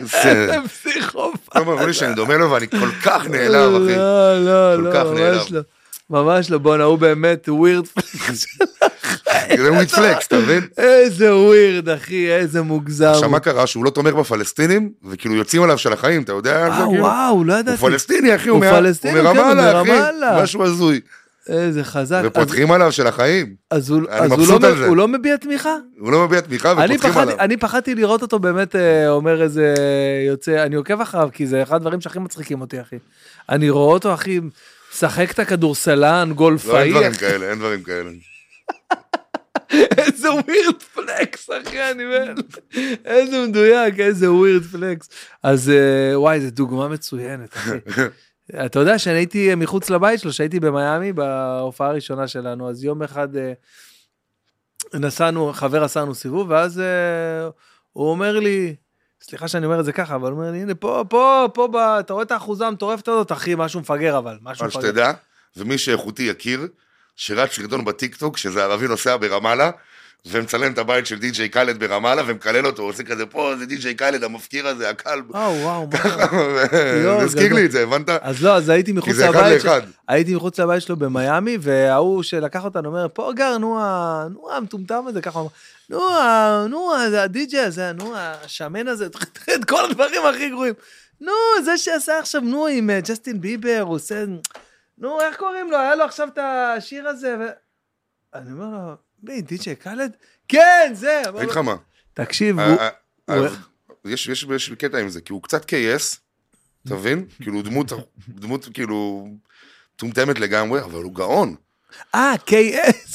[SPEAKER 2] זה-
[SPEAKER 1] <laughs> פסיכופת.
[SPEAKER 2] כמה אמרו לי שאני דומה לו ואני כל כך נעלב,
[SPEAKER 1] <laughs>
[SPEAKER 2] אחי.
[SPEAKER 1] לא, לא,
[SPEAKER 2] כל
[SPEAKER 1] לא,
[SPEAKER 2] כך
[SPEAKER 1] ממש לא.
[SPEAKER 2] נעלב.
[SPEAKER 1] ממש לא, בואנה, הוא באמת ווירד פלקס.
[SPEAKER 2] זה וויטפלקס, אתה
[SPEAKER 1] אה,
[SPEAKER 2] מבין?
[SPEAKER 1] <laughs> איזה ווירד, אחי, איזה מוגזם.
[SPEAKER 2] עכשיו, מה קרה? שהוא לא תומך בפלסטינים, וכאילו יוצאים עליו של החיים, אתה יודע על זה?
[SPEAKER 1] אה,
[SPEAKER 2] כאילו?
[SPEAKER 1] וואו, לא
[SPEAKER 2] הוא
[SPEAKER 1] ידעתי.
[SPEAKER 2] פלסטיני, אחי, הוא
[SPEAKER 1] הוא
[SPEAKER 2] מה-
[SPEAKER 1] פלסטיני,
[SPEAKER 2] הוא
[SPEAKER 1] כן, הוא אה,
[SPEAKER 2] מרמאללה, אחי.
[SPEAKER 1] מרמאללה.
[SPEAKER 2] משהו הזוי.
[SPEAKER 1] איזה חזק. אז-
[SPEAKER 2] ופותחים עליו של החיים.
[SPEAKER 1] אז הוא-
[SPEAKER 2] אני
[SPEAKER 1] אז הוא
[SPEAKER 2] מבסוט
[SPEAKER 1] לא-
[SPEAKER 2] על זה.
[SPEAKER 1] הוא לא מביע תמיכה?
[SPEAKER 2] הוא לא מביע תמיכה,
[SPEAKER 1] אני
[SPEAKER 2] ופותחים
[SPEAKER 1] פחד,
[SPEAKER 2] עליו.
[SPEAKER 1] אני פחדתי לראות אותו באמת אה, אומר איזה יוצא, אני עוקב אחריו, כי זה אחד הדברים שהכי מצחיקים אותי, אחי. אני רואה אותו, אחי, משחק את הכדורסלן,
[SPEAKER 2] לא, אין
[SPEAKER 1] גולפאי,
[SPEAKER 2] דברים
[SPEAKER 1] אחי,
[SPEAKER 2] כאלה, אין דברים
[SPEAKER 1] <laughs>
[SPEAKER 2] כאלה.
[SPEAKER 1] איזה ווירד פלקס, אחי, אני מת. איזה מדויק, איזה ווירד פלקס. אז אה, וואי, זו דוגמה מצוינת,
[SPEAKER 2] <laughs>
[SPEAKER 1] אחי. אתה יודע שאני הייתי אה, מחוץ לבית שלו, שהייתי במיאמי בהופעה הראשונה שלנו, אז יום אחד אה, נסענו, חבר עשה לנו סיבוב, ואז אה, הוא אומר לי, סליחה שאני אומר את זה ככה, אבל הוא אומר לי, הנה, פה, פה, פה, ב- אתה רואה את האחוזה המטורפת הזאת, אחי, משהו מפגר אבל, משהו
[SPEAKER 2] אבל
[SPEAKER 1] מפגר.
[SPEAKER 2] שתדע, ומי שאיכותי יכיר, שרץ סרטון בטיקטוק, שזה ערבי נוסע ברמאללה, ומצלם את הבית של די.ג'יי קאלד ברמאללה, ומקלל אותו, עושה כזה, פה זה די.ג'יי קאלד, המפקיר הזה, הקל.
[SPEAKER 1] וואו, אה, וואו, מה קרה? יואו,
[SPEAKER 2] זה הזכיר
[SPEAKER 1] גדול.
[SPEAKER 2] לי את זה, הבנת?
[SPEAKER 1] אז לא, אז הייתי מחוץ
[SPEAKER 2] כי זה אחד
[SPEAKER 1] לבית, ש-
[SPEAKER 2] לאחד.
[SPEAKER 1] הייתי מחוץ לבית שלו במיאמי, וההוא שלקח אותנו אומר, פה גר, נו, ה- נו המטומטם הזה, ככה הוא אמר, נו, ה- נו, ה- זה הדי-ג'י הזה, נו, השמן הזה, <laughs> תראה את כל הדברים הכי גרועים. נו, זה שעשה עכשיו, נו, עם אה, ג'סטין ביבר, הוא עושה, נו, איך קוראים לו, היה לו עכשיו את השיר הזה, ו... אני אומר לו, מי, די-ג'י קלד? כן, זה! אמר
[SPEAKER 2] אגיד לך
[SPEAKER 1] לו,
[SPEAKER 2] מה,
[SPEAKER 1] תקשיב, הוא...
[SPEAKER 2] ה- ה-
[SPEAKER 1] הוא-
[SPEAKER 2] ה- יש יש- יש לי קטע עם זה, כי הוא קצת כייס, אתה מבין? כאילו דמות, דמות כאילו מטומטמת לגמרי, אבל הוא גאון.
[SPEAKER 1] אה, KS.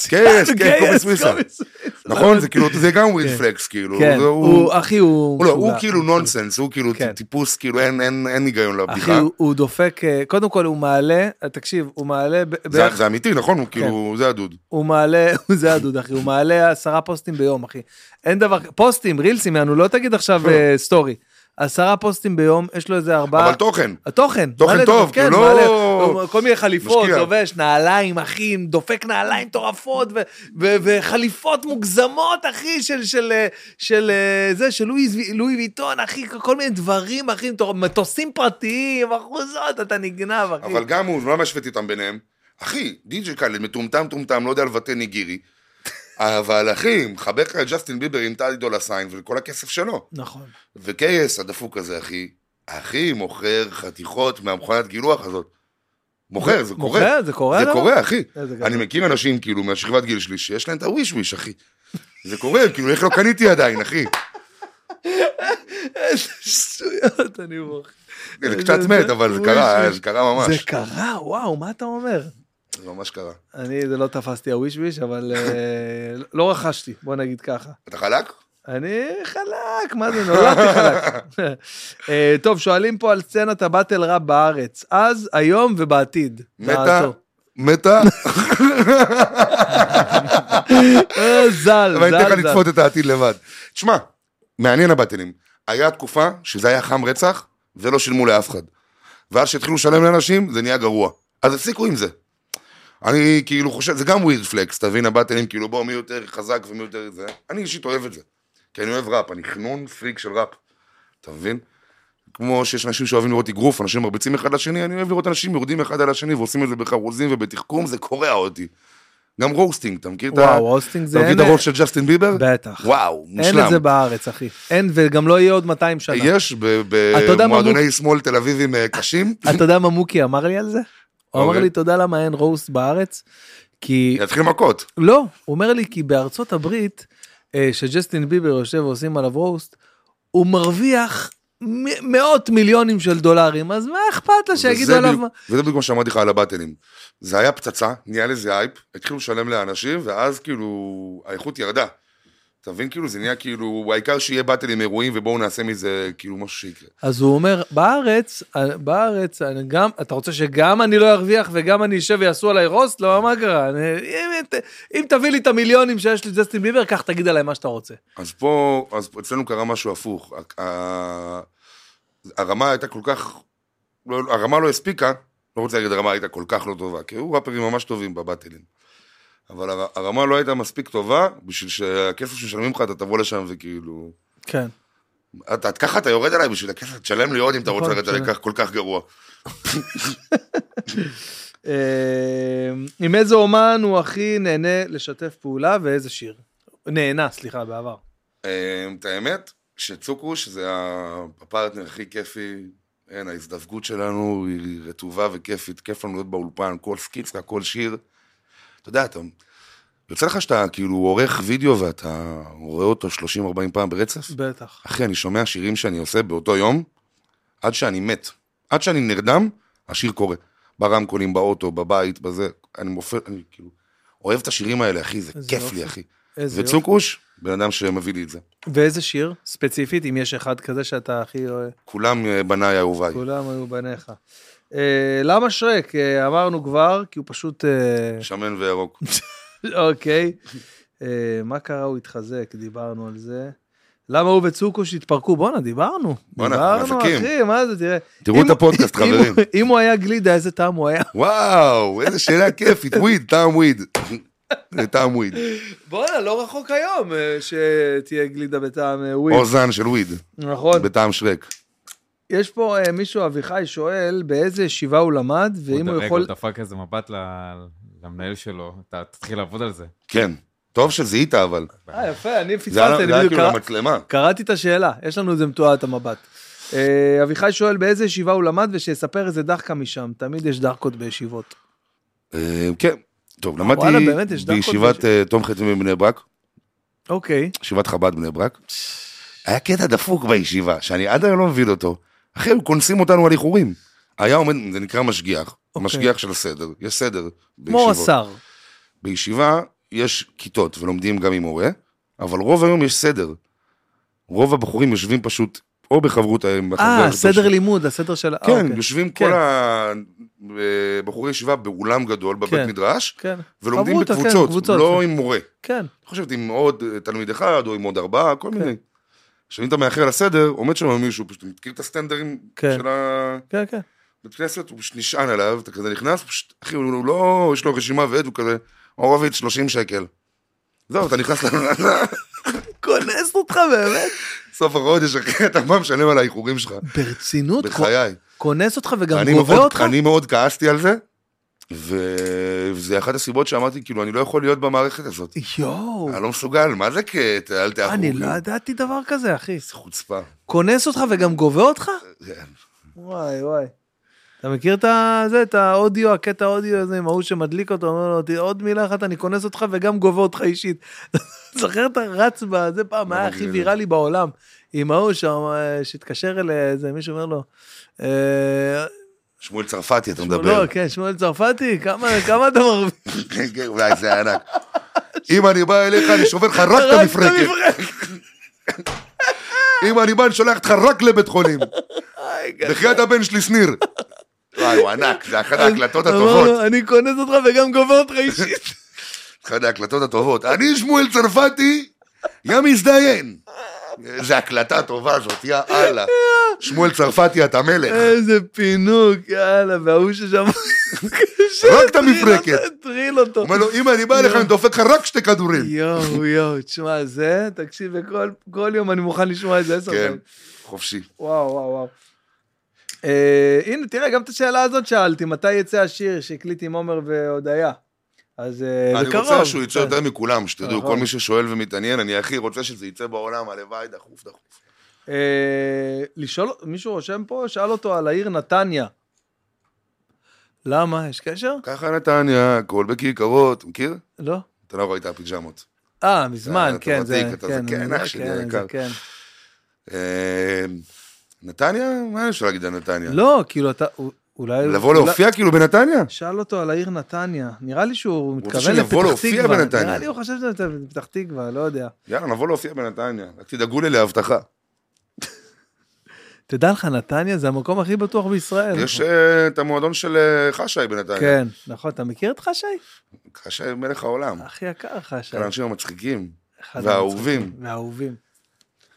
[SPEAKER 2] KS, כן,
[SPEAKER 1] <laughs> KS,
[SPEAKER 2] קובי סוויסה.
[SPEAKER 1] קובי סוויסה.
[SPEAKER 2] נכון? זה כאילו, זה גם ריפלקס, כאילו.
[SPEAKER 1] כן,
[SPEAKER 2] זה-
[SPEAKER 1] הוא, אחי, הוא...
[SPEAKER 2] הוא לא, הוא
[SPEAKER 1] משוגע.
[SPEAKER 2] כאילו נונסנס, הוא כאילו
[SPEAKER 1] כן.
[SPEAKER 2] טיפוס, כאילו אין- אין אין היגיון
[SPEAKER 1] אחי,
[SPEAKER 2] לבדיחה.
[SPEAKER 1] הוא, הוא דופק, אה, קודם כל הוא מעלה, אה, תקשיב, הוא מעלה, ב-
[SPEAKER 2] זה-
[SPEAKER 1] בערך, כן.
[SPEAKER 2] זה אמיתי, נכון? הוא כאילו, זה הדוד.
[SPEAKER 1] הוא מעלה, <laughs> זה הדוד אחי, הוא מעלה עשרה פוסטים ביום אחי. אין דבר, פוסטים, רילסים, יענו, לא תגיד עכשיו אה, סטורי. עשרה פוסטים ביום, יש לו איזה ארבעה...
[SPEAKER 2] אבל תוכן.
[SPEAKER 1] התוכן.
[SPEAKER 2] תוכן
[SPEAKER 1] מלא,
[SPEAKER 2] טוב,
[SPEAKER 1] כן,
[SPEAKER 2] לא-
[SPEAKER 1] מלא. כל מיני חליפות,
[SPEAKER 2] משקיע.
[SPEAKER 1] לובש, נעליים, אחים, דופק נעליים מטורפות, ו- ו- וחליפות מוגזמות, אחי, של, של, אה, של אה, זה, של לואי וי- לואי ויטון, אחי, כל מיני דברים, אחי, מטור- מטוסים פרטיים, אחוזות, אתה נגנב, אחי.
[SPEAKER 2] אבל גם הוא, לא משוויתי אותם ביניהם. אחי, די.ג'י קאלד, מטומטם טומטם, לא יודע לבטא ניגירי.
[SPEAKER 1] <laughs>
[SPEAKER 2] אבל אחי, מחבר לך את ג'סטין ביבר עם טלי דולה סיין וכל הכסף שלו.
[SPEAKER 1] נכון.
[SPEAKER 2] וקייס הדפוק הזה, אחי, אחי מוכר חתיכות מהמכונת גילוח הזאת. מוכר, זה קורה.
[SPEAKER 1] מוכר, זה קורה,
[SPEAKER 2] זה
[SPEAKER 1] לא?
[SPEAKER 2] קורה, אחי.
[SPEAKER 1] איזה גדול.
[SPEAKER 2] אני מכיר אנשים, כאילו, מהשכבת גיל שלי, שיש להם את הוויש וויש, אחי. זה קורה, כאילו, איך לא קניתי
[SPEAKER 1] <laughs>
[SPEAKER 2] עדיין, אחי?
[SPEAKER 1] איזה <laughs> שטויות, אני מוכר.
[SPEAKER 2] זה קצת מת, אבל זה קרה, זה קרה ממש.
[SPEAKER 1] זה קרה, וואו, מה אתה אומר?
[SPEAKER 2] זה ממש קרה.
[SPEAKER 1] אני, זה לא תפסתי הוויש וויש, אבל אה, לא רכשתי, בוא נגיד ככה.
[SPEAKER 2] אתה חלק?
[SPEAKER 1] אני חלק, מה זה, נולדתי חלק. אה, טוב, שואלים פה על סצנת הבטל ראפ בארץ, אז, היום ובעתיד.
[SPEAKER 2] מתה?
[SPEAKER 1] דעתו.
[SPEAKER 2] מתה?
[SPEAKER 1] אה, ז"ל,
[SPEAKER 2] אבל אני
[SPEAKER 1] ז"ל,
[SPEAKER 2] אתן לך
[SPEAKER 1] ז"ל.
[SPEAKER 2] לצפות את העתיד לבד. תשמע, מעניין הבטלים. היה תקופה שזה היה חם רצח, ולא שילמו לאף אחד. ואז כשהתחילו לשלם לאנשים, זה נהיה גרוע. אז הפסיקו עם זה. אני כאילו חושב, זה גם ווירד פלקס, תבין, הבטלים, כאילו בואו מי יותר חזק ומי יותר זה. אני אישית אוהב את זה. כי אני אוהב ראפ, אני חנון פריק של ראפ. אתה מבין? כמו שיש אנשים שאוהבים לראות אגרוף, אנשים מרביצים אחד לשני, אני אוהב לראות אנשים יורדים אחד על השני ועושים את זה בחרוזים ובתחכום, זה קורע אותי. גם רוסטינג, אתה מכיר את ה...
[SPEAKER 1] וואו, הוסטינג זה
[SPEAKER 2] אתה מכיר
[SPEAKER 1] אין...
[SPEAKER 2] את הראש של ג'סטין ביבר?
[SPEAKER 1] בטח.
[SPEAKER 2] וואו,
[SPEAKER 1] אין
[SPEAKER 2] מושלם.
[SPEAKER 1] את זה בארץ, אחי. אין, וגם לא יהיה עוד 200 שנה.
[SPEAKER 2] יש ב-
[SPEAKER 1] אתה יודע מה
[SPEAKER 2] במועדוני שמאל תל אביבים אה,
[SPEAKER 1] <laughs>
[SPEAKER 2] קשים,
[SPEAKER 1] אתה יודע מה מוקי אמר לי על זה? הוא אמר
[SPEAKER 2] אוקיי.
[SPEAKER 1] לי, תודה למה אין רוסט בארץ, כי
[SPEAKER 2] יתחיל מכות.
[SPEAKER 1] לא, הוא אומר לי כי בארצות הברית, אה, שג'סטין ביבר יושב ועושים עליו רוסט, הוא מרוויח מ- מאות מיליונים של דולרים, אז מה אכפת לה שיגידו
[SPEAKER 2] וזה
[SPEAKER 1] עליו...
[SPEAKER 2] בדיוק-
[SPEAKER 1] מה-
[SPEAKER 2] וזה בדיוק מה שאמרתי לך על הבטנים. זה היה פצצה, נהיה לזה אייפ, התחילו לשלם לאנשים, ואז כאילו האיכות ירדה. אתה מבין? כאילו זה נהיה כאילו, העיקר שיהיה באטל עם אירועים ובואו נעשה מזה כאילו משהו שיקרה.
[SPEAKER 1] אז הוא אומר, בארץ, אה, בארץ, אני גם, אתה רוצה שגם אני לא ארוויח וגם אני אשב ויעשו עליי רוסט? לא, מה קרה? אני, אם, ת- אם תביא לי את המיליונים שיש לג'סטין ביבר, קח תגיד עליי מה שאתה רוצה.
[SPEAKER 2] אז פה, אז אצלנו קרה משהו הפוך. ה- ה- הרמה הייתה כל כך, לא, הרמה לא הספיקה, לא רוצה להגיד הרמה הייתה כל כך לא טובה, כי היו ראפרים ממש טובים בבטלים. אבל הר- הרמה לא הייתה מספיק טובה בשביל שהכסף שמשלמים לך, אתה תבוא לשם וכאילו...
[SPEAKER 1] כן.
[SPEAKER 2] אתה, ככה אתה יורד עליי בשביל הכסף, תשלם לי עוד אם אתה
[SPEAKER 1] נכון,
[SPEAKER 2] רוצה לרדת עליי
[SPEAKER 1] תשלם.
[SPEAKER 2] כך- כל כך גרוע.
[SPEAKER 1] אה, עם איזה אומן הוא הכי נהנה לשתף פעולה ואיזה שיר? נהנה, סליחה, בעבר.
[SPEAKER 2] אמ, את האמת, שצוקוש זה ה- הפרטנר הכי כיפי, אין, ההזדווגות שלנו היא רטובה וכיפית, כיף לנו להיות באולפן, כל סקיצה, כל שיר. אתה יודע, אתה... יוצא לך שאתה כאילו עורך וידאו ואתה רואה אותו 30-40 פעם ברצף?
[SPEAKER 1] בטח.
[SPEAKER 2] אחי, אני שומע שירים שאני עושה באותו יום, עד שאני מת. עד שאני נרדם, השיר קורה. ברמקולים, באוטו, בבית, בזה. אני מופ... אני כאילו... אוהב את השירים האלה, אחי, זה
[SPEAKER 1] איזה
[SPEAKER 2] כיף
[SPEAKER 1] יופי.
[SPEAKER 2] לי, אחי.
[SPEAKER 1] איזה יופי.
[SPEAKER 2] וצוקוש, בן אדם שמביא לי את זה.
[SPEAKER 1] ואיזה שיר? ספציפית, אם יש אחד כזה שאתה הכי אוהב,
[SPEAKER 2] כולם אה, בניי אהוביי.
[SPEAKER 1] כולם היו בניך. אה, למה שרק? אה, אמרנו כבר, כי הוא פשוט... אה, <laughs>
[SPEAKER 2] שמן וירוק.
[SPEAKER 1] אוקיי. אה, מה קרה? הוא התחזק, דיברנו על זה. למה הוא וצוקוש התפרקו? בואנה, דיברנו.
[SPEAKER 2] בואנה,
[SPEAKER 1] דיברנו,
[SPEAKER 2] חזקים.
[SPEAKER 1] אחי, מה זה, תראה.
[SPEAKER 2] תראו
[SPEAKER 1] אם
[SPEAKER 2] את
[SPEAKER 1] הוא-
[SPEAKER 2] <laughs> הפודקאסט,
[SPEAKER 1] אם
[SPEAKER 2] חברים.
[SPEAKER 1] הוא- אם הוא היה גלידה, איזה טעם הוא היה.
[SPEAKER 2] וואו, איזה שאלה כיפית, וויד, טעם וויד. זה טעם וויד.
[SPEAKER 1] <laughs> בואנה, לא רחוק היום אה, שתהיה גלידה בטעם אה, וויד.
[SPEAKER 2] או זן של וויד,
[SPEAKER 1] נכון.
[SPEAKER 2] בטעם שרק.
[SPEAKER 1] יש פה אה, מישהו, אביחי, שואל באיזה ישיבה הוא למד, ואם הוא יכול...
[SPEAKER 4] הוא דפק איזה מבט ל- למנהל שלו, אתה תתחיל לעבוד על זה.
[SPEAKER 2] כן. טוב שזיהית, אבל.
[SPEAKER 1] אה, יפה, אני
[SPEAKER 2] זה היה
[SPEAKER 1] פספסתי,
[SPEAKER 2] זה
[SPEAKER 1] אני
[SPEAKER 2] היה
[SPEAKER 1] בדיוק
[SPEAKER 2] כאילו
[SPEAKER 1] קרא-
[SPEAKER 2] למצלמה.
[SPEAKER 1] קראתי את השאלה, יש לנו את זה מתועד, את המבט. אה, אביחי שואל באיזה ישיבה הוא למד, ושיספר איזה דחקה משם, תמיד יש דחקות בישיבות.
[SPEAKER 2] אה, כן. טוב,
[SPEAKER 1] וואלה,
[SPEAKER 2] למדתי
[SPEAKER 1] באמת, יש דרכות
[SPEAKER 2] בישיבת
[SPEAKER 1] בש-
[SPEAKER 2] אה, תום חצי מבני ברק,
[SPEAKER 1] אוקיי,
[SPEAKER 2] ישיבת חב"ד בני ברק. היה קטע דפוק בישיבה, שאני עד היום לא מבין אותו. אחי, הם קונסים אותנו על איחורים. היה עומד, זה נקרא משגיח,
[SPEAKER 1] אוקיי.
[SPEAKER 2] משגיח של הסדר, יש סדר
[SPEAKER 1] כמו
[SPEAKER 2] בישיבות.
[SPEAKER 1] השר.
[SPEAKER 2] בישיבה יש כיתות ולומדים גם עם מורה, אבל רוב היום יש סדר. רוב הבחורים יושבים פשוט או בחברות עם החבר.
[SPEAKER 1] אה,
[SPEAKER 2] איתו ש-
[SPEAKER 1] סדר לימוד, הסדר של... אה,
[SPEAKER 2] כן,
[SPEAKER 1] אוקיי.
[SPEAKER 2] יושבים
[SPEAKER 1] כן.
[SPEAKER 2] כל הבחורי ישיבה באולם גדול בבית
[SPEAKER 1] כן.
[SPEAKER 2] מדרש,
[SPEAKER 1] כן,
[SPEAKER 2] ולומדים
[SPEAKER 1] חברותא, כן,
[SPEAKER 2] בקבוצות,
[SPEAKER 1] קבוצות,
[SPEAKER 2] לא
[SPEAKER 1] כן.
[SPEAKER 2] עם מורה.
[SPEAKER 1] כן.
[SPEAKER 2] חושבת עם עוד אה, תלמיד אחד או עם עוד ארבעה, כל מיני. עכשיו, אם אתה מאחר לסדר, עומד שם מישהו, פשוט מכיר את הסטנדרים
[SPEAKER 1] כן.
[SPEAKER 2] של ה...
[SPEAKER 1] כן, כן.
[SPEAKER 2] בית כנסת, הוא פשוט נשען עליו, אתה כזה נכנס, פשוט, אחי, הוא הוא לא, יש לו רשימה ועד, הוא כזה, הורוביץ, 30 שקל. זהו, אתה נכנס <laughs>
[SPEAKER 1] כונס אותך באמת?
[SPEAKER 2] לסוף החודש, אחי, <laughs> אתה מה משלם על האיחורים שלך,
[SPEAKER 1] ברצינות?
[SPEAKER 2] בחיי.
[SPEAKER 1] כונס אותך וגם
[SPEAKER 2] אני
[SPEAKER 1] גובה
[SPEAKER 2] מאוד-
[SPEAKER 1] אותך?
[SPEAKER 2] אני מאוד כעסתי על זה, ו- וזה אחת הסיבות שאמרתי, כאילו, אני לא יכול להיות במערכת הזאת.
[SPEAKER 1] יואו,
[SPEAKER 2] אני לא מסוגל, מה זה קטע, אל תאחרו.
[SPEAKER 1] אני
[SPEAKER 2] כאילו.
[SPEAKER 1] לא ידעתי דבר כזה, אחי.
[SPEAKER 2] חוצפה.
[SPEAKER 1] כונס אותך וגם גובה אותך?
[SPEAKER 2] כן.
[SPEAKER 1] וואי, וואי. אתה מכיר את ה- זה, את האודיו, הקטע האודיו הזה עם ההוא שמדליק אותו, אומר לו, "ת- עוד מילה אחת, אני כונס אותך וגם גובה אותך אישית. <laughs> זוכר אתה רץ בזה פעם,
[SPEAKER 2] לא
[SPEAKER 1] היה
[SPEAKER 2] מכיר
[SPEAKER 1] הכי
[SPEAKER 2] את
[SPEAKER 1] ויראלי בעולם. עם ההוא שם, אה, שהתקשר אל איזה, מישהו אומר לו, אה,
[SPEAKER 2] שמואל צרפתי, אתה מדבר.
[SPEAKER 1] לא, כן, שמואל צרפתי, כמה כמה אתה מרוויח?
[SPEAKER 2] כן, כן, אולי זה ענק. אם אני בא אליך, אני שובר לך <laughs> רק את
[SPEAKER 1] רק
[SPEAKER 2] המפרקת. אם אני בא, אני שולח אותך רק לבית חולים.
[SPEAKER 1] איי, גדול.
[SPEAKER 2] בחייאת הבן שלי, שניר. וואי, הוא ענק, זה אחת ההקלטות
[SPEAKER 1] אמר
[SPEAKER 2] הטובות.
[SPEAKER 1] לו, אני כונס אותך וגם גובה אותך
[SPEAKER 2] <laughs>
[SPEAKER 1] אישית.
[SPEAKER 2] אחת ההקלטות הטובות. אני שמואל צרפתי, יא מזדיין. איזה הקלטה טובה זאת, יא אללה. שמואל צרפתי, אתה מלך.
[SPEAKER 1] איזה פינוק, יאללה, וההוא ששם... <laughs>
[SPEAKER 2] רק את המפרקת.
[SPEAKER 1] טריל אותו. לא,
[SPEAKER 2] הוא אומר לו, אם אני בא אליך, אני דופק לך רק שתי כדורים.
[SPEAKER 1] <laughs> יואו, יואו, תשמע, זה, תקשיב, וכל- כל יום אני מוכן לשמוע את זה עשר
[SPEAKER 2] כן,
[SPEAKER 1] פעמים.
[SPEAKER 2] חופשי.
[SPEAKER 1] וואו, וואו, וואו. אה, הנה, תראה, גם את השאלה הזאת שאלתי, מתי יצא השיר שהקליט עם עומר והודיה? אז אה,
[SPEAKER 2] אני
[SPEAKER 1] בקרוב.
[SPEAKER 2] רוצה שהוא יצא
[SPEAKER 1] כן.
[SPEAKER 2] יותר מכולם, שתדעו,
[SPEAKER 1] נכון.
[SPEAKER 2] כל מי ששואל ומתעניין, אני הכי רוצה שזה יצא בעולם, הלוואי, דחוף, דחוף.
[SPEAKER 1] אה, לשאול, מישהו רושם פה, שאל אותו על העיר נתניה. למה? יש קשר?
[SPEAKER 2] ככה נתניה, הכל בכיכרות, מכיר?
[SPEAKER 1] לא.
[SPEAKER 2] אתה לא ראית הפיג'מות.
[SPEAKER 1] אה, מזמן,
[SPEAKER 2] אתה
[SPEAKER 1] כן,
[SPEAKER 2] ותיק,
[SPEAKER 1] זה,
[SPEAKER 2] אתה
[SPEAKER 1] כן,
[SPEAKER 2] זקן,
[SPEAKER 1] זה,
[SPEAKER 2] אח שלי
[SPEAKER 1] כן, זה,
[SPEAKER 2] היקר.
[SPEAKER 1] כן.
[SPEAKER 2] אה, נתניה? מה אפשר להגיד על נתניה?
[SPEAKER 1] לא, כאילו, אתה, א- אולי... הוא-
[SPEAKER 2] לבוא
[SPEAKER 1] אולי-
[SPEAKER 2] להופיע כאילו בנתניה?
[SPEAKER 1] שאל אותו על העיר נתניה. נראה לי שהוא מתכוון לפתח
[SPEAKER 2] רוצה
[SPEAKER 1] תקווה.
[SPEAKER 2] שנבוא להופיע בנתניה.
[SPEAKER 1] נראה לי הוא חושב שזה פתח תקווה, לא יודע.
[SPEAKER 2] יאללה, נבוא להופיע בנתניה. רק תדאגו לי לאבטחה.
[SPEAKER 1] תדע לך, נתניה זה המקום הכי בטוח בישראל.
[SPEAKER 2] יש אה, את המועדון של אה, חשאי בנתניה.
[SPEAKER 1] כן, נכון. אתה מכיר את חשי?
[SPEAKER 2] חשאי מלך העולם.
[SPEAKER 1] הכי יקר חשי.
[SPEAKER 2] של האנשים המצחיקים.
[SPEAKER 1] אחד
[SPEAKER 2] והאהובים.
[SPEAKER 1] המצחיקים, והאהובים.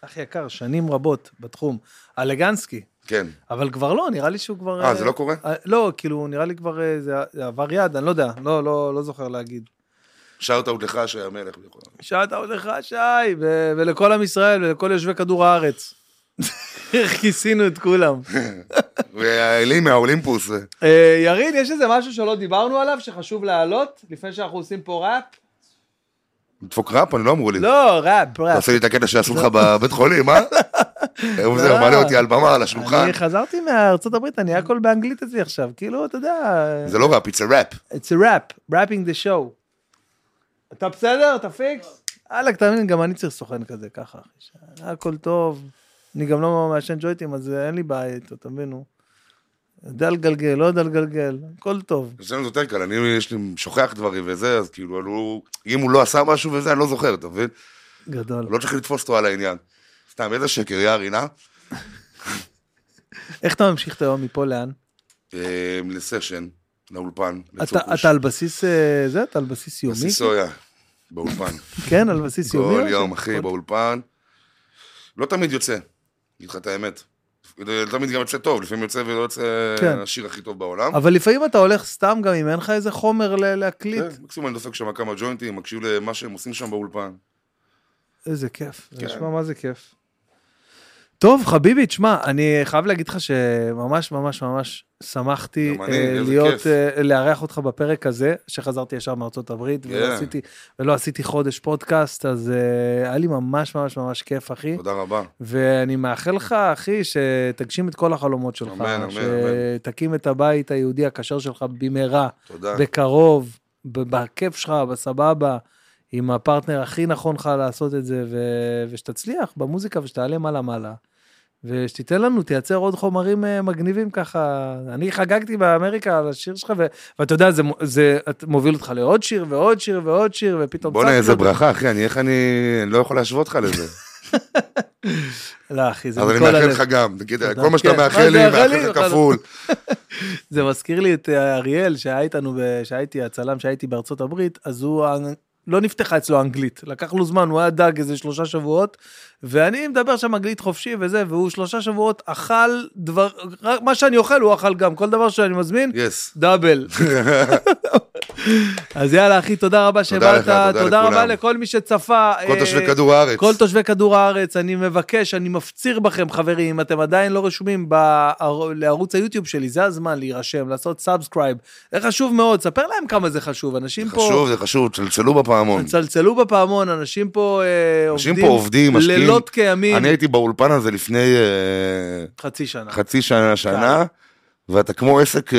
[SPEAKER 1] הכי יקר, שנים רבות בתחום. אלגנסקי.
[SPEAKER 2] כן.
[SPEAKER 1] אבל כבר לא, נראה לי שהוא כבר...
[SPEAKER 2] אה, זה לא קורה?
[SPEAKER 1] אה, לא, כאילו, נראה לי כבר אה, זה זה עבר יד, אני לא יודע, לא, לא, לא זוכר להגיד.
[SPEAKER 2] שאוט-אאוט לך, שהיה מלך. בכל-
[SPEAKER 1] שאתה עוד לך, שי, ו- ולכל עם ישראל ולכל יושבי כדור הארץ. איך כיסינו את כולם.
[SPEAKER 2] והאלים מהאולימפוס. אה.
[SPEAKER 1] אה, ירין, יש איזה משהו שלא דיברנו עליו שחשוב להעלות לפני שאנחנו עושים פה ראפ?
[SPEAKER 2] לדפוק ראפ? אני לא אמרו לי.
[SPEAKER 1] לא, ראפ, ראפ.
[SPEAKER 2] תעשה לי את הקטע שעשו לך בבית חולים, אה?
[SPEAKER 1] <laughs>
[SPEAKER 2] היום זה
[SPEAKER 1] לא.
[SPEAKER 2] מעלה אותי על במה, על השולחן.
[SPEAKER 1] אני חזרתי מארצות הברית, אני הכל באנגלית אצלי עכשיו, כאילו, אתה יודע,
[SPEAKER 2] זה לא ראפ, it's a rap.
[SPEAKER 1] it's a rap, rapping the show. אתה בסדר? אתה פיקס? וואלכ, תאמין לי, גם אני צריך סוכן כזה, ככה. הכל טוב, אני גם לא מעשן ג'וינטים, אז אין לי בעיה איתו, אתה מבין? הוא יודע לגלגל, לא יודע לגלגל, הכל טוב.
[SPEAKER 2] אצלנו זה יותר קל, אני יש לי שוכח דברים וזה, אז כאילו, אבל הוא- אם הוא לא עשה משהו וזה, אני לא זוכר, אתה מבין?
[SPEAKER 1] גדול.
[SPEAKER 2] לא צריך לתפוס אותו על העניין. סתם, איזה שקר, יא רינה.
[SPEAKER 1] איך אתה ממשיך את היום מפה לאן?
[SPEAKER 2] אה, לסשן, לאולפן,
[SPEAKER 1] אתה
[SPEAKER 2] לצוקוש.
[SPEAKER 1] אתה על בסיס אה, זה? אתה על בסיס יומי?
[SPEAKER 2] בסיסויה,
[SPEAKER 1] <laughs>
[SPEAKER 2] באולפן.
[SPEAKER 1] כן, על בסיס יומי?
[SPEAKER 2] כל
[SPEAKER 1] או
[SPEAKER 2] יום,
[SPEAKER 1] ש-
[SPEAKER 2] אחי, באולפן. לא תמיד יוצא, אגיד לך את האמת. לא תמיד גם יוצא טוב, לפעמים יוצא ולא יוצא
[SPEAKER 1] כן.
[SPEAKER 2] השיר הכי טוב בעולם.
[SPEAKER 1] אבל לפעמים אתה הולך סתם גם אם אין לך איזה חומר ל- להקליט.
[SPEAKER 2] כן, מקסימום אני דופק שם כמה ג'וינטים, מקשיב למה שהם עושים שם באולפן.
[SPEAKER 1] איזה כיף, זה
[SPEAKER 2] כן.
[SPEAKER 1] נשמע מה זה כיף. טוב, חביבי, תשמע, אני חייב להגיד לך שממש ממש ממש שמחתי
[SPEAKER 2] גם אני,
[SPEAKER 1] אה,
[SPEAKER 2] איזה
[SPEAKER 1] להיות,
[SPEAKER 2] כיף.
[SPEAKER 1] אה, לארח אותך בפרק הזה, שחזרתי ישר מארצות הברית, ולא
[SPEAKER 2] כן.
[SPEAKER 1] עשיתי- ולא עשיתי חודש פודקאסט, אז אה, היה לי ממש ממש ממש כיף, אחי.
[SPEAKER 2] תודה רבה.
[SPEAKER 1] ואני מאחל לך, אחי, שתגשים את כל החלומות שלך.
[SPEAKER 2] אמן, אמן,
[SPEAKER 1] שתקים את הבית היהודי הכשר שלך במהרה,
[SPEAKER 2] תודה.
[SPEAKER 1] בקרוב, ב- בכיף שלך, בסבבה, עם הפרטנר הכי נכון לך לעשות את זה, ו... ושתצליח במוזיקה ושתעלה מעלה-מעלה. ושתיתן לנו, תייצר עוד חומרים אה, מגניבים ככה. אני חגגתי באמריקה על השיר שלך, ו... ואתה יודע, זה, מ- זה את- מוביל אותך לעוד שיר ועוד שיר ועוד שיר, ופתאום...
[SPEAKER 2] בואנה,
[SPEAKER 1] צץ
[SPEAKER 2] איזה
[SPEAKER 1] לך-
[SPEAKER 2] ברכה, אחי, אני איך אני... אני לא יכול להשוות לך לזה.
[SPEAKER 1] לא, אחי, <laughs> זה
[SPEAKER 2] אבל אני
[SPEAKER 1] מכל
[SPEAKER 2] מאחל
[SPEAKER 1] הלב.
[SPEAKER 2] לך גם, תגיד,
[SPEAKER 1] תודה.
[SPEAKER 2] כל מה שאתה
[SPEAKER 1] כן, מה
[SPEAKER 2] מאחל לי,
[SPEAKER 1] שאתה מאחל
[SPEAKER 2] מאחל
[SPEAKER 1] לי,
[SPEAKER 2] לך
[SPEAKER 1] מאחל
[SPEAKER 2] כפול.
[SPEAKER 1] זה מזכיר לי את אה, אריאל, שהיה איתנו, ב- שהייתי, הצלם שהייתי בארצות הברית, אז הוא, לא נפתחה אצלו האנגלית. לקח לו זמן, הוא היה דג איזה שלושה שבועות, ואני מדבר שם אנגלית חופשי וזה, והוא שלושה שבועות אכל דבר, רק מה שאני אוכל הוא אכל גם, כל דבר שאני מזמין,
[SPEAKER 2] יס. <laughs>
[SPEAKER 1] דאבל. אז יאללה, אחי, תודה רבה שבאת,
[SPEAKER 2] לך, תודה
[SPEAKER 1] תודה רבה
[SPEAKER 2] לכולם.
[SPEAKER 1] לכל מי שצפה.
[SPEAKER 2] כל
[SPEAKER 1] אה,
[SPEAKER 2] תושבי כדור הארץ.
[SPEAKER 1] כל תושבי כדור הארץ, אני מבקש, אני מפציר בכם, חברים, אם אתם עדיין לא רשומים בער- לערוץ היוטיוב שלי, זה הזמן להירשם, לעשות סאבסקרייב. זה חשוב מאוד, ספר להם כמה זה חשוב. אנשים פה...
[SPEAKER 2] חשוב, זה חשוב, צלצלו בפעמון.
[SPEAKER 1] צלצלו בפעמון, אנשים פה אה,
[SPEAKER 2] אנשים פה עובדים, משקיעים.
[SPEAKER 1] לילות כימים,
[SPEAKER 2] אני הייתי באולפן הזה לפני אה,
[SPEAKER 1] חצי שנה.
[SPEAKER 2] חצי שנה, שנה, ואתה כמו עסק אה,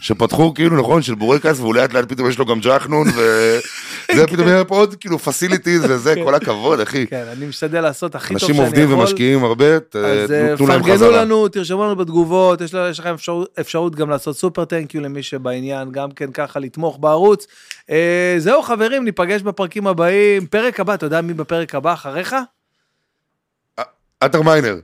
[SPEAKER 2] שפתחו כאילו, נכון, של בורקס, והוא לאט לאט פתאום יש לו גם ג'חנון,
[SPEAKER 1] <laughs>
[SPEAKER 2] וזה פתאום יהיה פה עוד כאילו פסיליטיז וזה, כל הכבוד, אחי.
[SPEAKER 1] כן, אני משתדל לעשות הכי טוב שאני
[SPEAKER 2] אנשים
[SPEAKER 1] יכול.
[SPEAKER 2] עובדים ומשקיעים הרבה, ת-
[SPEAKER 1] אז אה,
[SPEAKER 2] תנו להם
[SPEAKER 1] פרגנו
[SPEAKER 2] חזרה.
[SPEAKER 1] לנו, תרשמו לנו בתגובות, יש לה- יש לכם אפשרות- אפשרות גם לעשות סופר טנקיו למי שבעניין, גם כן ככה לתמוך בערוץ. אה, זהו חברים, ניפגש בפרקים הבאים. פרק הבא, אתה יודע מי בפרק הבא אחריך?
[SPEAKER 2] עטר מיינר,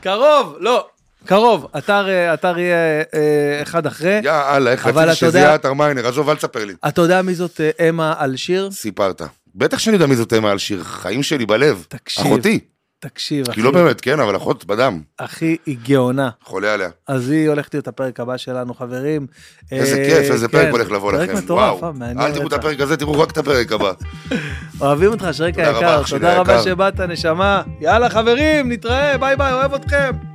[SPEAKER 1] קרוב, לא, קרוב. אתר אה, אתר יהיה אה, אחד אחרי.
[SPEAKER 2] יא אללה, איך
[SPEAKER 1] אבל
[SPEAKER 2] רציתי
[SPEAKER 1] אתה
[SPEAKER 2] שזה
[SPEAKER 1] יודע-
[SPEAKER 2] יהיה עטר מיינר, עזוב, אל תספר לי.
[SPEAKER 1] אתה יודע מי זאת אה, אמה על שיר?
[SPEAKER 2] סיפרת. בטח שאני יודע מי זאת אמה על שיר, חיים שלי בלב.
[SPEAKER 1] תקשיב.
[SPEAKER 2] אחותי.
[SPEAKER 1] תקשיב, אחי,
[SPEAKER 2] היא לא באמת, כן, אבל אחות בדם.
[SPEAKER 1] אחי, היא גאונה.
[SPEAKER 2] חולה עליה.
[SPEAKER 1] אז היא הולכת להיות הפרק הבא שלנו, חברים.
[SPEAKER 2] איזה
[SPEAKER 1] אה,
[SPEAKER 2] כיף, איזה
[SPEAKER 1] כן,
[SPEAKER 2] פרק הולך לבוא לכם.
[SPEAKER 1] פרק מטורף, אה,
[SPEAKER 2] וואו.
[SPEAKER 1] מעניין.
[SPEAKER 2] אל תראו את
[SPEAKER 1] רצח.
[SPEAKER 2] הפרק הזה, תראו רק את הפרק הבא.
[SPEAKER 1] אוהבים אותך, שריקה
[SPEAKER 2] תודה רבה,
[SPEAKER 1] יקר.
[SPEAKER 2] אח שלי
[SPEAKER 1] תודה רבה
[SPEAKER 2] היקר.
[SPEAKER 1] שבאת, נשמה. יאללה, חברים, נתראה, ביי ביי, אוהב אתכם.